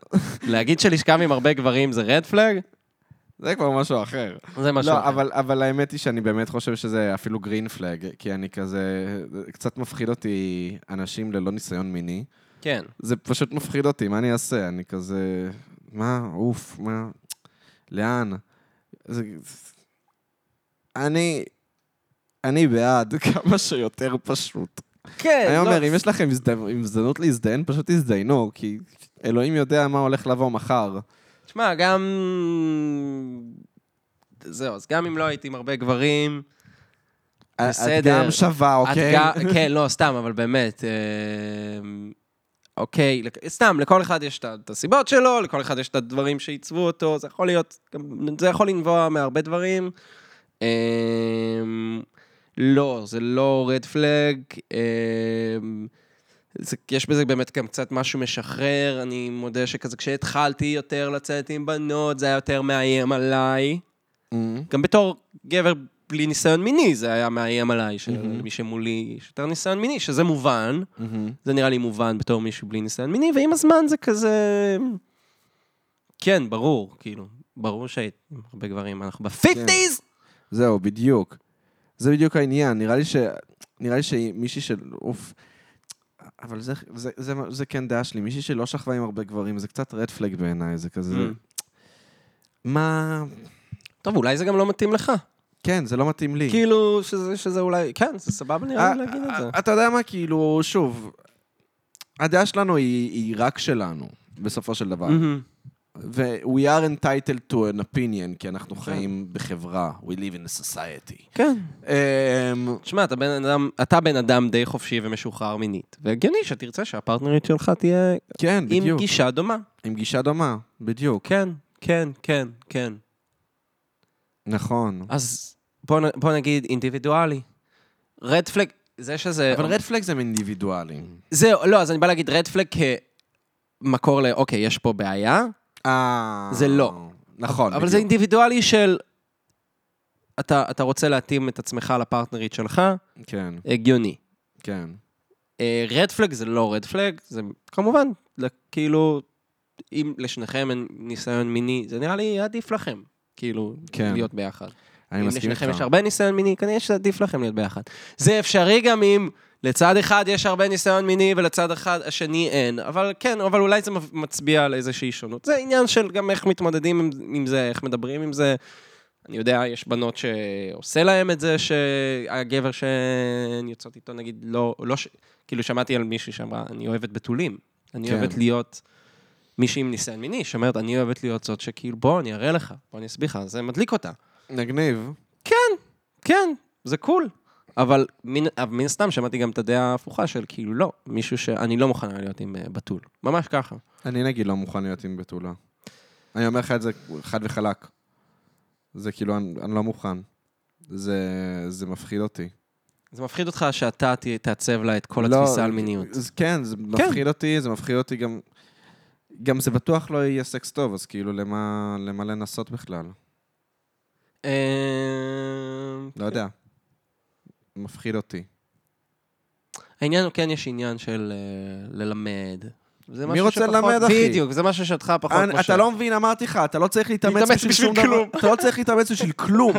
[SPEAKER 3] להגיד שלשכב עם הרבה גברים זה רד פלג,
[SPEAKER 2] זה כבר משהו אחר.
[SPEAKER 3] זה משהו
[SPEAKER 2] לא,
[SPEAKER 3] אחר.
[SPEAKER 2] אבל, אבל האמת היא שאני באמת חושב שזה אפילו גרין פלאג, כי אני כזה... קצת מפחיד אותי אנשים ללא ניסיון מיני.
[SPEAKER 3] כן.
[SPEAKER 2] זה פשוט מפחיד אותי, מה אני אעשה? אני כזה... מה? אוף, מה? לאן? זה... אני... אני בעד כמה שיותר פשוט.
[SPEAKER 3] כן,
[SPEAKER 2] אני אומר, אם יש לכם הזד- הזדמנות להזדיין, פשוט תזדיינו, כי אלוהים יודע מה הולך לבוא מחר.
[SPEAKER 3] תשמע, גם... זהו, אז גם אם לא הייתי עם הרבה גברים,
[SPEAKER 2] את
[SPEAKER 3] בסדר.
[SPEAKER 2] גם שווה, אוקיי?
[SPEAKER 3] את ג- כן, לא, סתם, אבל באמת. אמ, אוקיי, לק- סתם, לכל אחד יש את ה- את הסיבות שלו, לכל אחד יש את הדברים שעיצבו אותו, זה יכול להיות, גם- זה יכול לנבוע מהרבה דברים. אמ, לא, זה לא רד פלג. אמ, זה- יש בזה באמת גם קצת משהו משחרר, אני מודה שכזה כשהתחלתי יותר לצאת עם בנות, זה היה יותר מאיים עליי.
[SPEAKER 2] אמ,
[SPEAKER 3] גם בתור גבר בלי ניסיון מיני, זה היה מאיים עליי, שמי שמולי יש יותר ניסיון מיני, שזה מובן,
[SPEAKER 2] אמ.
[SPEAKER 3] זה נראה לי מובן בתור מישהו בלי ניסיון מיני, ועם הזמן זה כזה... כן, ברור, כאילו, ברור שהיית עם הרבה גברים, אנחנו ב-50's!
[SPEAKER 2] זהו, בדיוק. זה בדיוק העניין, נראה לי ש... נראה לי שמישהי של... אוף. אבל זה, זה, זה, זה כן דעה שלי, מישהי שלא שכבה עם הרבה גברים, זה קצת רד פלג בעיניי, זה כזה...
[SPEAKER 3] Mm.
[SPEAKER 2] מה...
[SPEAKER 3] טוב, אולי זה גם לא מתאים לך.
[SPEAKER 2] כן, זה לא מתאים לי. אה,
[SPEAKER 3] כאילו, שזה, שזה אולי... כן, זה סבבה נראה לי להגיד את זה.
[SPEAKER 2] אתה יודע מה, כאילו, שוב, הדעה שלנו היא, היא רק שלנו, בסופו של דבר.
[SPEAKER 3] מהמם.
[SPEAKER 2] ו-we are entitled to an opinion, כי אנחנו חיים בחברה, we live in a society.
[SPEAKER 3] כן.
[SPEAKER 2] אמ,
[SPEAKER 3] תשמע, אתה בן אדם, אתה בן אדם די חופשי ומשוחרר מינית, והגיוני שתרצה שהפרטנרית שלך תהיה
[SPEAKER 2] כן,
[SPEAKER 3] עם
[SPEAKER 2] בדיוק.
[SPEAKER 3] גישה דומה.
[SPEAKER 2] עם גישה דומה, בדיוק.
[SPEAKER 3] כן, כן, כן, כן.
[SPEAKER 2] נכון.
[SPEAKER 3] אז בוא, נ- בוא נגיד אינדיבידואלי. רד פלג, זה שזה...
[SPEAKER 2] אבל רד פלגס הם אינדיבידואלים.
[SPEAKER 3] זהו, לא, אז אני בא להגיד רד פלג כמקור ל... אוקיי, יש פה בעיה,
[SPEAKER 2] אה...
[SPEAKER 3] זה לא.
[SPEAKER 2] נכון,
[SPEAKER 3] אבל זה אינדיבידואלי של... אתה, אתה רוצה להתאים את עצמך לפרטנרית שלך,
[SPEAKER 2] כן,
[SPEAKER 3] הגיוני. אה,
[SPEAKER 2] כן.
[SPEAKER 3] רד פלג זה לא רד פלג, זה כמובן, ל- כאילו, אם לשניכם אין ניסיון מיני, זה נראה לי עדיף לכם, כאילו,
[SPEAKER 2] כן.
[SPEAKER 3] להיות ביחד.
[SPEAKER 2] אני מסכים
[SPEAKER 3] אם לשניכם
[SPEAKER 2] איתך.
[SPEAKER 3] יש הרבה ניסיון מיני, כנראה שעדיף לכם להיות ביחד. זה אפשרי גם אם לצד אחד יש הרבה ניסיון מיני ולצד אחד השני אין. אבל כן, אבל אולי זה מצביע על איזושהי שונות. זה עניין של גם איך מתמודדים עם, עם זה, איך מדברים עם זה. אני יודע, יש בנות שעושה להן את זה, שהגבר שהן יוצאות איתו, נגיד, לא, לא ש... כאילו, שמעתי על מישהי שאמרה, אני אוהבת בתולים. אני
[SPEAKER 2] כן.
[SPEAKER 3] אוהבת להיות מישהי עם ניסיון מיני, שאומרת, אני אוהבת להיות זאת שכאילו, בוא, אני אראה לך, בוא, אני אסביר לך, זה מדליק אותה.
[SPEAKER 2] נגניב.
[SPEAKER 3] כן, זה קול. אבל מן, אבל מן הסתם שמעתי גם את הדעה ההפוכה של כאילו לא, מישהו שאני לא מוכנה להיות עם אה, בתול. ממש ככה.
[SPEAKER 2] אני נגיד לא מוכן להיות עם בתולה. אני אומר לך את זה חד וחלק. זה כאילו, אני, אני לא מוכן. זה, זה מפחיד אותי.
[SPEAKER 3] זה מפחיד אותך שאתה ת- תעצב לה את כל
[SPEAKER 2] לא,
[SPEAKER 3] התפיסה על מיניות.
[SPEAKER 2] אז כן, זה מפחיד אותי, זה מפחיד אותי גם... גם זה בטוח לא יהיה סקס טוב, אז כאילו, למה, למה לנסות בכלל?
[SPEAKER 3] אה, כן.
[SPEAKER 2] לא יודע. מפחיד אותי.
[SPEAKER 3] העניין הוא כן, יש עניין של אה, ללמד. זה
[SPEAKER 2] מי
[SPEAKER 3] משהו
[SPEAKER 2] רוצה
[SPEAKER 3] שפחות-
[SPEAKER 2] ללמד, אחי?
[SPEAKER 3] בדיוק, זה משהו שאתך פחות
[SPEAKER 2] אני-
[SPEAKER 3] מושך.
[SPEAKER 2] אתה לא מבין, אמרתי לך, אתה לא צריך להתאמץ
[SPEAKER 3] להתאמץ
[SPEAKER 2] בשביל
[SPEAKER 3] בשביל
[SPEAKER 2] שום דבר.
[SPEAKER 3] כלום.
[SPEAKER 2] אתה לא צריך להתאמץ בשביל כלום.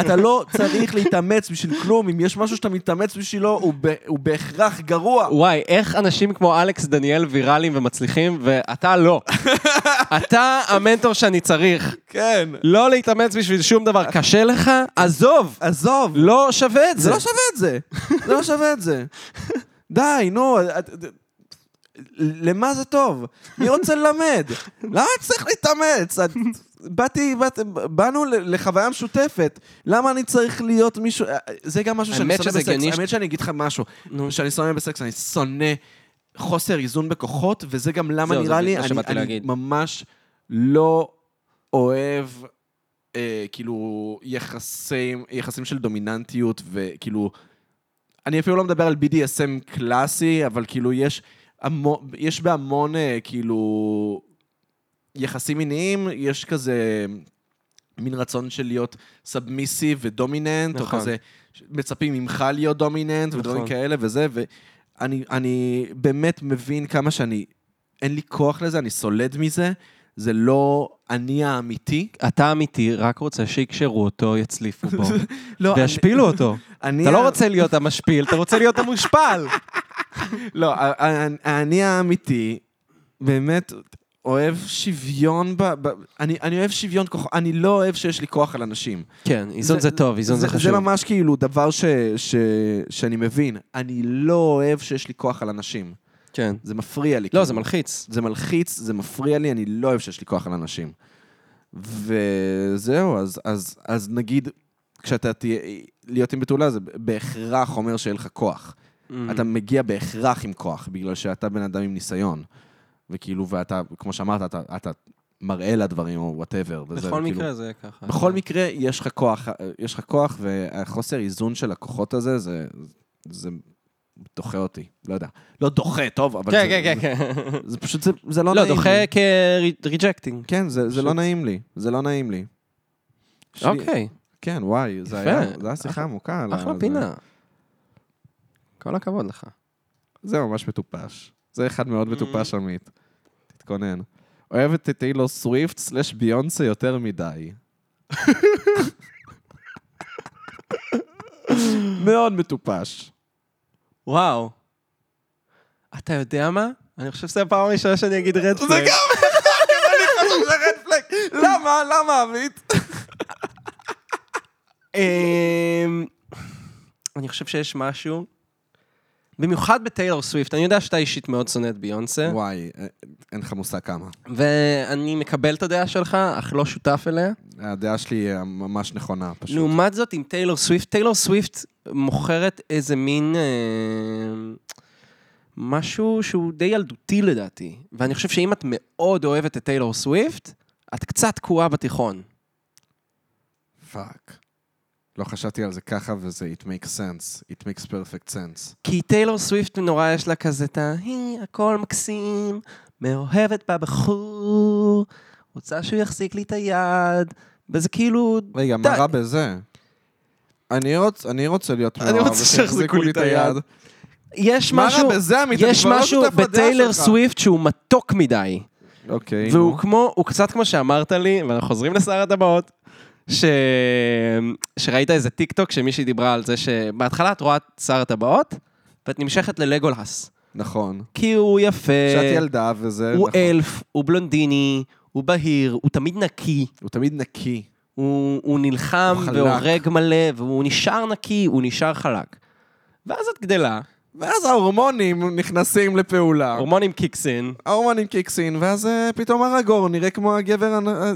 [SPEAKER 2] אתה לא צריך להתאמץ בשביל כלום. אם יש משהו שאתה מתאמץ בשבילו, הוא ב- הוא בהכרח גרוע.
[SPEAKER 3] וואי, איך אנשים כמו אלכס דניאל ויראליים ומצליחים, ואתה לא. אתה המנטור שאני צריך.
[SPEAKER 2] כן.
[SPEAKER 3] לא להתאמץ בשביל שום דבר. קשה לך? עזוב.
[SPEAKER 2] עזוב,
[SPEAKER 3] לא שווה את
[SPEAKER 2] זה
[SPEAKER 3] זה.
[SPEAKER 2] לא שווה את זה. זה לא שווה את זה. די, נו. את- את- למה זה טוב? מי רוצה ללמד? למה אני צריך להתאמץ? את- באתי, באת- באנו ל- לחוויה משותפת. למה אני צריך להיות מישהו... אה, זה גם משהו שאני
[SPEAKER 3] האמת
[SPEAKER 2] שונא
[SPEAKER 3] שזה
[SPEAKER 2] בסקס.
[SPEAKER 3] הגיוני ש-
[SPEAKER 2] האמת שאני אגיד לך משהו. שאני שונא בסקס, אני שונא חוסר איזון בכוחות, וזה גם למה
[SPEAKER 3] זהו, זה
[SPEAKER 2] נראה לי,
[SPEAKER 3] מה
[SPEAKER 2] אני-
[SPEAKER 3] שבאתי
[SPEAKER 2] אני
[SPEAKER 3] להגיד.
[SPEAKER 2] ממש לא אוהב, אה, כאילו, יחסים, יחסים של דומיננטיות, וכאילו, אני אפילו לא מדבר על BDSM קלאסי, אבל כאילו, יש המון, יש בהמון, אה, כאילו, יחסים מיניים, יש כזה... מין רצון של להיות סאבמיסיב ודומיננט,
[SPEAKER 3] נכון.
[SPEAKER 2] או כזה מצפים ממך להיות דומיננט, ודברים
[SPEAKER 3] נכון.
[SPEAKER 2] כאלה וזה, ואני אני באמת מבין כמה שאני, אין לי כוח לזה, אני סולד מזה, זה לא אני האמיתי.
[SPEAKER 3] אתה אמיתי, רק רוצה שיקשרו אותו, יצליפו בו,
[SPEAKER 2] לא,
[SPEAKER 3] וישפילו אותו.
[SPEAKER 2] אני,
[SPEAKER 3] אתה לא רוצה להיות המשפיל, אתה רוצה להיות המושפל.
[SPEAKER 2] לא, ה- ה- האני האמיתי, באמת... אוהב שוויון, ב, ב, אני, אני אוהב שוויון כוח, אני לא אוהב שיש לי כוח על אנשים.
[SPEAKER 3] כן, איזון זה טוב, איזון זה
[SPEAKER 2] זה
[SPEAKER 3] חשוב.
[SPEAKER 2] ממש כאילו דבר ש, ש, שאני מבין. אני לא אוהב שיש לי כוח על אנשים.
[SPEAKER 3] כן.
[SPEAKER 2] זה מפריע לי.
[SPEAKER 3] לא,
[SPEAKER 2] כאילו.
[SPEAKER 3] זה מלחיץ.
[SPEAKER 2] זה מלחיץ, זה מפריע לי, אני לא אוהב שיש לי כוח על אנשים. וזהו, אז, אז, אז נגיד, כשאתה תהיה, להיות עם בתולה, זה בהכרח אומר שאין לך כוח.
[SPEAKER 3] Mm.
[SPEAKER 2] אתה מגיע בהכרח עם כוח, בגלל שאתה בן אדם עם ניסיון. וכאילו, ואתה, כמו שאמרת, אתה, אתה מראה לה דברים או וואטאבר.
[SPEAKER 3] בכל מקרה זה ככה.
[SPEAKER 2] כאילו- בכל מקרה, יש לך כוח, יש לך כוח, והחוסר איזון של הכוחות הזה, זה, זה דוחה אותי. לא יודע. לא דוחה, טוב, אבל...
[SPEAKER 3] כן,
[SPEAKER 2] זה,
[SPEAKER 3] כן, כן, כן.
[SPEAKER 2] זה פשוט, זה, זה לא,
[SPEAKER 3] לא,
[SPEAKER 2] נעים. לי.
[SPEAKER 3] דוחה כריג'קטינג.
[SPEAKER 2] כן, זה, זה
[SPEAKER 3] פשוט.
[SPEAKER 2] לא נעים לי. זה לא נעים לי. יש לי-
[SPEAKER 3] אוקיי,
[SPEAKER 2] כן, וואי, זה
[SPEAKER 3] יפה.
[SPEAKER 2] היה, זה היה שיחה
[SPEAKER 3] אחלה-
[SPEAKER 2] עמוקה. על ה-
[SPEAKER 3] אחלה
[SPEAKER 2] זה-
[SPEAKER 3] פינה. כל הכבוד לך.
[SPEAKER 2] זה ממש מטופש. זה אחד מאוד
[SPEAKER 3] Mm.
[SPEAKER 2] מטופש, עמית. תתכונן. אוהבת את טיילור סוויפט סלש ביונסה יותר מדי. מאוד מטופש.
[SPEAKER 3] וואו. אתה יודע מה? אני חושב שזו הפעם הראשונה שאני אגיד רד פלג.
[SPEAKER 2] למה? למה, עמית?
[SPEAKER 3] אמ, אני חושב שיש משהו, במיוחד בטיילור סוויפט, אני יודע שאתה אישית מאוד שונא את ביונסה,
[SPEAKER 2] וואי, אה, אין לך מושג כמה.
[SPEAKER 3] ואני מקבל את הדעה שלך, אך לא שותף אליה.
[SPEAKER 2] הדעה שלי היא ממש נכונה, פשוט.
[SPEAKER 3] לעומת זאת, עם טיילור סוויפט, טיילור סוויפט מוכרת איזה מין... אמ, משהו שהוא די ילדותי לדעתי, ואני חושב שאם את מאוד אוהבת את טיילור סוויפט, את קצת תקועה בתיכון.
[SPEAKER 2] פאק. לא חשבתי על זה ככה, וזה it makes sense. it makes perfect sense.
[SPEAKER 3] כי טיילור סוויפט נורא יש לה כזה את ה... "היא, הכל מקסים, מאוהבת בבחור, רוצה שהוא יחזיק לי את היד, וזה כאילו...
[SPEAKER 2] רגע, מה
[SPEAKER 3] די.
[SPEAKER 2] רע בזה? אני רוצ- אני רוצה להיות
[SPEAKER 3] אני רוצה שיחזיקו לי את היד. יש
[SPEAKER 2] מה
[SPEAKER 3] משהו...
[SPEAKER 2] רע בזה, עמית? אני
[SPEAKER 3] יש
[SPEAKER 2] כבר לא
[SPEAKER 3] משהו
[SPEAKER 2] שותף לדעה
[SPEAKER 3] בטיילור
[SPEAKER 2] שלך.
[SPEAKER 3] סוויפט שהוא מתוק מדי.
[SPEAKER 2] אוקיי.
[SPEAKER 3] והוא כמו, הוא קצת כמו שאמרת לי, ואנחנו חוזרים לשר הטבעות, ש... שראית איזה טיק טוק שמישהי דיברה על זה שבהתחלה את רואה את שר הטבעות, ואת נמשכת ללגולס.
[SPEAKER 2] נכון.
[SPEAKER 3] כי הוא יפה,
[SPEAKER 2] שאת ילדה וזה...
[SPEAKER 3] אה, הוא
[SPEAKER 2] נכון.
[SPEAKER 3] אלף, הוא בלונדיני, הוא בהיר, הוא תמיד נקי.
[SPEAKER 2] הוא תמיד נקי.
[SPEAKER 3] הוא, הוא נלחם
[SPEAKER 2] הוא חלק.
[SPEAKER 3] והורג מלא, והוא נשאר נקי, הוא נשאר חלק. ואז את גדלה,
[SPEAKER 2] ואז ההורמונים נכנסים לפעולה.
[SPEAKER 3] הורמונים קיקסין,
[SPEAKER 2] ההורמונים קיקסין, ואז אה, פתאום ארגורן נראה כמו הגבר... הנ- אה,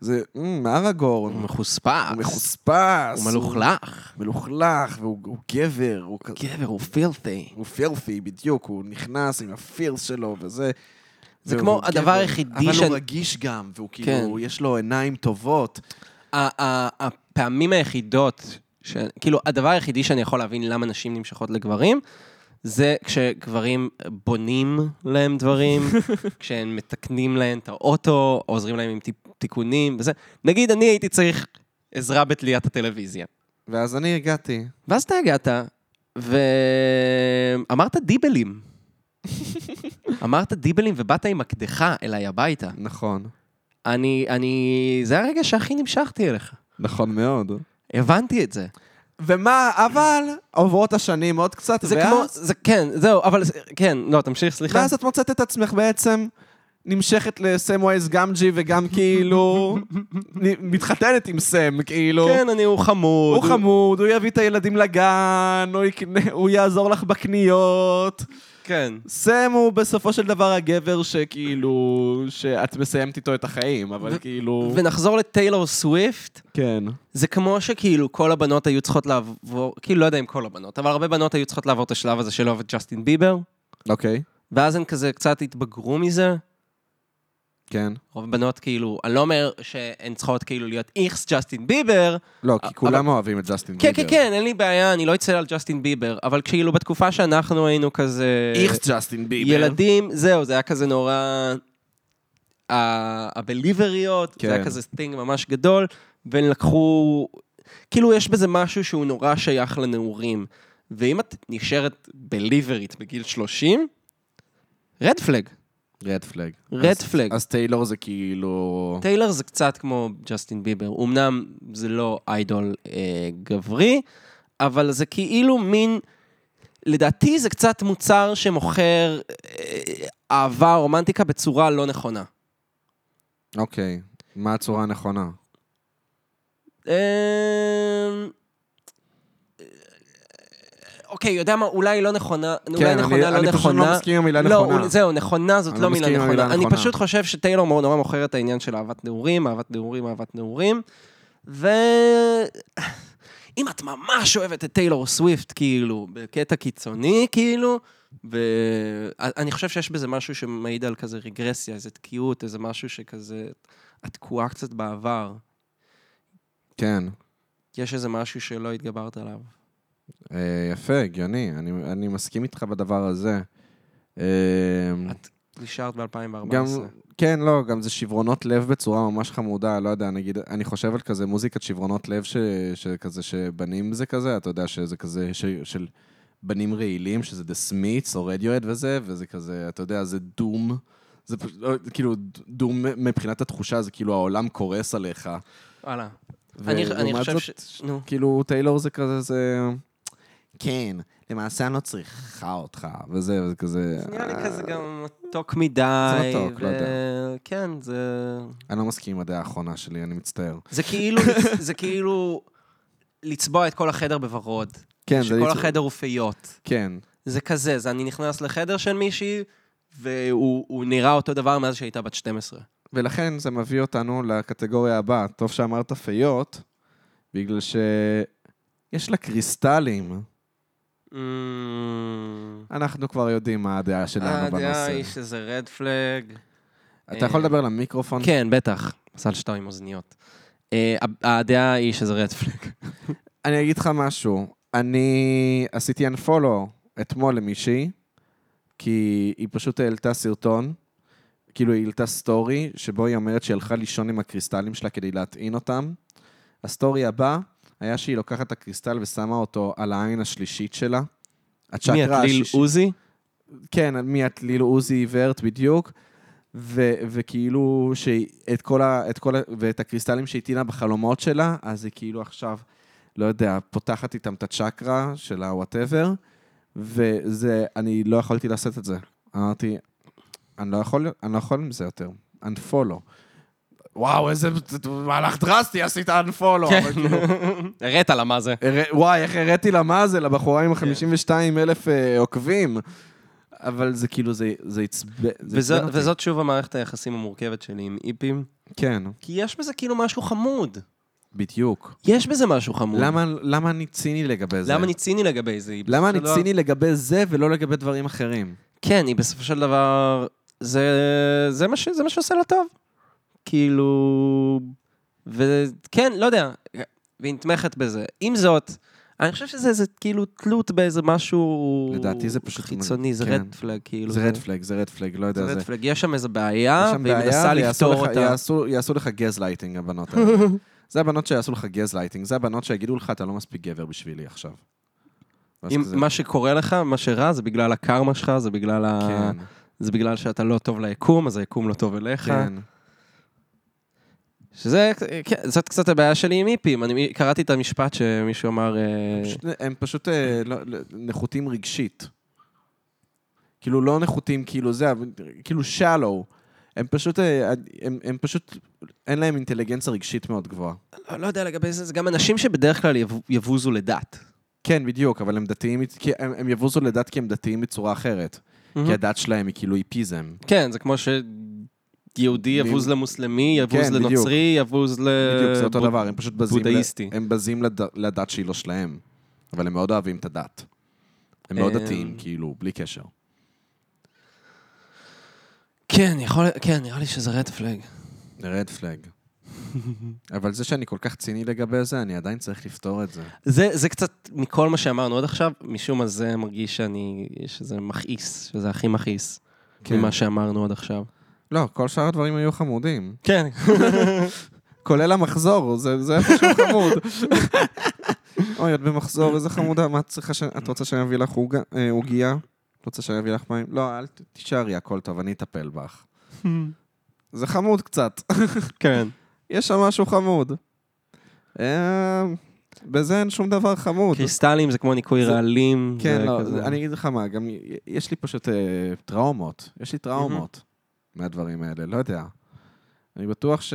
[SPEAKER 2] זה "אמ, ארגורן.
[SPEAKER 3] הוא מחוספס,
[SPEAKER 2] הוא מחוספס.
[SPEAKER 3] אה, הוא מלוכלך,
[SPEAKER 2] מלוכלך, והוא הוא גבר. הוא כזה...
[SPEAKER 3] גבר, הוא פילתי.
[SPEAKER 2] הוא פילפי בדיוק, הוא נכנס עם הפילס שלו וזה.
[SPEAKER 3] זה
[SPEAKER 2] והוא
[SPEAKER 3] כמו
[SPEAKER 2] גבר.
[SPEAKER 3] הדבר היחידי
[SPEAKER 2] אבל
[SPEAKER 3] שאני-
[SPEAKER 2] הוא רגיש גם, והוא
[SPEAKER 3] כן.
[SPEAKER 2] כאילו, יש לו עיניים טובות.
[SPEAKER 3] ה- ה- הפעמים היחידות, ש... כאילו, הדבר היחידי שאני יכול להבין למה נשים נמשכות לגברים, זה כשגברים בונים להם דברים, כשהם מתקנים להם את האוטו, עוזרים להם עם טיפ- תיקונים וזה. נגיד, אני הייתי צריך עזרה בתליית הטלוויזיה.
[SPEAKER 2] ואז אני הגעתי.
[SPEAKER 3] ואז אתה הגעת, ואמרת דיבלים. אמרת דיבלים ובאת עם הקדחה אליי הביתה.
[SPEAKER 2] נכון.
[SPEAKER 3] אני, אני, זה הרגע שהכי נמשכתי אליך.
[SPEAKER 2] נכון מאוד.
[SPEAKER 3] הבנתי את זה.
[SPEAKER 2] ומה, אבל עוברות השנים עוד קצת,
[SPEAKER 3] זה
[SPEAKER 2] ואז,
[SPEAKER 3] כמו, זה כן, זהו, אבל זה- כן, לא, תמשיך, סליחה.
[SPEAKER 2] ואז את מוצאת את עצמך בעצם נמשכת לסמווייז גמג'י וגם כאילו נ- מתחתנת עם סם, כאילו.
[SPEAKER 3] כן, אני, הוא חמוד.
[SPEAKER 2] הוא חמוד, הוא יביא את הילדים לגן, הוא יקנה- הוא יעזור לך בקניות.
[SPEAKER 3] כן.
[SPEAKER 2] סם הוא בסופו של דבר הגבר שכאילו, שאת מסיימת איתו את החיים, אבל
[SPEAKER 3] ו-
[SPEAKER 2] כאילו...
[SPEAKER 3] ונחזור לטיילור סוויפט,
[SPEAKER 2] כן.
[SPEAKER 3] זה כמו שכאילו כל הבנות היו צריכות לעבור, כאילו, לא יודע אם כל הבנות, אבל הרבה בנות היו צריכות לעבור את השלב הזה של אוהב את ג'סטין ביבר,
[SPEAKER 2] אוקיי.
[SPEAKER 3] ואז הן כזה קצת התבגרו מזה.
[SPEAKER 2] כן.
[SPEAKER 3] רוב הבנות כאילו, אני לא אומר שהן צריכות כאילו להיות איכס ג'סטין ביבר,
[SPEAKER 2] לא,
[SPEAKER 3] כי כולם אבל-
[SPEAKER 2] אוהבים את ג'סטין
[SPEAKER 3] כן, כן, כן, אין לי בעיה, אני לא אצל על ג'סטין ביבר, אבל כאילו בתקופה שאנחנו היינו כזה...
[SPEAKER 2] איכס ג'סטין ביבר.
[SPEAKER 3] ילדים, זהו, זה היה כזה נורא... ה- הבליבריות,
[SPEAKER 2] כן.
[SPEAKER 3] זה היה כזה סטינג ממש גדול, והם לקחו... כאילו, יש בזה משהו שהוא נורא שייך לנעורים. ואם את נשארת בליברית בגיל 30, רד פלג,
[SPEAKER 2] רד פלג.
[SPEAKER 3] רד פלג.
[SPEAKER 2] אז טיילור זה כאילו...
[SPEAKER 3] טיילר זה קצת כמו ג'סטין ביבר. אמנם זה לא איידול אה, גברי, אבל זה כאילו מין... לדעתי זה קצת מוצר שמוכר אה, אהבה, רומנטיקה, בצורה לא נכונה.
[SPEAKER 2] אוקיי. מה הצורה הנכונה?
[SPEAKER 3] אה, אוקיי, יודע מה? אולי לא נכונה, אולי
[SPEAKER 2] כן,
[SPEAKER 3] נכונה,
[SPEAKER 2] אני
[SPEAKER 3] לא
[SPEAKER 2] אני פשוט לא
[SPEAKER 3] נכונה.
[SPEAKER 2] מסכים עם המילה
[SPEAKER 3] לא,
[SPEAKER 2] נכונה.
[SPEAKER 3] הוא- זהו, נכונה זאת
[SPEAKER 2] אני
[SPEAKER 3] לא
[SPEAKER 2] לא
[SPEAKER 3] מילה
[SPEAKER 2] מסכים עם המילה
[SPEAKER 3] נכונה. אני
[SPEAKER 2] נכונה.
[SPEAKER 3] פשוט חושב שטיילור מאוד נורא מוכר את העניין של אהבת נעורים, אהבת נעורים, אהבת נעורים. ו... אם את ממש אוהבת את טיילור סוויפט, כאילו, בקטע קיצוני, כאילו, ואני חושב שיש בזה משהו שמעיד על כזה רגרסיה, איזה תקיעות, איזה משהו שכזה... את תקועה קצת בעבר.
[SPEAKER 2] כן.
[SPEAKER 3] יש איזה משהו שלא התגברת עליו.
[SPEAKER 2] אה, יפה, הגיוני. אני- אני מסכים איתך בדבר הזה. אה,
[SPEAKER 3] את נשארת ב-2014.
[SPEAKER 2] גם, כן, לא, גם זה שברונות לב בצורה ממש חמודה, לא יודע, נגיד, אני חושב על כזה מוזיקת שברונות לב ש, שכזה, שבנים זה כזה, אתה יודע שזה כזה ש, של בנים רעילים, שזה The Smiths או רדיואד וזה, וזה כזה, אתה יודע, זה דום. זה פשוט, לא, כאילו, דום מבחינת התחושה, זה כאילו העולם קורס עליך.
[SPEAKER 3] וואלה. אני- אני
[SPEAKER 2] ולעומת
[SPEAKER 3] חושב
[SPEAKER 2] זאת,
[SPEAKER 3] ש... נו.
[SPEAKER 2] כאילו, טיילור זה כזה, זה... כן, למעשה אני לא צריכה אותך, וזה, וזה כזה...
[SPEAKER 3] זה נראה לי
[SPEAKER 2] "אה,
[SPEAKER 3] כזה גם מתוק מדי.
[SPEAKER 2] זה מתוק, לא
[SPEAKER 3] ו-
[SPEAKER 2] יודע.
[SPEAKER 3] כן, זה...
[SPEAKER 2] אני לא מסכים עם הדעה האחרונה שלי, אני מצטער.
[SPEAKER 3] זה כאילו, זה כאילו לצבוע את כל החדר בוורוד.
[SPEAKER 2] כן, זה...
[SPEAKER 3] שכל
[SPEAKER 2] ליצור-
[SPEAKER 3] החדר הוא פיות.
[SPEAKER 2] כן.
[SPEAKER 3] זה כזה, זה אני נכנס לחדר של מישהי, והוא הוא נראה אותו דבר מאז שהייתה בת 12.
[SPEAKER 2] ולכן זה מביא אותנו לקטגוריה הבאה. טוב שאמרת פיות, בגלל שיש לה קריסטלים.
[SPEAKER 3] Mm.
[SPEAKER 2] אנחנו כבר יודעים מה הדעה שלנו
[SPEAKER 3] הדעה
[SPEAKER 2] בנושא.
[SPEAKER 3] היא אה, שזה רד פלג.
[SPEAKER 2] אתה יכול לדבר למיקרופון?
[SPEAKER 3] כן, בטח. מזל שאתה עם אוזניות. אה, ה- הדעה היא שזה רד פלג.
[SPEAKER 2] אני אגיד לך משהו. אני עשיתי unfollow אתמול למישהי, כי היא פשוט העלתה סרטון, כאילו היא העלתה סטורי, שבו היא אומרת שהיא הלכה לישון עם הקריסטלים שלה כדי להטעין אותם. הסטורי הבא היה שהיא לוקחת את הקריסטל ושמה אותו על העין השלישית שלה.
[SPEAKER 3] מי,
[SPEAKER 2] הצ'קרה
[SPEAKER 3] הטליל
[SPEAKER 2] השישית.
[SPEAKER 3] עוזי?
[SPEAKER 2] כן, מי את ליל עוזי ורט בדיוק. ו- וכאילו, שאת כל ה... את כל ה... ואת הקריסטלים שהיא הטילה בחלומות שלה, אז היא כאילו עכשיו, לא יודע, פותחת איתם את הצ'קרה של הוואטאבר, וזה, אני לא יכולתי לעשות את זה. אמרתי, אני לא יכול, אני לא יכול עם זה יותר. unfollow. וואו, איזה מהלך דרסטי עשית unfollow. אבל כאילו,
[SPEAKER 3] הראת כן. לה מה זה.
[SPEAKER 2] הרא- וואי, איך הראתי לה מה זה, לבחורה עם 52 אלף אה, עוקבים. אבל זה כאילו, זה זה עצבן זה
[SPEAKER 3] וזו-
[SPEAKER 2] עצבן אותי.
[SPEAKER 3] וזאת שוב המערכת היחסים המורכבת שלי עם איפים.
[SPEAKER 2] כן,
[SPEAKER 3] כי יש בזה כאילו משהו חמוד.
[SPEAKER 2] בדיוק.
[SPEAKER 3] יש בזה משהו חמוד.
[SPEAKER 2] למה, למה אני ציני לגבי זה?
[SPEAKER 3] למה אני ציני לגבי זה? היא
[SPEAKER 2] למה אני
[SPEAKER 3] בסופו של דבר-
[SPEAKER 2] ציני לגבי זה ולא לגבי דברים אחרים?
[SPEAKER 3] כן, היא בסופו של דבר... זה, זה, מה, ש, זה מה שעושה לה טוב. כאילו... וכן, לא יודע, והיא נתמכת בזה. עם זאת, אני חושב שזה איזה כאילו תלות באיזה משהו...
[SPEAKER 2] לדעתי זה פשוט-
[SPEAKER 3] חיצוני, זה
[SPEAKER 2] כן.
[SPEAKER 3] כן. רדפלג, כאילו.
[SPEAKER 2] זה רד פלג, זה רד פלג, לא יודע
[SPEAKER 3] זה
[SPEAKER 2] זה.
[SPEAKER 3] רד פלג. יש שם איזה בעיה,
[SPEAKER 2] יש שם
[SPEAKER 3] והיא
[SPEAKER 2] בעיה,
[SPEAKER 3] מנסה
[SPEAKER 2] ויעשו
[SPEAKER 3] לפתור
[SPEAKER 2] לך-
[SPEAKER 3] אותה.
[SPEAKER 2] יעשו- יעשו לך גז לייטינג, הבנות האלה. זה הבנות שיעשו לך גז לייטינג, זה הבנות שיגידו לך, אתה לא מספיק גבר בשבילי עכשיו. ואז
[SPEAKER 3] אם
[SPEAKER 2] כזה,
[SPEAKER 3] מה שקורה לך, מה שרע, זה בגלל הקרמה שלך, זה בגלל, ה...
[SPEAKER 2] כן,
[SPEAKER 3] זה בגלל שאתה לא טוב ליקום, אז היקום לא טוב אליך.
[SPEAKER 2] כן.
[SPEAKER 3] שזה, כן, זאת קצת הבעיה שלי עם היפים. אני קראתי את המשפט שמישהו אמר... אה,
[SPEAKER 2] פשוט- הם פשוט אה, לא- לא- נחותים רגשית. כאילו, לא נחותים, כאילו זה, אבל כאילו shallow. הם פשוט, אה, הם הם פשוט, אין להם אינטליגנציה רגשית מאוד גבוהה.
[SPEAKER 3] לא, לא יודע לגבי זה, זה גם אנשים שבדרך כלל יבו- יבוזו לדת.
[SPEAKER 2] כן, בדיוק, אבל הם דתיים, כי הם, הם יבוזו לדת כי הם דתיים בצורה אחרת. כי הדת שלהם היא כאילו היפיזם.
[SPEAKER 3] כן, זה כמו שיהודי יבוז למוסלמי, יבוז
[SPEAKER 2] כן, בדיוק.
[SPEAKER 3] לנוצרי, יבוז ל...
[SPEAKER 2] בדיוק, זה אותו דבר, הם פשוט בזים,
[SPEAKER 3] אה, בודהיסטי.
[SPEAKER 2] הם בזים לד, לדת שהיא לא שלהם. אבל הם מאוד אוהבים את הדת. הם מאוד
[SPEAKER 3] אמ,
[SPEAKER 2] דתיים, כאילו, בלי קשר.
[SPEAKER 3] כן, יכול... כן, נראה לי שזה רד פלג.
[SPEAKER 2] רד פלג. אבל זה שאני כל כך ציני לגבי זה, אני עדיין צריך לפתור את זה.
[SPEAKER 3] זה, זה קצת מכל מה שאמרנו עד עכשיו, משום מה זה מרגיש שאני... שזה מכעיס, שזה הכי מכעיס.
[SPEAKER 2] כן.
[SPEAKER 3] ממה שאמרנו עד עכשיו.
[SPEAKER 2] לא, כל שאר הדברים היו חמודים.
[SPEAKER 3] כן.
[SPEAKER 2] כולל המחזור, זה זה היה פשוט חמוד. אוי, את במחזור, איזה חמודה, מה את צריכה ש... את רוצה שאני אביא לך עוגה- אה, עוגיה? את רוצה שאני אביא לך מים? לא, אל ת- תישארי, הכל טוב, אני אטפל בך. זה חמוד קצת,
[SPEAKER 3] כן.
[SPEAKER 2] יש שם משהו חמוד. אה, בזה אין שום דבר
[SPEAKER 3] כן.
[SPEAKER 2] חמוד.
[SPEAKER 3] קריסטלים זה כמו ניקוי
[SPEAKER 2] זה-
[SPEAKER 3] רעלים.
[SPEAKER 2] כן,
[SPEAKER 3] זה
[SPEAKER 2] לא,
[SPEAKER 3] כזה-
[SPEAKER 2] זה- אני אגיד לך מה, גם י- יש לי פשוט אה, טראומות. יש לי טראומות מהדברים האלה, לא יודע. אני בטוח ש...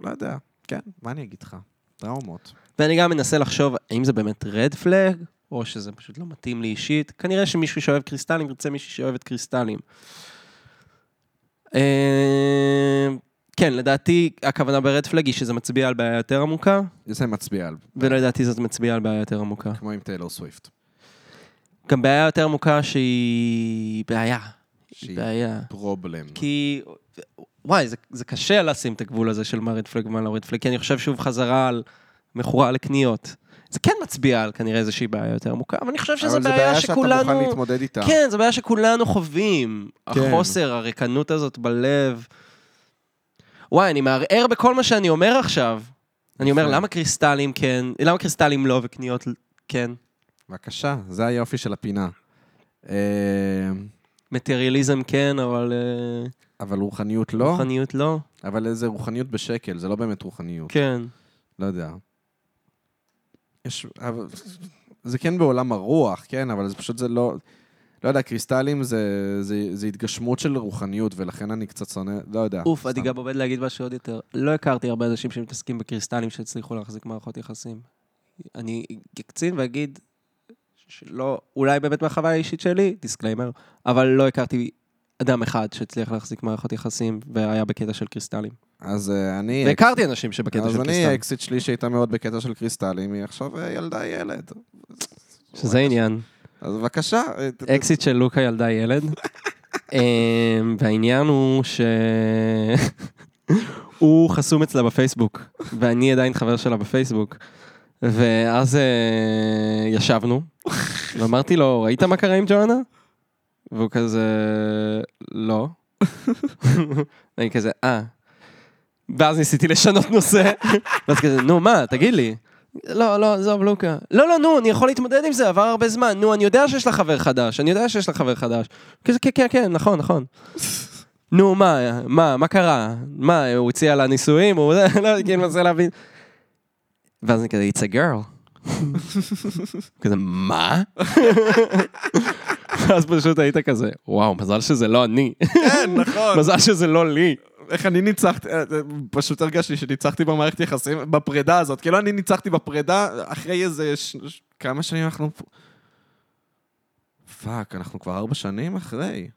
[SPEAKER 2] לא יודע, כן, מה אני אגיד לך? טראומות.
[SPEAKER 3] ואני גם מנסה לחשוב, האם זה באמת רד פלג, או שזה פשוט לא מתאים לי אישית. כנראה שמישהו שאוהב קריסטלים ירצה מישהי שאוהבת קריסטלים. אה, כן, לדעתי הכוונה ברד פלג היא שזה מצביע על בעיה יותר עמוקה,
[SPEAKER 2] זה מצביע על...
[SPEAKER 3] ולדעתי זאת מצביעה על בעיה יותר עמוקה.
[SPEAKER 2] כמו עם טיילור סוויפט.
[SPEAKER 3] גם בעיה יותר עמוקה שהיא בעיה.
[SPEAKER 2] שהיא
[SPEAKER 3] שהיא בעיה.
[SPEAKER 2] פרובלם.
[SPEAKER 3] כי, וואי, זה, זה קשה לשים את הגבול הזה של מה רד פלג ומה לא רד פלג, כי אני חושב שוב חזרה על מכורה לקניות. זה כן מצביע על כנראה איזושהי בעיה יותר עמוקה, אבל אני חושב שזו
[SPEAKER 2] אבל זו
[SPEAKER 3] בעיה,
[SPEAKER 2] בעיה שאתה
[SPEAKER 3] שכולנו...
[SPEAKER 2] מוכן להתמודד איתה.
[SPEAKER 3] כן, זו בעיה שכולנו חווים.
[SPEAKER 2] כן.
[SPEAKER 3] החוסר, הריקנות הזאת בלב. וואי, אני מערער בכל מה שאני אומר עכשיו. אני אומר,
[SPEAKER 2] יפה.
[SPEAKER 3] למה קריסטלים כן, למה קריסטלים לא וקניות ל- כן?
[SPEAKER 2] בבקשה, זה היופי של הפינה. אה,
[SPEAKER 3] מטריאליזם כן, אבל אה,
[SPEAKER 2] אבל רוחניות לא?
[SPEAKER 3] רוחניות לא?
[SPEAKER 2] אבל איזה רוחניות בשקל, זה לא באמת רוחניות.
[SPEAKER 3] כן.
[SPEAKER 2] לא יודע. יש... אבל- זה כן בעולם הרוח, כן, אבל זה פשוט זה לא... לא יודע, קריסטלים זה, זה, זה התגשמות של רוחניות, ולכן אני קצת שונא, לא יודע.
[SPEAKER 3] אוף,
[SPEAKER 2] סתם.
[SPEAKER 3] אני גם עומד להגיד משהו עוד יותר. לא הכרתי הרבה אנשים שמתעסקים בקריסטלים שהצליחו להחזיק מערכות יחסים. אני אקצין ואגיד שלא, אולי באמת מהחוויה האישית שלי, דיסקליימר, אבל לא הכרתי אדם אחד שהצליח להחזיק מערכות יחסים והיה בקטע של קריסטלים.
[SPEAKER 2] אז אה, אני...
[SPEAKER 3] והכרתי אנשים שבקטע
[SPEAKER 2] אז
[SPEAKER 3] של
[SPEAKER 2] אני,
[SPEAKER 3] קריסטלים.
[SPEAKER 2] האקסיט שלי שהייתה מאוד בקטע של קריסטלים, היא עכשיו אה, ילדה ילד.
[SPEAKER 3] שזה עניין.
[SPEAKER 2] אז בבקשה. אה, ת- ת-
[SPEAKER 3] אקזיט של לוקה ילדה ילד. אמ, והעניין הוא ש... הוא חסום אצלה בפייסבוק, ואני עדיין חבר שלה בפייסבוק. ואז אה, ישבנו, ואמרתי לו, ראית מה קרה עם ג'ואנה? והוא כזה, לא. אני כזה, אה. ואז ניסיתי לשנות נושא, ואז כזה, נו מה, תגיד לי. לא, לא, עזוב, לוקה. לא, לא, נו, אני יכול להתמודד עם זה, עבר הרבה זמן. נו, אני יודע שיש לך חבר חדש, אני יודע שיש לך חבר חדש. כזה, כן, כן, כן, נכון, נכון. כן, נו, מה, מה, מה קרה? מה, הוא הציע לה נישואים? הוא לא, כאילו, מנסה להבין. ואז אני כזה, it's a girl. כזה, מה? ואז פשוט היית כזה, וואו, מזל שזה לא אני.
[SPEAKER 2] כן, נכון.
[SPEAKER 3] מזל שזה לא לי.
[SPEAKER 2] איך אני ניצחתי, אה, אה, פשוט הרגשתי שניצחתי במערכת יחסים, בפרידה הזאת. כאילו אני ניצחתי בפרידה אחרי איזה... ש... ש- כמה שנים אנחנו... פה? פאק, אנחנו כבר ארבע שנים אחרי.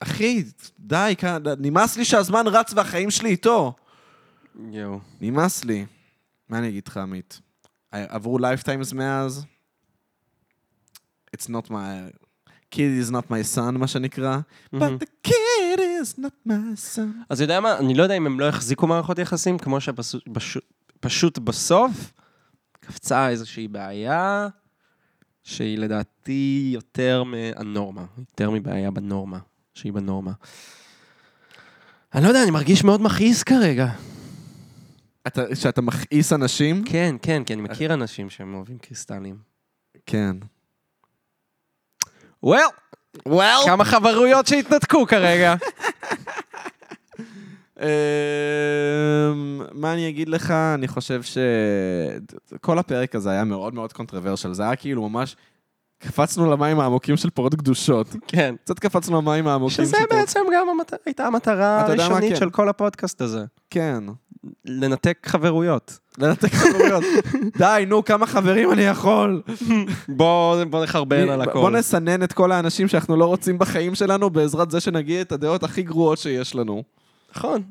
[SPEAKER 2] אחי, די, כאן, נמאס לי שהזמן רץ והחיים שלי איתו.
[SPEAKER 3] יואו.
[SPEAKER 2] נמאס לי. מה אני אגיד לך, עמית? עברו לייפטיימס מאז? It's not my... kid is not my son, מה שנקרא. But the kid is not my son.
[SPEAKER 3] אז אתה יודע מה, אני לא יודע אם הם לא החזיקו מערכות יחסים, כמו שפשוט בסוף קפצה איזושהי בעיה, שהיא לדעתי יותר מהנורמה, יותר מבעיה בנורמה, שהיא בנורמה. אני לא יודע, אני מרגיש מאוד מכעיס כרגע.
[SPEAKER 2] אתה, שאתה מכעיס אנשים?
[SPEAKER 3] כן, כן, כי אני מכיר אנשים שהם אוהבים קריסטלים.
[SPEAKER 2] כן.
[SPEAKER 3] וול,
[SPEAKER 2] וואו!
[SPEAKER 3] כמה חברויות שהתנתקו כרגע.
[SPEAKER 2] אמ, מה אני אגיד לך? אני חושב ש... כל הפרק הזה היה מאוד מאוד קונטרוורשל. זה היה כאילו ממש... קפצנו למים העמוקים של פרות קדושות.
[SPEAKER 3] כן.
[SPEAKER 2] קצת קפצנו למים העמוקים של
[SPEAKER 3] שזה
[SPEAKER 2] פרות...
[SPEAKER 3] בעצם גם המת- הייתה המטרה
[SPEAKER 2] אתה יודע מה,
[SPEAKER 3] הראשונית
[SPEAKER 2] כן.
[SPEAKER 3] של כל הפודקאסט הזה.
[SPEAKER 2] כן.
[SPEAKER 3] לנתק חברויות.
[SPEAKER 2] לנתק חברויות. די, נו, כמה חברים אני יכול?
[SPEAKER 3] בוא, בוא נחרבן על הכל.
[SPEAKER 2] בוא נסנן את כל האנשים שאנחנו לא רוצים בחיים שלנו בעזרת זה שנגיע את הדעות הכי גרועות שיש לנו.
[SPEAKER 3] נכון.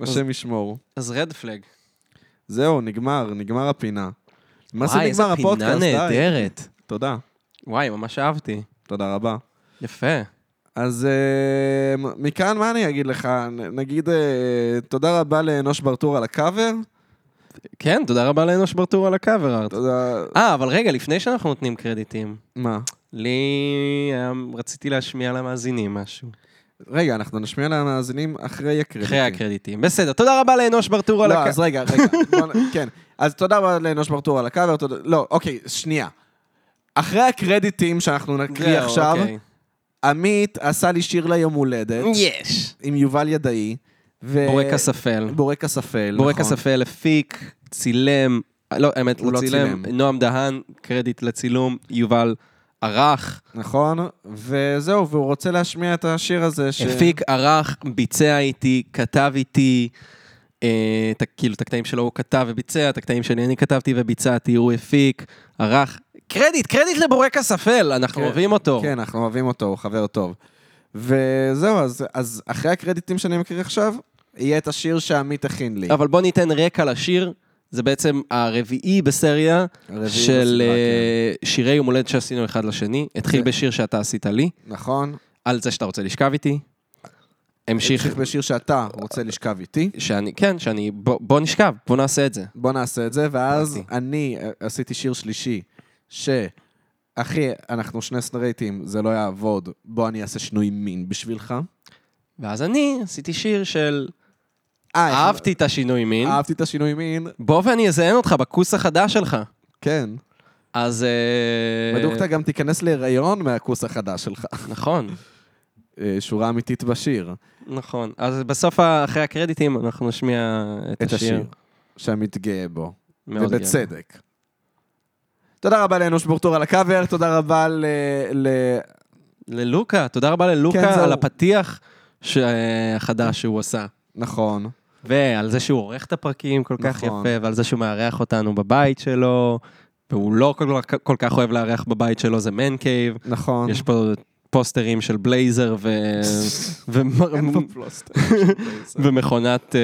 [SPEAKER 2] השם ישמור.
[SPEAKER 3] אז רד פלג.
[SPEAKER 2] זהו, נגמר, נגמר הפינה. מה זה נגמר
[SPEAKER 3] וואי,
[SPEAKER 2] הפודקאסט?
[SPEAKER 3] איזה פינה
[SPEAKER 2] די.
[SPEAKER 3] נהדרת.
[SPEAKER 2] תודה,
[SPEAKER 3] וואי, ממש אהבתי.
[SPEAKER 2] תודה רבה.
[SPEAKER 3] יפה.
[SPEAKER 2] אז אה, מ- מכאן, מה אני אגיד לך? נ- נגיד אה, תודה רבה לאנוש ברטור על הקאבר.
[SPEAKER 3] כן, תודה רבה לאנוש ברטור על הקאבר ארט.
[SPEAKER 2] תודה...
[SPEAKER 3] אה, אבל רגע, לפני שאנחנו נותנים קרדיטים,
[SPEAKER 2] מה?
[SPEAKER 3] לי היה- רציתי להשמיע למאזינים משהו. כן.
[SPEAKER 2] רגע, אנחנו נשמיע למאזינים אחרי הקרדיטים.
[SPEAKER 3] אחרי הקרדיטים. בסדר, תודה רבה לאנוש ברטור על
[SPEAKER 2] לא, אז
[SPEAKER 3] הקאבר.
[SPEAKER 2] רגע, רגע. בוא נ- כן. אז תודה רבה לאנוש ברטור על הקאבר. תודה... לא, אוקיי, שנייה. אחרי הקרדיטים שאנחנו
[SPEAKER 3] אוקיי.
[SPEAKER 2] נקריא עכשיו, עמית עשה לי שיר ליום הולדת
[SPEAKER 3] יש.
[SPEAKER 2] עם יובל ידעי. ו-
[SPEAKER 3] בורק אספל.
[SPEAKER 2] בורק אספל.
[SPEAKER 3] נכון. בורק
[SPEAKER 2] אה, נכון.
[SPEAKER 3] אספל הפיק, צילם, לא, האמת,
[SPEAKER 2] הוא
[SPEAKER 3] לא
[SPEAKER 2] לא
[SPEAKER 3] צילם,
[SPEAKER 2] צילם.
[SPEAKER 3] נועם דהן, קרדיט לצילום, יובל ערך,
[SPEAKER 2] נכון, וזהו, והוא רוצה להשמיע את השיר הזה. ש...
[SPEAKER 3] הפיק, ערך, ביצע איתי, כתב איתי, אה, את ה- כאילו, את הקטעים שלו הוא כתב וביצע, את הקטעים שלי אני כתבתי וביצעתי, הוא הפיק, ערך, קרדיט, קרדיט לבורק אספל, אנחנו
[SPEAKER 2] כן,
[SPEAKER 3] אוהבים אותו.
[SPEAKER 2] כן, אנחנו אוהבים אותו, הוא חבר טוב. וזהו, אז, אז אחרי הקרדיטים שאני מקריא עכשיו, יהיה את השיר שעמית הכין לי.
[SPEAKER 3] אבל בוא ניתן רקע לשיר, זה בעצם הרביעי בסריה
[SPEAKER 2] הרביעי
[SPEAKER 3] של
[SPEAKER 2] בסדרה,
[SPEAKER 3] אה, שירי יום הולדת שעשינו אחד לשני. התחיל
[SPEAKER 2] כן.
[SPEAKER 3] בשיר שאתה עשית לי.
[SPEAKER 2] נכון?
[SPEAKER 3] על זה שאתה רוצה לשכב איתי. המשיך
[SPEAKER 2] המשיך בשיר שאתה רוצה לשכב איתי.
[SPEAKER 3] שאני, כן, שאני, בוא, בוא נשכב, בוא נעשה את זה.
[SPEAKER 2] בוא נעשה את זה, ואז
[SPEAKER 3] הבנתי.
[SPEAKER 2] אני אה, עשיתי שיר שלישי, ש... אחי, אנחנו שני סטרייטים, זה לא יעבוד, בוא אני אעשה שינוי מין בשבילך.
[SPEAKER 3] ואז אני עשיתי שיר של
[SPEAKER 2] אה,
[SPEAKER 3] אהבתי את השינוי מין,
[SPEAKER 2] אהבתי את השינוי מין,
[SPEAKER 3] בוא ואני אזיין אותך בכוס החדש שלך.
[SPEAKER 2] כן.
[SPEAKER 3] אז... אה,
[SPEAKER 2] בדוק אתה גם תיכנס להיריון מהכוס החדש שלך.
[SPEAKER 3] נכון,
[SPEAKER 2] אה, שורה אמיתית בשיר.
[SPEAKER 3] נכון. אז בסוף, ה- אחרי הקרדיטים, אנחנו נשמיע את,
[SPEAKER 2] את השיר. שעמית גאה בו.
[SPEAKER 3] מאוד גאה.
[SPEAKER 2] ובצדק. תודה רבה לאנוש בורטור על הקאבר, תודה רבה ל... ל...
[SPEAKER 3] ללוקה, תודה רבה ללוקה
[SPEAKER 2] כן, זהו.
[SPEAKER 3] על הפתיח ש- החדש שהוא עשה.
[SPEAKER 2] נכון.
[SPEAKER 3] ועל זה שהוא עורך את הפרקים כל כך
[SPEAKER 2] נכון.
[SPEAKER 3] יפה, ועל זה שהוא מארח אותנו בבית שלו, והוא לא כל כך, כל כך אוהב לארח בבית שלו, זה מן קייב.
[SPEAKER 2] נכון.
[SPEAKER 3] יש פה אה, פוסטרים של בלייזר ו... ו...
[SPEAKER 2] אין פה פלוסטר.
[SPEAKER 3] ומכונת אה,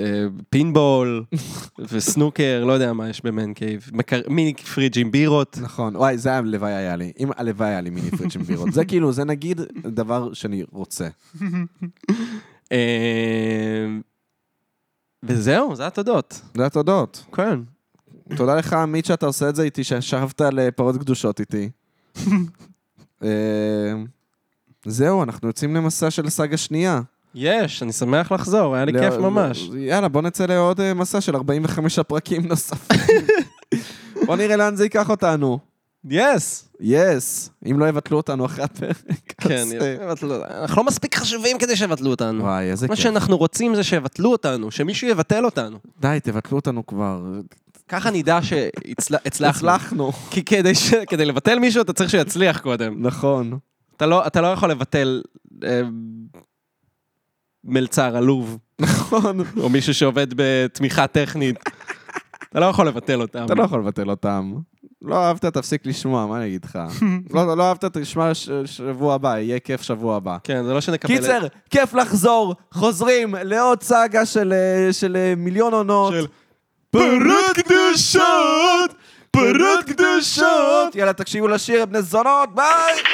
[SPEAKER 3] אה, פינבול וסנוקר, לא יודע מה יש במן קייב. מקר... מיני פריג' עם בירות.
[SPEAKER 2] נכון, וואי, זה הלוואי היה לי. אם הלוואי היה לי מיני פריץ' עם בירות. זה כאילו, זה נגיד דבר שאני רוצה.
[SPEAKER 3] אה, וזהו, זה התודות.
[SPEAKER 2] זה התודות.
[SPEAKER 3] כן.
[SPEAKER 2] תודה לך, עמית, שאתה עושה את זה איתי, שישבת לפרות קדושות איתי. אה, זהו, אנחנו יוצאים למסע של סאגה שנייה.
[SPEAKER 3] יש, אני שמח לחזור, היה לי
[SPEAKER 2] לא-
[SPEAKER 3] כיף ממש.
[SPEAKER 2] יאללה, בוא נצא לעוד אה, מסע של 45 פרקים נוספים. בוא נראה לאן זה ייקח אותנו.
[SPEAKER 3] יס.
[SPEAKER 2] יס, אם לא יבטלו אותנו אחרי הפרק.
[SPEAKER 3] כן,
[SPEAKER 2] אז, אה,
[SPEAKER 3] יבטלו. אנחנו לא מספיק חשובים כדי שיבטלו אותנו.
[SPEAKER 2] וואי, איזה
[SPEAKER 3] מה
[SPEAKER 2] כיף.
[SPEAKER 3] שאנחנו רוצים זה שיבטלו אותנו, שמישהו יבטל אותנו.
[SPEAKER 2] די, תבטלו אותנו כבר.
[SPEAKER 3] ככה נדע שהצלחנו.
[SPEAKER 2] הצלחנו.
[SPEAKER 3] כי כדי, ש... כדי לבטל מישהו אתה צריך שיצליח קודם.
[SPEAKER 2] נכון.
[SPEAKER 3] אתה לא, אתה לא יכול לבטל אה, מלצר עלוב,
[SPEAKER 2] נכון.
[SPEAKER 3] או מישהו שעובד בתמיכה טכנית. אתה לא יכול לבטל אותם.
[SPEAKER 2] אתה לא יכול לבטל אותם. לא אהבת, תפסיק לשמוע, מה אני אגיד לך? לא לא אהבת, תשמע ש- שבוע הבא, יהיה כיף שבוע הבא.
[SPEAKER 3] כן, זה לא שנקבל...
[SPEAKER 2] קיצר, כיף לחזור, חוזרים לעוד סאגה של, אה, של אה, מיליון עונות.
[SPEAKER 3] של-
[SPEAKER 2] פרות קדושות, פרות קדושות. יאללה, תקשיבו לשיר, בני זונות, ביי!